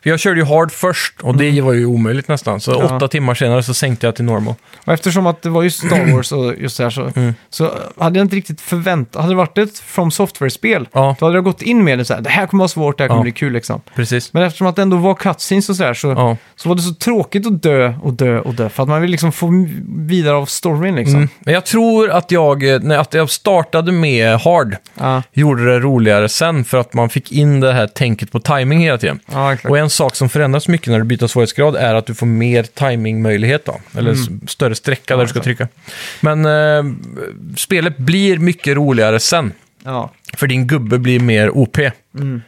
Speaker 2: För jag körde ju hard först och det var ju omöjligt nästan. Så
Speaker 1: Mm. Ja.
Speaker 2: åtta timmar senare så sänkte jag till normal.
Speaker 1: Och eftersom att det var just Star Wars och just det här så,
Speaker 2: Mm.
Speaker 1: så hade jag inte riktigt förväntat... Hade det varit ett From Software-spel,
Speaker 2: Ja.
Speaker 1: då hade jag gått in med det så här, det här kommer vara svårt, det här kommer
Speaker 2: Ja.
Speaker 1: bli kul liksom.
Speaker 2: Precis.
Speaker 1: Men eftersom att det ändå var cutscenes och sådär så,
Speaker 2: Ja.
Speaker 1: så var det så tråkigt att dö och dö och dö. För att man vill liksom få vidare av storyn liksom.
Speaker 2: Mm. Men jag tror att jag, eh, när att jag startade med hard,
Speaker 1: Ja,
Speaker 2: gjorde det roligare sen för att man fick in det här tänket på timing hela tiden.
Speaker 1: ja exakt.
Speaker 2: Och en sak som förändras mycket när du byter svårighetsgrad är att du får mer timingmöjlighet då. Eller s- större sträcka där du ska trycka. Men eh, spelet blir mycket roligare sen.
Speaker 1: Ja.
Speaker 2: För din gubbe blir mer OP.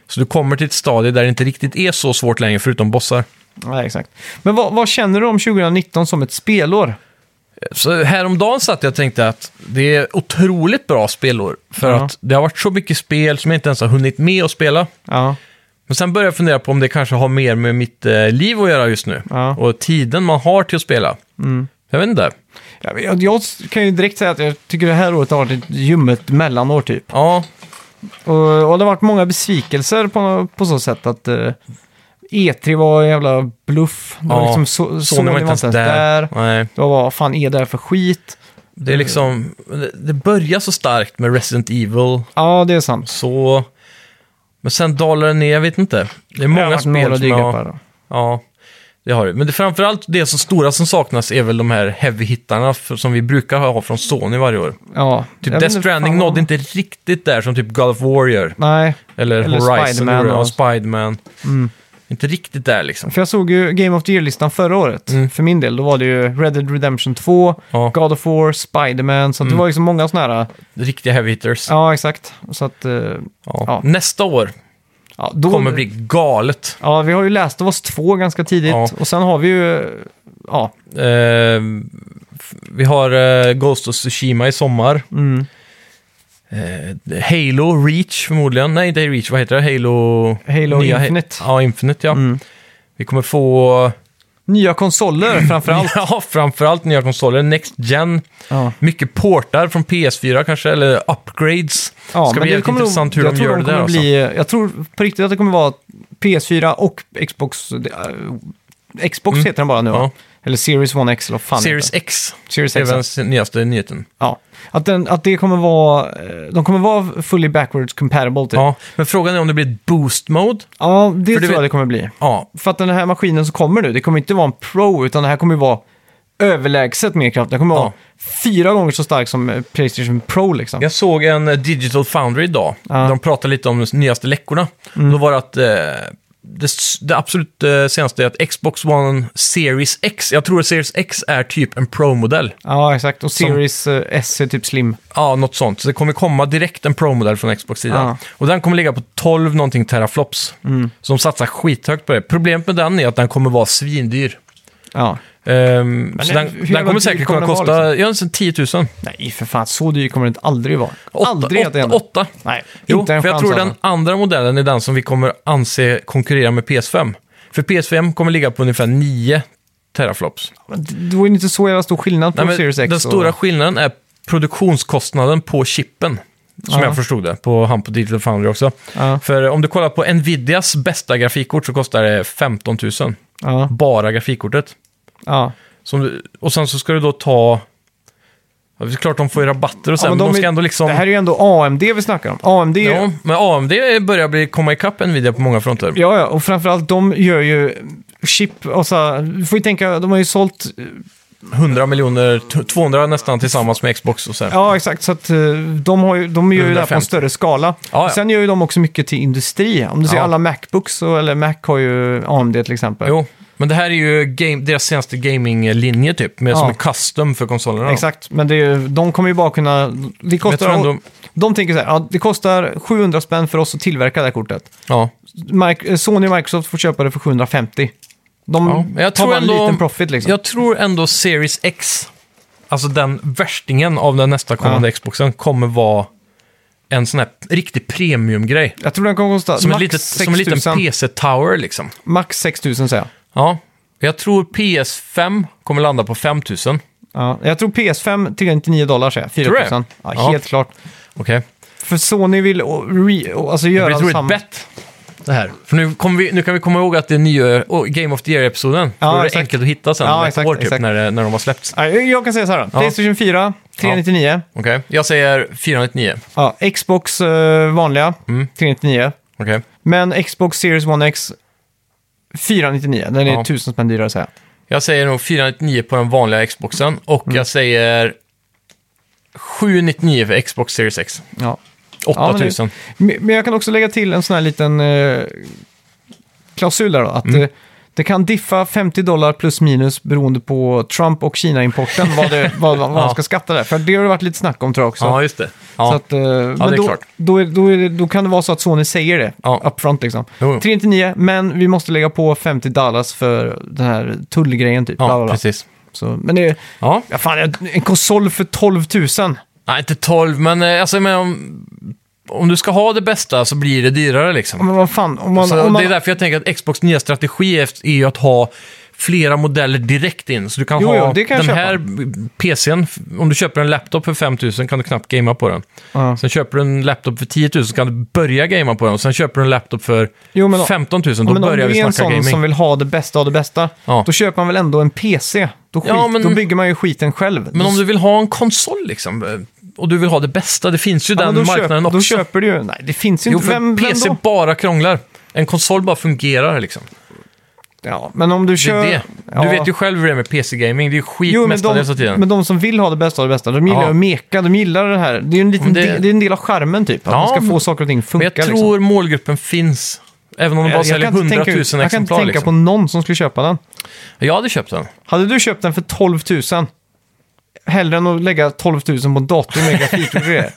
Speaker 2: Så du kommer till ett stadie där det inte riktigt är så svårt längre, förutom bossar.
Speaker 1: ja, exakt. Men vad, vad känner du om 2019 som ett spelår?
Speaker 2: Så häromdagen satt jag och tänkte att det är otroligt bra spelår. För
Speaker 1: Ja.
Speaker 2: att det har varit så mycket spel som jag inte ens har hunnit med att spela.
Speaker 1: Ja,
Speaker 2: Men sen började jag fundera på om det kanske har mer med mitt eh, liv att göra just nu.
Speaker 1: Ja. Mm.
Speaker 2: Och tiden man har till att spela. Jag vet inte.
Speaker 1: jag, jag, jag kan ju direkt säga att jag tycker det här året har varit ett ljummet mellanår typ.
Speaker 2: Ja,
Speaker 1: Och, och det har varit många besvikelser på, på så sätt att eh, E3 var en jävla bluff. Det var
Speaker 2: Ja,
Speaker 1: liksom så,
Speaker 2: Sony var inte ens där. Nej.
Speaker 1: Det var vad fan E är det här för skit?
Speaker 2: Det
Speaker 1: Mm.
Speaker 2: är liksom... det- Det börjar så starkt med Resident Evil.
Speaker 1: Ja, det är sant.
Speaker 2: Så... Men sen dalar det ner, jag vet inte. Det är många
Speaker 1: Det har varit några
Speaker 2: spel som
Speaker 1: dyrgrippar
Speaker 2: jag...
Speaker 1: då.
Speaker 2: Ja, det har det. Men det, framförallt det som stora som saknas är väl de här heavy-hittarna för- som vi brukar ha från Sony varje år.
Speaker 1: Ja.
Speaker 2: Typ
Speaker 1: Jag vet
Speaker 2: Death
Speaker 1: inte fan
Speaker 2: Stranding
Speaker 1: vad-
Speaker 2: nådde inte riktigt där som typ God of War gör.
Speaker 1: Nej,
Speaker 2: Eller,
Speaker 1: Eller
Speaker 2: Horizon
Speaker 1: Spiderman och-
Speaker 2: Spiderman.
Speaker 1: Mm.
Speaker 2: Och Spiderman. Inte riktigt där liksom.
Speaker 1: för jag såg ju Game of the Year-listan förra året. För min del, då var det ju Red Dead Redemption 2,
Speaker 2: Mm. Ja. Mm.
Speaker 1: God of War, Spider-Man. Så att det var liksom många sådana här...
Speaker 2: Riktiga heavy hitters.
Speaker 1: Ja, exakt. Så att... eh,
Speaker 2: Ja.
Speaker 1: Ja. Oh.
Speaker 2: Nästa år
Speaker 1: Ja, då...
Speaker 2: kommer bli galet.
Speaker 1: Ja, vi har ju läst av oss två ganska tidigt.
Speaker 2: Ja.
Speaker 1: Och sen har vi ju... eh, Ja,
Speaker 2: Eh, f- vi har eh, Ghost of Tsushima i sommar.
Speaker 1: mm.
Speaker 2: Eh, Halo Reach förmodligen. Nej, inte Reach. Vad heter det? Halo...
Speaker 1: Halo
Speaker 2: Nya-
Speaker 1: Infinite.
Speaker 2: Ja, Infinite ja.
Speaker 1: Mm.
Speaker 2: Vi kommer få...
Speaker 1: Nya konsoler framförallt.
Speaker 2: Ja, framförallt nya konsoler. Next Gen.
Speaker 1: ja.
Speaker 2: Mycket portar från PS4 kanske, eller upgrades.
Speaker 1: Ja, men
Speaker 2: Ska bli
Speaker 1: det
Speaker 2: jävligt
Speaker 1: kommer
Speaker 2: intressant
Speaker 1: nog,
Speaker 2: hur
Speaker 1: jag
Speaker 2: de
Speaker 1: tror
Speaker 2: gör
Speaker 1: de
Speaker 2: det där. alltså.
Speaker 1: kommer
Speaker 2: Bli...
Speaker 1: bli, Jag tror på riktigt att det kommer vara PS4 och Xbox. det, eh, Xbox heter den bara nu va?
Speaker 2: Mm. Ja.
Speaker 1: Eller Series 1 X eller vad fan
Speaker 2: Series
Speaker 1: heter
Speaker 2: X.
Speaker 1: det? Series
Speaker 2: Det är
Speaker 1: X.
Speaker 2: väl den nyaste nyheten.
Speaker 1: Ja. Att, den, att det kommer vara... eh, De kommer vara fully backwards compatible typ. Ja,
Speaker 2: Ja, men frågan är om det blir ett boost mode.
Speaker 1: det
Speaker 2: För
Speaker 1: tror
Speaker 2: du
Speaker 1: jag
Speaker 2: vet-
Speaker 1: det kommer bli.
Speaker 2: Ja,
Speaker 1: För att den här maskinen som kommer nu, det kommer inte vara en Pro utan det här kommer ju vara överlägset mer kraft. Den kommer
Speaker 2: Ja.
Speaker 1: vara fyra gånger så stark som eh, Playstation Pro liksom.
Speaker 2: jag såg en eh, Digital Foundry idag.
Speaker 1: Ja. Mm.
Speaker 2: Där de pratade lite om de nyaste läckorna. Då var det att eh, det, s- det absolut eh, senaste är att Xbox One Series X, jag tror att Series X är typ en Pro-modell.
Speaker 1: Ja, exakt. Och Series eh, S är typ slim.
Speaker 2: Ja, något sånt. Så det kommer komma direkt en Pro-modell från Xbox-sidan.
Speaker 1: Ja. Mm.
Speaker 2: Och den kommer ligga på 12 någonting teraflops. Så de satsar skithögt på det. Problemet med den är att den kommer vara svindyr.
Speaker 1: Ja.
Speaker 2: Ehm, så
Speaker 1: hur
Speaker 2: den,
Speaker 1: jävla
Speaker 2: den kommer
Speaker 1: dyr
Speaker 2: säkert
Speaker 1: kommer
Speaker 2: kunna
Speaker 1: den vara, liksom?
Speaker 2: kosta, ja, sen 10 000.
Speaker 1: Nej, för fan. Så dyr kommer det aldrig vara.
Speaker 2: Åtta,
Speaker 1: aldrig att det
Speaker 2: åtta,
Speaker 1: händer.
Speaker 2: åtta.
Speaker 1: Nej,
Speaker 2: Jo,
Speaker 1: inte en
Speaker 2: för jag
Speaker 1: chans
Speaker 2: tror den
Speaker 1: alltså.
Speaker 2: andra modellen är den som vi kommer anse konkurrera med PS5. För PS5 kommer ligga på ungefär 9 teraflops.
Speaker 1: Men det- Det var ju inte så jävla stor skillnad på
Speaker 2: Nej, men
Speaker 1: Series X
Speaker 2: den
Speaker 1: och-
Speaker 2: stora skillnaden är produktionskostnaden på chippen. Som
Speaker 1: Ja.
Speaker 2: jag förstod det, på han på Digital Foundry också.
Speaker 1: Ja.
Speaker 2: För om du kollar på Nvidias bästa grafikkort så kostar det 15 000.
Speaker 1: Ja,
Speaker 2: Bara grafikkortet.
Speaker 1: ja.
Speaker 2: Som du, och sen så ska du då ta... Ja, det är klart de får ju rabatter och sen,
Speaker 1: Ja,
Speaker 2: men de,
Speaker 1: är-
Speaker 2: ska ändå liksom...
Speaker 1: Det här är ju ändå AMD vi snackar om. AMD, ja,
Speaker 2: Ja, men AMD börjar bli, komma ikapp Nvidia på många fronter.
Speaker 1: ja, och framförallt de gör ju chip, och så, du får ju tänka, de har ju sålt,
Speaker 2: 100 miljoner, t- 200 nästan tillsammans med Xbox och så här.
Speaker 1: ja exakt, så att eh, de, har ju, de gör ju det här på en
Speaker 2: 150.
Speaker 1: större skala.
Speaker 2: Ja, ja.
Speaker 1: Sen gör ju de också mycket till industri. Om du ser
Speaker 2: Ja.
Speaker 1: alla Macbooks, och, eller Mac har ju AMD till exempel.
Speaker 2: Jo, men det här är ju game, deras senaste gaminglinje typ, med, som
Speaker 1: Ja.
Speaker 2: är custom för konsolerna. då.
Speaker 1: Exakt, men det är, ju- de kommer ju bara kunna... Det
Speaker 2: Men jag
Speaker 1: kostar,
Speaker 2: tror ändå,
Speaker 1: De tänker så här, ja, det kostar 700 spänn för oss att tillverka det här kortet.
Speaker 2: ja.
Speaker 1: Mic- eh, Sony och Microsoft får köpa det för 750. De
Speaker 2: Ja, men jag
Speaker 1: tar
Speaker 2: tror
Speaker 1: bara en
Speaker 2: ändå-
Speaker 1: liten profit liksom.
Speaker 2: Jag tror ändå Series X, alltså den värstingen av den nästa kommande Xboxen, kommer vara en sån här riktig premiumgrej.
Speaker 1: Jag tror den kommer kosta
Speaker 2: Som, en
Speaker 1: max,
Speaker 2: litet, som en liten
Speaker 1: 6000,
Speaker 2: PC-tower liksom.
Speaker 1: max 6000 säger jag.
Speaker 2: Ja. Jag tror PS5 kommer landa på 5000.
Speaker 1: Ja, jag tror PS5 till 99 dollar säger jag,
Speaker 2: Tror du det?
Speaker 1: 4000. Ja,
Speaker 2: Ja.
Speaker 1: Helt klart.
Speaker 2: Okej.
Speaker 1: För Sony vill å- re, å- alltså
Speaker 2: Det
Speaker 1: göra
Speaker 2: blir ett roligt
Speaker 1: samma-
Speaker 2: bett. Det här. För nu, kommer vi, nu kan vi komma ihåg att det är nya oh, Game of the Year-episoden.
Speaker 1: Ja,
Speaker 2: Då är det
Speaker 1: exakt.
Speaker 2: enkelt att hitta sen
Speaker 1: Ja,
Speaker 2: om ett
Speaker 1: exakt,
Speaker 2: år typ,
Speaker 1: exakt.
Speaker 2: När, det- när de har släppts.
Speaker 1: Ja, jag- jag kan säga så här då.
Speaker 2: Ja.
Speaker 1: Playstation 4, 399.
Speaker 2: Okej. Jag säger 499.
Speaker 1: Ja. Xbox eh, vanliga,
Speaker 2: Mm.
Speaker 1: 399.
Speaker 2: Okej.
Speaker 1: Men Xbox Series One X, 499. Den är
Speaker 2: Ja.
Speaker 1: 1000 spänn dyrare säger jag.
Speaker 2: Jag säger nog 499 på den vanliga Xboxen och
Speaker 1: Mm.
Speaker 2: jag säger 799 för Xbox Series X.
Speaker 1: Ja. Ja, men det-
Speaker 2: 8000.
Speaker 1: Men men jag kan också lägga till en sån här liten eh, klausul där då. Att
Speaker 2: Mm.
Speaker 1: eh, det kan diffa 50 dollar plus minus beroende på Trump och Kina-importen. Vad, det, vad, vad man
Speaker 2: Ja.
Speaker 1: ska skatta där. För det har det varit lite snack om tror jag också.
Speaker 2: Ja, just det. Ja.
Speaker 1: Så att, eh, men
Speaker 2: det är
Speaker 1: då,
Speaker 2: klart.
Speaker 1: Då, är, då, är det, då kan det vara så att Sony säger det
Speaker 2: Ja.
Speaker 1: upfront liksom.
Speaker 2: Jo, jo.
Speaker 1: 399, men vi måste lägga på 50 dollars för den här tullgrejen typ. bla, bla,
Speaker 2: ja,
Speaker 1: bla.
Speaker 2: precis.
Speaker 1: Så, men det är,
Speaker 2: Ja.
Speaker 1: ja, fan, en- en konsol för 12 000.
Speaker 2: Nej, inte 12, men eh, alltså, men om, om du ska ha det bästa så blir det dyrare liksom.
Speaker 1: Men vad fan, om man...
Speaker 2: Så
Speaker 1: om man
Speaker 2: det är därför jag tänker att Xbox nya strategi är är ju att ha flera modeller direkt in. Så du kan
Speaker 1: Jo,
Speaker 2: ha
Speaker 1: jo, det kan jag
Speaker 2: den
Speaker 1: köpa.
Speaker 2: här PCn. f- Om du köper en laptop för 5000 kan du knappt gamea på den.
Speaker 1: Ja.
Speaker 2: Sen köper du en laptop för 10 000 så kan du börja gamea på den. Och sen köper du en laptop för
Speaker 1: Jo, men-
Speaker 2: 15 000, då
Speaker 1: men om du
Speaker 2: börjar vi
Speaker 1: är en
Speaker 2: snacka
Speaker 1: sån
Speaker 2: gaming.
Speaker 1: som vill ha det bästa av det bästa,
Speaker 2: Ja.
Speaker 1: då köper man väl ändå en PC? Då, skit,
Speaker 2: Ja, men-
Speaker 1: då bygger man ju skiten själv.
Speaker 2: Men
Speaker 1: Då-
Speaker 2: om du vill ha en konsol liksom, eh, och du vill ha det bästa, det finns ju
Speaker 1: ja, men
Speaker 2: den
Speaker 1: då
Speaker 2: marknaden
Speaker 1: köp,
Speaker 2: också.
Speaker 1: Då köper du ju... Nej, det finns ju
Speaker 2: jo,
Speaker 1: inte.
Speaker 2: för
Speaker 1: Vem,
Speaker 2: PC
Speaker 1: vem då?
Speaker 2: bara krånglar. En konsol bara fungerar liksom.
Speaker 1: Ja, men om du
Speaker 2: Det
Speaker 1: kör...
Speaker 2: är det.
Speaker 1: Ja.
Speaker 2: Du vet ju själv hur det är med PC-gaming. Det är ju skit
Speaker 1: Jo, men
Speaker 2: mestadels av
Speaker 1: de,
Speaker 2: tiden.
Speaker 1: men de som vill ha det bästa av det bästa, de gillar
Speaker 2: Ja.
Speaker 1: ju att meka, de gillar det här. Det är, ju en liten
Speaker 2: Men det-
Speaker 1: del, det är en del av charmen typ, att
Speaker 2: Ja,
Speaker 1: man ska få
Speaker 2: men-
Speaker 1: saker och ting att funka.
Speaker 2: Men jag tror
Speaker 1: liksom.
Speaker 2: målgruppen finns. Även om de bara
Speaker 1: jag, jag
Speaker 2: säljer
Speaker 1: kan inte
Speaker 2: 100 000
Speaker 1: tänka, ut- jag kan inte
Speaker 2: exemplar.
Speaker 1: tänka
Speaker 2: Liksom.
Speaker 1: på någon som skulle köpa den.
Speaker 2: Jag hade köpt den.
Speaker 1: Hade du köpt den för 12 000, hellre än att lägga 12 000 på en dator med grafikkort och grejer.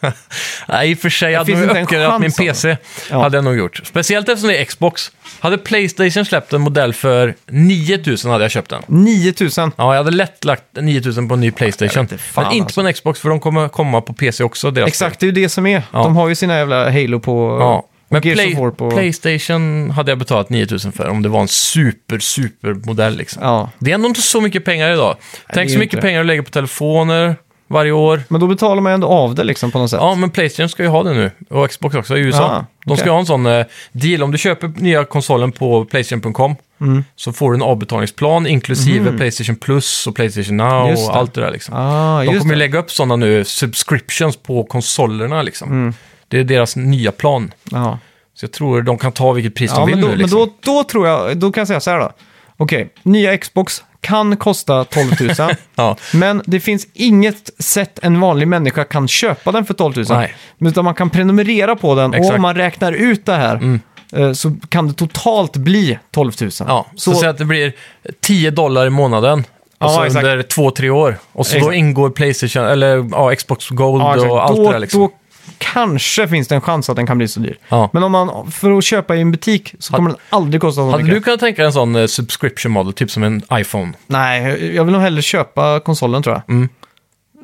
Speaker 2: Nej, i och för sig. Hade
Speaker 1: finns
Speaker 2: nog
Speaker 1: inte en
Speaker 2: uppgraderat
Speaker 1: chans
Speaker 2: min
Speaker 1: alltså.
Speaker 2: PC.
Speaker 1: Ja.
Speaker 2: Hade jag nog gjort. Speciellt eftersom det är Xbox. Hade Playstation släppt en modell för 9000 hade jag köpt den.
Speaker 1: 9 000.
Speaker 2: Ja, jag hade lätt lagt 9000 på en ny Playstation.
Speaker 1: inte fan, alltså.
Speaker 2: men inte på en Xbox, för de kommer komma på PC också. Deras
Speaker 1: Exakt, det är ju det som är. De har ju sina jävla Halo på...
Speaker 2: Ja. Men
Speaker 1: och Gears
Speaker 2: Play,
Speaker 1: of War på...
Speaker 2: Playstation hade jag betalat 9000 för om det var en super, super modell liksom.
Speaker 1: Ja.
Speaker 2: Det är ändå inte så mycket pengar idag. Tänk
Speaker 1: är
Speaker 2: så
Speaker 1: ju
Speaker 2: mycket
Speaker 1: inte det.
Speaker 2: pengar du lägger på telefoner varje år.
Speaker 1: Men då betalar man ju ändå av det liksom på något sätt.
Speaker 2: Ja, men Playstation ska ju ha det nu. Och Xbox också i USA.
Speaker 1: Ah,
Speaker 2: De ska
Speaker 1: okej.
Speaker 2: ha en sån eh, deal. Om du köper nya konsolen på Playstation.com
Speaker 1: Mm.
Speaker 2: så får du en avbetalningsplan inklusive Playstation Plus och Playstation Now
Speaker 1: Just
Speaker 2: och
Speaker 1: det.
Speaker 2: allt det där. Liksom.
Speaker 1: Ah,
Speaker 2: De
Speaker 1: just
Speaker 2: kommer ju
Speaker 1: det.
Speaker 2: lägga upp sådana nu, subscriptions på konsolerna liksom.
Speaker 1: Mm.
Speaker 2: Det är deras nya plan.
Speaker 1: Ja.
Speaker 2: Så jag tror de kan ta vilket pris
Speaker 1: Ja,
Speaker 2: de vill
Speaker 1: men, då,
Speaker 2: nu. Liksom.
Speaker 1: men då, då tror jag, då kan jag säga så här då. Okej, nya Xbox kan kosta 12 000.
Speaker 2: Ja.
Speaker 1: men det finns inget sätt en vanlig människa kan köpa den för 12 000.
Speaker 2: Nej.
Speaker 1: Utan man kan prenumerera på den och
Speaker 2: Exakt. Mm.
Speaker 1: om man räknar ut det här eh, så kan det totalt bli 12 000.
Speaker 2: Ja, så, säg att det blir 10 dollar i månaden. Alltså
Speaker 1: exakt.
Speaker 2: under 2-3 år. Och så då
Speaker 1: Exakt.
Speaker 2: ingår Playstation, eller ja, Xbox Gold
Speaker 1: Ja, exakt.
Speaker 2: och allt
Speaker 1: då,
Speaker 2: det där liksom.
Speaker 1: då kanske finns det en chans att den kan bli så dyr.
Speaker 2: Ja.
Speaker 1: Men om man, för att köpa i en butik så kommer den aldrig kosta så
Speaker 2: Hade
Speaker 1: mycket.
Speaker 2: du kunnat tänka dig en sån eh, subscription model, typ som en iPhone?
Speaker 1: Nej, jag vill nog hellre köpa konsolen tror jag.
Speaker 2: Mm.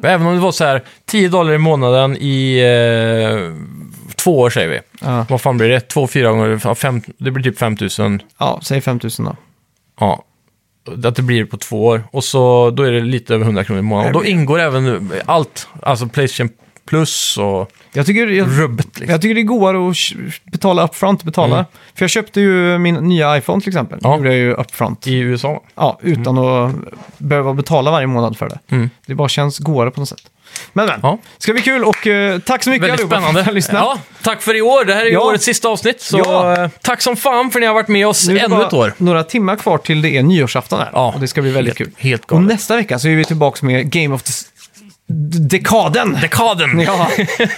Speaker 2: Även om det var så här 10 dollar i månaden i eh, två år säger vi.
Speaker 1: Ja.
Speaker 2: Vad fan blir det? Två, fyra gånger, ja, fem, det blir typ 5 000.
Speaker 1: Ja, säg 5 000 då.
Speaker 2: Ja. Att det blir på två år. Och så då är det lite över 100 kronor i månaden. Och då ingår även allt, alltså Playstation Plus och
Speaker 1: Jag tycker, jag,
Speaker 2: rubbet liksom.
Speaker 1: jag tycker det är godare att sh- betala upfront, betala. För jag köpte ju min nya iPhone till exempel.
Speaker 2: Mm. Ja.
Speaker 1: gjorde jag ju upfront.
Speaker 2: I USA.
Speaker 1: Ja, utan att behöva betala varje månad för det.
Speaker 2: Mm.
Speaker 1: Det bara känns godare på något sätt. Men men,
Speaker 2: Ja.
Speaker 1: ska bli kul och eh, tack så mycket
Speaker 2: Väldigt
Speaker 1: allihopa för att
Speaker 2: spännande.
Speaker 1: ni lyssnade.
Speaker 2: Ja, tack för i år. Det här är ju
Speaker 1: Ja.
Speaker 2: årets sista avsnitt. Så
Speaker 1: Ja.
Speaker 2: eh, tack som fan för att ni har varit med oss
Speaker 1: Nu är det
Speaker 2: ännu
Speaker 1: bara
Speaker 2: ett år.
Speaker 1: några timmar kvar till det är nyårsafton här.
Speaker 2: Ja.
Speaker 1: Och det ska bli väldigt
Speaker 2: Helt-
Speaker 1: kul.
Speaker 2: helt
Speaker 1: och
Speaker 2: galet.
Speaker 1: nästa vecka så är vi tillbaka med Game of the... Dekaden!
Speaker 2: Dekaden!
Speaker 1: Ja.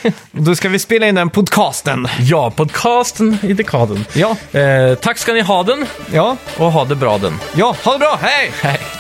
Speaker 1: Och Då ska vi spela in den podcasten.
Speaker 2: Ja, podcasten i dekaden.
Speaker 1: Ja,
Speaker 2: Eh, tack ska ni ha den
Speaker 1: ja,
Speaker 2: och ha det bra den.
Speaker 1: ja. Ha det bra, hej!
Speaker 2: Hej.